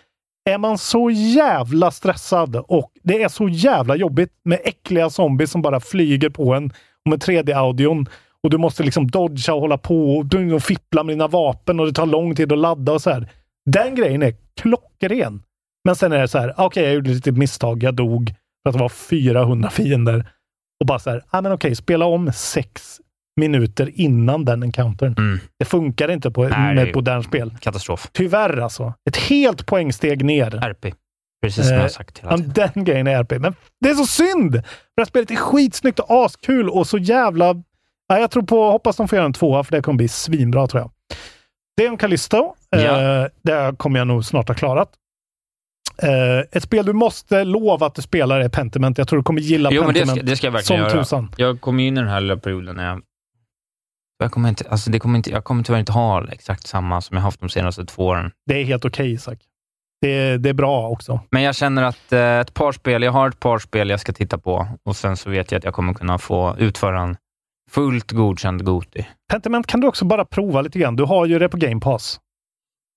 Speaker 7: är man så jävla stressad och det är så jävla jobbigt med äckliga zombies som bara flyger på en och med 3D-audion. Och du måste liksom dodga och hålla på och, du- och fippla med dina vapen och det tar lång tid att ladda och så här. Den grejen är klockren. Men sen är det så här, okej, jag gjorde lite misstag, jag dog för att det var 400 fiender. Och bara så här, ah, men okej, spela om sex minuter innan den encountern.
Speaker 8: Mm.
Speaker 7: Det funkar inte på,
Speaker 8: Nej,
Speaker 7: med
Speaker 8: det är-
Speaker 7: ett modernt spel.
Speaker 8: Katastrof.
Speaker 7: Tyvärr alltså. Ett helt poängsteg ner.
Speaker 8: RP. Precis som jag
Speaker 7: Eh,
Speaker 8: har sagt hela
Speaker 7: Ja,
Speaker 8: tiden.
Speaker 7: den grejen är RP. Men det är så synd! För det här spelet är skitsnyggt och askul och så jävla... Ja, jag tror på, hoppas de får göra en tvåa, för det kommer bli svinbra tror jag. Det är om Callisto.
Speaker 8: Ja.
Speaker 7: Eh, det kommer jag nog snart ha klarat. Eh, ett spel du måste lova att du spelar är Pentiment. Jag tror du kommer gilla
Speaker 8: Jo, men det
Speaker 7: Pentiment
Speaker 8: ska, det ska jag verkligen
Speaker 7: som
Speaker 8: göra.
Speaker 7: tusan.
Speaker 8: Jag kom ju in i den här lilla perioden när jag... Jag kommer, inte, alltså det kommer inte, jag kommer tyvärr inte ha exakt samma som jag haft de senaste två åren.
Speaker 7: Det är helt okej Isak. Det, det är bra också.
Speaker 8: Men jag känner att eh, ett par spel, jag har ett par spel jag ska titta på och sen så vet jag att jag kommer kunna få utföra en fullt godkänd Goti.
Speaker 7: Pentiment kan du också bara prova lite grann. Du har ju det på Game Pass.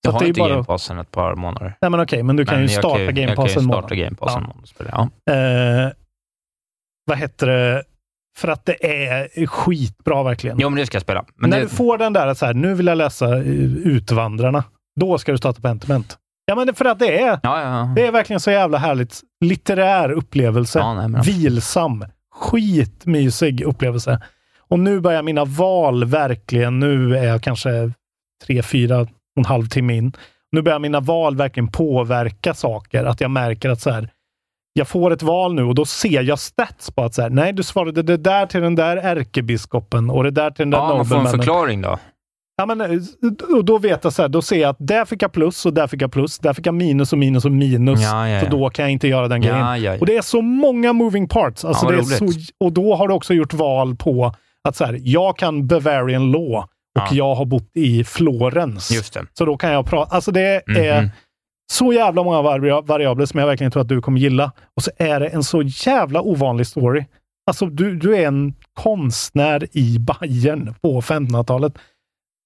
Speaker 8: Jag
Speaker 7: att
Speaker 8: har
Speaker 7: det är
Speaker 8: inte
Speaker 7: bara-
Speaker 8: Game Pass sedan ett par månader.
Speaker 7: Nej, men okej, men du kan
Speaker 8: Men
Speaker 7: ju
Speaker 8: jag
Speaker 7: starta Game
Speaker 8: Jag
Speaker 7: Pass
Speaker 8: kan
Speaker 7: en
Speaker 8: ju starta
Speaker 7: månad.
Speaker 8: Game Pass
Speaker 7: Ja.
Speaker 8: en månad och spela. Ja.
Speaker 7: Eh, vad heter det? För att det är skitbra verkligen.
Speaker 8: Jo, men det ska jag spela. Men
Speaker 7: När
Speaker 8: det,
Speaker 7: du får den där att så här, nu vill jag läsa eh, Utvandrarna. Då ska du starta Pentiment. Ja, men det, för att det är,
Speaker 8: ja, ja, ja.
Speaker 7: det är verkligen så jävla härligt. Litterär upplevelse.
Speaker 8: Ja, nej, men-
Speaker 7: Vilsam. Skitmysig upplevelse. Och nu börjar mina val verkligen, nu är jag kanske tre, fyra, och en halv timme in. Nu börjar mina val verkligen påverka saker. Att jag märker att så här, jag får ett val nu och då ser jag stats på att så här, nej, du svarade det där till den där ärkebiskopen och det där till den där
Speaker 8: ja, man får en
Speaker 7: nobelmannen.
Speaker 8: förklaring då.
Speaker 7: Ja, men, eh, och då vet jag så här, då ser jag att där fick jag plus och där fick jag plus. Där fick jag minus och minus och minus.
Speaker 8: Ja, ja, ja.
Speaker 7: Så då kan jag inte göra den
Speaker 8: Ja,
Speaker 7: grejen.
Speaker 8: ja, ja.
Speaker 7: Och det är så många moving parts. Alltså,
Speaker 8: Ja,
Speaker 7: det
Speaker 8: vad
Speaker 7: är så,
Speaker 8: roligt.
Speaker 7: och då har du också gjort val på att så här, jag kan Bavarian law och
Speaker 8: Ja.
Speaker 7: jag har bott i Florens.
Speaker 8: Just det.
Speaker 7: Så då kan jag prata. Alltså det är...
Speaker 8: Mhm.
Speaker 7: så jävla många var- variabler som jag verkligen tror att du kommer gilla. Och så är det en så jävla ovanlig story. Alltså, du, du är en konstnär i Bayern på 1500-talet.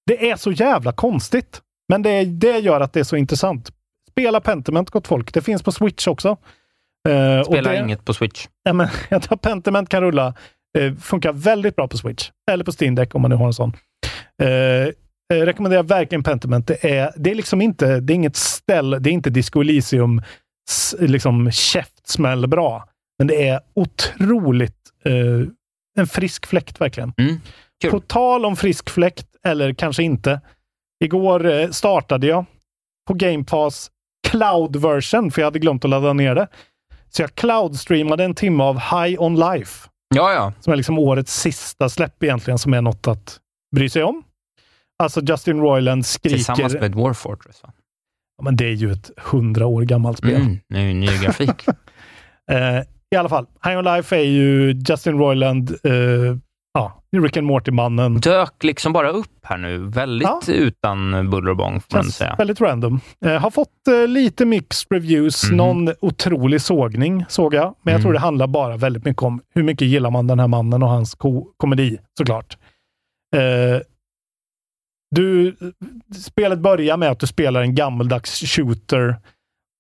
Speaker 7: Det är så jävla konstigt, men det, det gör att det är så intressant. Spela Pentiment, gott folk. Det finns på Switch också. Eh, och
Speaker 8: Spelar
Speaker 7: det-
Speaker 8: inget på Switch.
Speaker 7: Ja, men, jag tror att Pentiment kan rulla. Eh, funkar väldigt bra på Switch. Eller på Steam Deck om man nu har en sån. Eh, eh, rekommenderar verkligen Pentiment. Det är, det är liksom inte, det är inget ställ, det är inte Disco Elysium s- liksom käftsmäll bra. Men det är otroligt eh, en frisk fläkt verkligen.
Speaker 8: Mm. Kul.
Speaker 7: På tal om frisk fläkt, eller kanske inte. Igår eh, startade jag på Game Pass Cloud version, för jag hade glömt att ladda ner det. Så jag cloudstreamade en timme av High On Life,
Speaker 8: Ja, ja.
Speaker 7: som är liksom årets sista släpp egentligen, som är något att bry sig om. Alltså Justin Roiland
Speaker 8: Tillsammans
Speaker 7: skriker...
Speaker 8: med Dwarf Fortress. Va?
Speaker 7: Ja, men det är ju ett hundra år gammalt spel.
Speaker 8: Mm. Ny, ny grafik. Mm.
Speaker 7: Eh, I alla fall, High On Life är ju Justin Roiland, eh, ja, Rick and Morty-mannen.
Speaker 8: Dök liksom bara upp här nu. Väldigt utan buller och bång, får man
Speaker 7: Känns
Speaker 8: säga.
Speaker 7: Väldigt random. Eh, har fått eh, lite mixed reviews.
Speaker 8: Mhm.
Speaker 7: Någon otrolig sågning såg jag. Men jag
Speaker 8: Mm.
Speaker 7: tror det handlar bara väldigt mycket om hur mycket gillar man den här mannen och hans ko- komedi, såklart. Eh, du, spelet börjar med att du spelar en gammeldags shooter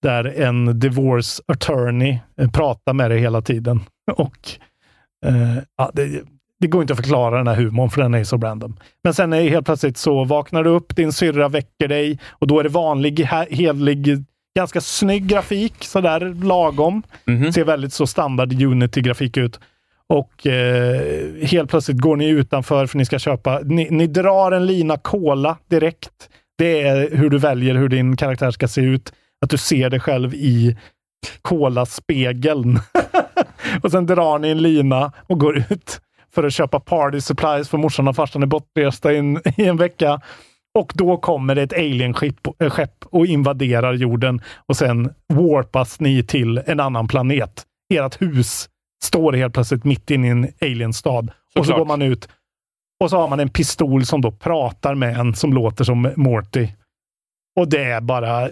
Speaker 7: där en divorce attorney eh, pratar med dig hela tiden. Och eh, ja, det, det går inte att förklara den här humorn, för den är så random. Men sen är det helt plötsligt så vaknar du upp, din syrra väcker dig och då är det vanlig, he- helig, ganska snygg grafik, sådär lagom.
Speaker 8: Mhm.
Speaker 7: Ser väldigt så standard Unity-grafik ut. Och eh, helt plötsligt går ni utanför för ni ska köpa. Ni, ni drar en lina cola direkt. Det är hur du väljer hur din karaktär ska se ut. Att du ser dig själv i kolaspegeln. och sen drar ni en lina och går ut för att köpa party supplies för morsan och farsan är bortresta i en, i en vecka. Och då kommer det ett alienskepp eh, skepp och invaderar jorden och sen warpas ni till en annan planet. Ert hus står helt plötsligt mitt inne i en alienstad. Och så
Speaker 8: Såklart.
Speaker 7: går man ut och så har man en pistol som då pratar med en som låter som Morty. Och det är bara...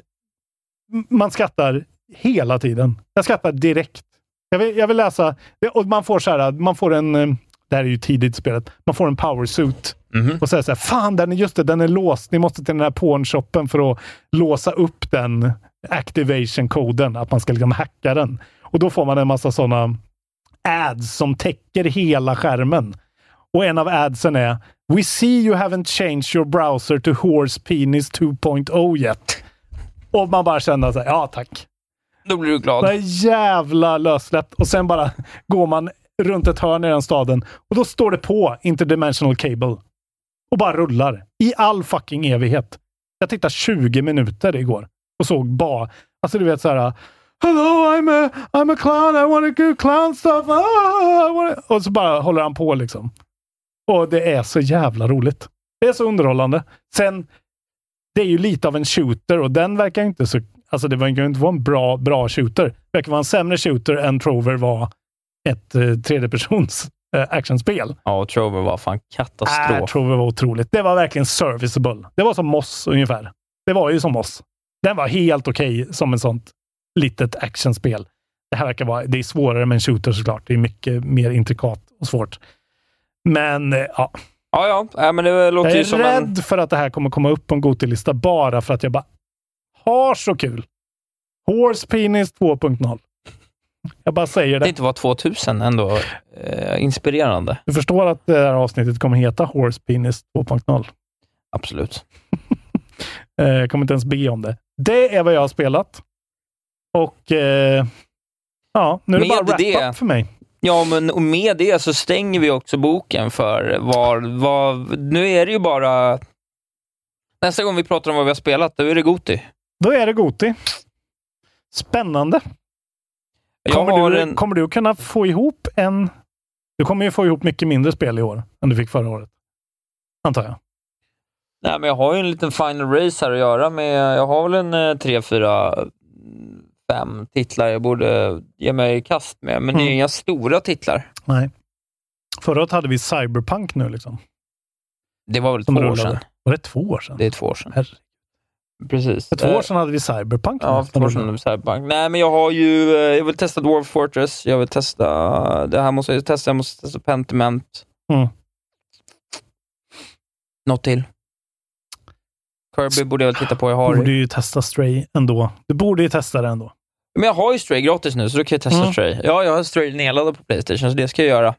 Speaker 7: m- Man skrattar hela tiden. Jag skrattar direkt. Jag vill, jag vill läsa... det- Och man får så här, man får en... eh, Det här är ju tidigt i spelet. Man får en power suit.
Speaker 8: Mhm.
Speaker 7: Och säger så här, fan, den är, just det, den är låst. Ni måste till den här pornshoppen för att låsa upp den activation-koden. Att man ska liksom hacka den. Och då får man en massa sådana ads som täcker hela skärmen. Och en av adsen är We see you haven't changed your browser to horse penis 2.0 yet. Och man bara känner så här, ja tack.
Speaker 8: Då blir du glad.
Speaker 7: Det är jävla lössläppt. Och sen bara går man runt ett hörn i den staden och då står det på Interdimensional Cable. Och bara rullar. I all fucking evighet. Jag tittade 20 minuter igår och såg bara... Alltså du vet så här... Hello, I'm a, I'm a clown, I wanna do clown stuff. Ah, I wanna... Och så bara håller han på liksom. Och det är så jävla roligt. Det är så underhållande. Sen, det är ju lite av en shooter och den verkar inte så... Alltså det verkar ju inte vara en bra, bra shooter. Det verkar vara en sämre shooter än Trover var ett eh, tredjepersons eh, actionspel.
Speaker 8: Ja, och Trover var fan
Speaker 7: Äh,
Speaker 8: katastrof.
Speaker 7: Trover var otroligt. Det var verkligen serviceable. Det var som Moss ungefär. Det var ju som Moss. Den var helt okej som en sånt litet actionspel. Det här verkar vara... Det är svårare med en shooter såklart. Det är mycket mer intrikat och svårt. Men eh, ja,
Speaker 8: Ja, ja. ja, men det låter
Speaker 7: jag
Speaker 8: ju
Speaker 7: är
Speaker 8: som
Speaker 7: rädd
Speaker 8: en...
Speaker 7: för att det här kommer komma upp på en Gotilista bara för att jag bara har så kul. Horse Penis 2.0. Jag bara säger
Speaker 8: Det
Speaker 7: det.
Speaker 8: inte var 2000 ändå. Eh, inspirerande.
Speaker 7: Du förstår att det här avsnittet kommer heta Horse Penis 2.0.
Speaker 8: Absolut.
Speaker 7: Eh, Jag kommer inte ens be om det. Det är vad jag har spelat. Och eh, ja, nu är det
Speaker 8: Med
Speaker 7: bara wrap
Speaker 8: det-
Speaker 7: up för mig.
Speaker 8: Ja, men och med det så stänger vi också boken för var, var... Nu är det ju bara... Nästa gång vi pratar om vad vi har spelat, då är det Goti.
Speaker 7: Då är det Goti. Spännande.
Speaker 8: Jag
Speaker 7: Kommer
Speaker 8: har
Speaker 7: du,
Speaker 8: en...
Speaker 7: kommer du kunna få ihop en... Du kommer ju få ihop mycket mindre spel i år än du fick förra året. Antar jag.
Speaker 8: Nej, men jag har ju en liten final race här att göra med. Jag har väl en eh, tre, fyra, mm, fem titlar jag borde ge mig i kast med, men det är
Speaker 7: Mm.
Speaker 8: inga stora titlar.
Speaker 7: Nej. Förra året hade vi Cyberpunk nu liksom.
Speaker 8: Det var väl
Speaker 7: Som
Speaker 8: två år
Speaker 7: rullade.
Speaker 8: sedan.
Speaker 7: Var det två år sedan?
Speaker 8: Det är två år sedan.
Speaker 7: Herregud.
Speaker 8: Precis. Eh,
Speaker 7: För två år sedan hade vi Cyberpunk.
Speaker 8: Ja, för två år sedan hade vi Cyberpunk. Nej, men jag har ju... eh, Jag vill testa Dwarf Fortress. Jag vill testa... Det här måste jag testa. Jag måste testa Pentiment.
Speaker 7: Mm.
Speaker 8: Något till. Kirby borde jag väl titta på. Jag
Speaker 7: Du
Speaker 8: har
Speaker 7: borde ju testa Stray ändå. Du borde ju testa det ändå.
Speaker 8: Men jag har ju Stray gratis nu, så då kan jag testa
Speaker 7: Mm.
Speaker 8: Stray. Ja, jag har Stray nedladdad på Playstation, så det ska jag göra.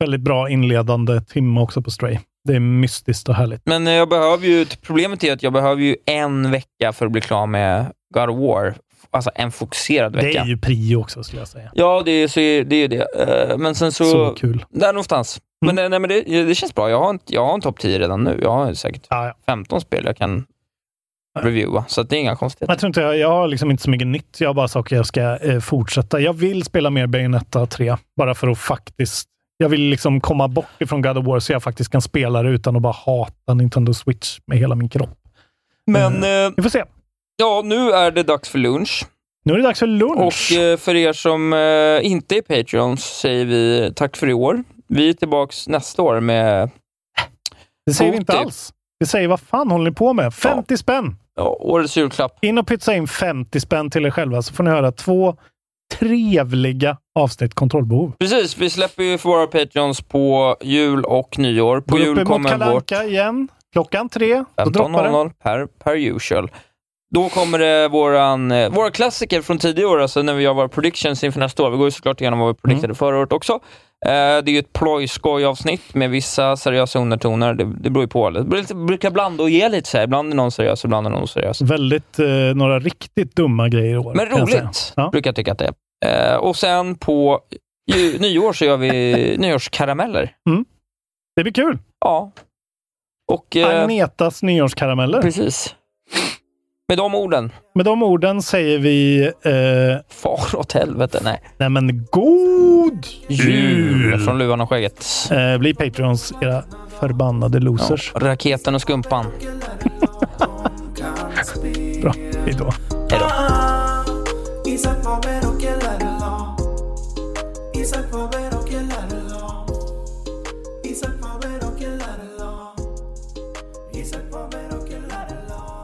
Speaker 7: Väldigt bra inledande timme också på Stray. Det är mystiskt och härligt.
Speaker 8: Men eh, jag behöver ju, problemet är att jag behöver ju en vecka för att bli klar med God of War. Alltså en fokuserad vecka.
Speaker 7: Det är ju prio också skulle jag säga.
Speaker 8: Ja, det är, så är, det, är ju det. Eh, Men sen så...
Speaker 7: Så kul.
Speaker 8: Där någonstans. Men,
Speaker 7: Mm.
Speaker 8: eh, nej, men det, det känns bra. Jag har en, jag har en topp 10 redan nu. Jag har säkert
Speaker 7: Ja, ja.
Speaker 8: 15 spel jag kan reviewa, så att det är inga konstigheter.
Speaker 7: Jag tror inte jag, jag har liksom inte så mycket nytt. Jag har bara saker jag ska eh, fortsätta. Jag vill spela mer Bayonetta 3, bara för att faktiskt... Jag vill liksom komma bort ifrån God of War så jag faktiskt kan spela det utan att bara hata Nintendo Switch med hela min kropp.
Speaker 8: Men eh,
Speaker 7: Vi får se.
Speaker 8: ja, nu är det dags för lunch.
Speaker 7: Nu är det dags för lunch.
Speaker 8: Och eh, för er som eh, inte är Patreons säger vi tack för i år. Vi är tillbaks nästa år med...
Speaker 7: det säger vi inte
Speaker 8: Goti.
Speaker 7: alls. Vi säger vad fan håller ni på med? 50 spänn!
Speaker 8: Ja, årets julklapp.
Speaker 7: In och pytsa in 50 spänn till er själva så får ni höra två trevliga avsnitt kontrollbehov.
Speaker 8: Precis, vi släpper ju för våra Patreons på jul och nyår. På
Speaker 7: Går upp
Speaker 8: jul
Speaker 7: emot Kalle
Speaker 8: kommer vårt
Speaker 7: Anka igen. Klockan tre. Då droppar det.
Speaker 8: 15.00 per, per usual. Då kommer det våran, eh, våra klassiker från tidigare år, alltså när vi gör våra predictions inför nästa år. Vi går ju såklart igenom vad vi predictade
Speaker 7: Mm.
Speaker 8: förra året också. Eh, det är ju ett plojskoj-avsnitt med vissa seriösa undertoner. Det, det beror ju på. Det brukar- brukar blanda och ge lite så här. Ibland är någon seriös, ibland är någon oseriös.
Speaker 7: Väldigt, eh, några riktigt dumma grejer i år.
Speaker 8: Men
Speaker 7: kan jag säga.
Speaker 8: roligt,
Speaker 7: Ja.
Speaker 8: brukar jag tycka att det är. Eh, och sen på ju, nyår så gör vi nyårskarameller.
Speaker 7: Det blir kul.
Speaker 8: Ja. Och... Eh,
Speaker 7: Agnetas nyårskarameller.
Speaker 8: precis. Med de orden.
Speaker 7: Med de orden säger vi eh,
Speaker 8: Far åt helvete, nej.
Speaker 7: nej men god
Speaker 8: Djur
Speaker 7: jul!
Speaker 8: från luvan och skägget.
Speaker 7: Eh, bli Patreons, era förbannade
Speaker 8: Ja,
Speaker 7: losers.
Speaker 8: raketen och skumpan.
Speaker 7: Bra, hejdå.
Speaker 6: Isak var med och gillade lag Isak var med och gillade lag Isak var med och gillade lag Isak var med och gillade lag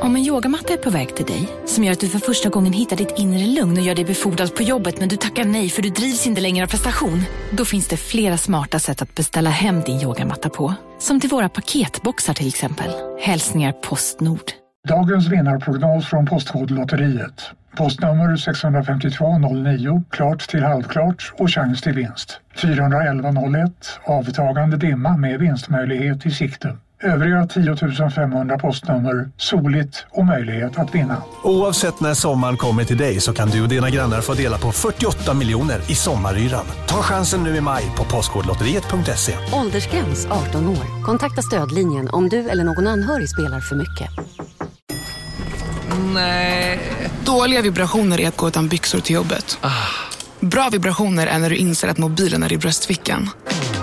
Speaker 11: Om en yogamatta är på väg till dig, som gör att du för första gången hittar ditt inre lugn och gör dig befordrad på jobbet men du tackar nej för du drivs inte längre av prestation. Då finns det flera smarta sätt att beställa hem din yogamatta på. Som till våra paketboxar till exempel. Hälsningar Postnord.
Speaker 12: Dagens vinnarprognos från Postkodlotteriet. Postnummer 65209, klart till halvklart och chans till vinst. 41101, avtagande dimma med vinstmöjlighet i sikte. Övriga 10 500 postnummer, soligt och möjlighet att vinna.
Speaker 13: Oavsett när sommaren kommer till dig så kan du och dina grannar få dela på 48 miljoner i sommaryran. Ta chansen nu i maj på Postkodlotteriet.se.
Speaker 14: Åldersgräns 18 år. Kontakta stödlinjen om du eller någon anhörig spelar för mycket.
Speaker 15: Nej. Dåliga vibrationer är att gå utan byxor till jobbet.
Speaker 8: Ah.
Speaker 15: Bra vibrationer är när du inser att mobilen är i bröstfickan.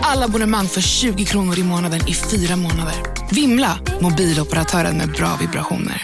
Speaker 15: Alla abonnemang för 20 kronor i månaden i fyra månader. Vimla! Mobiloperatören med bra vibrationer.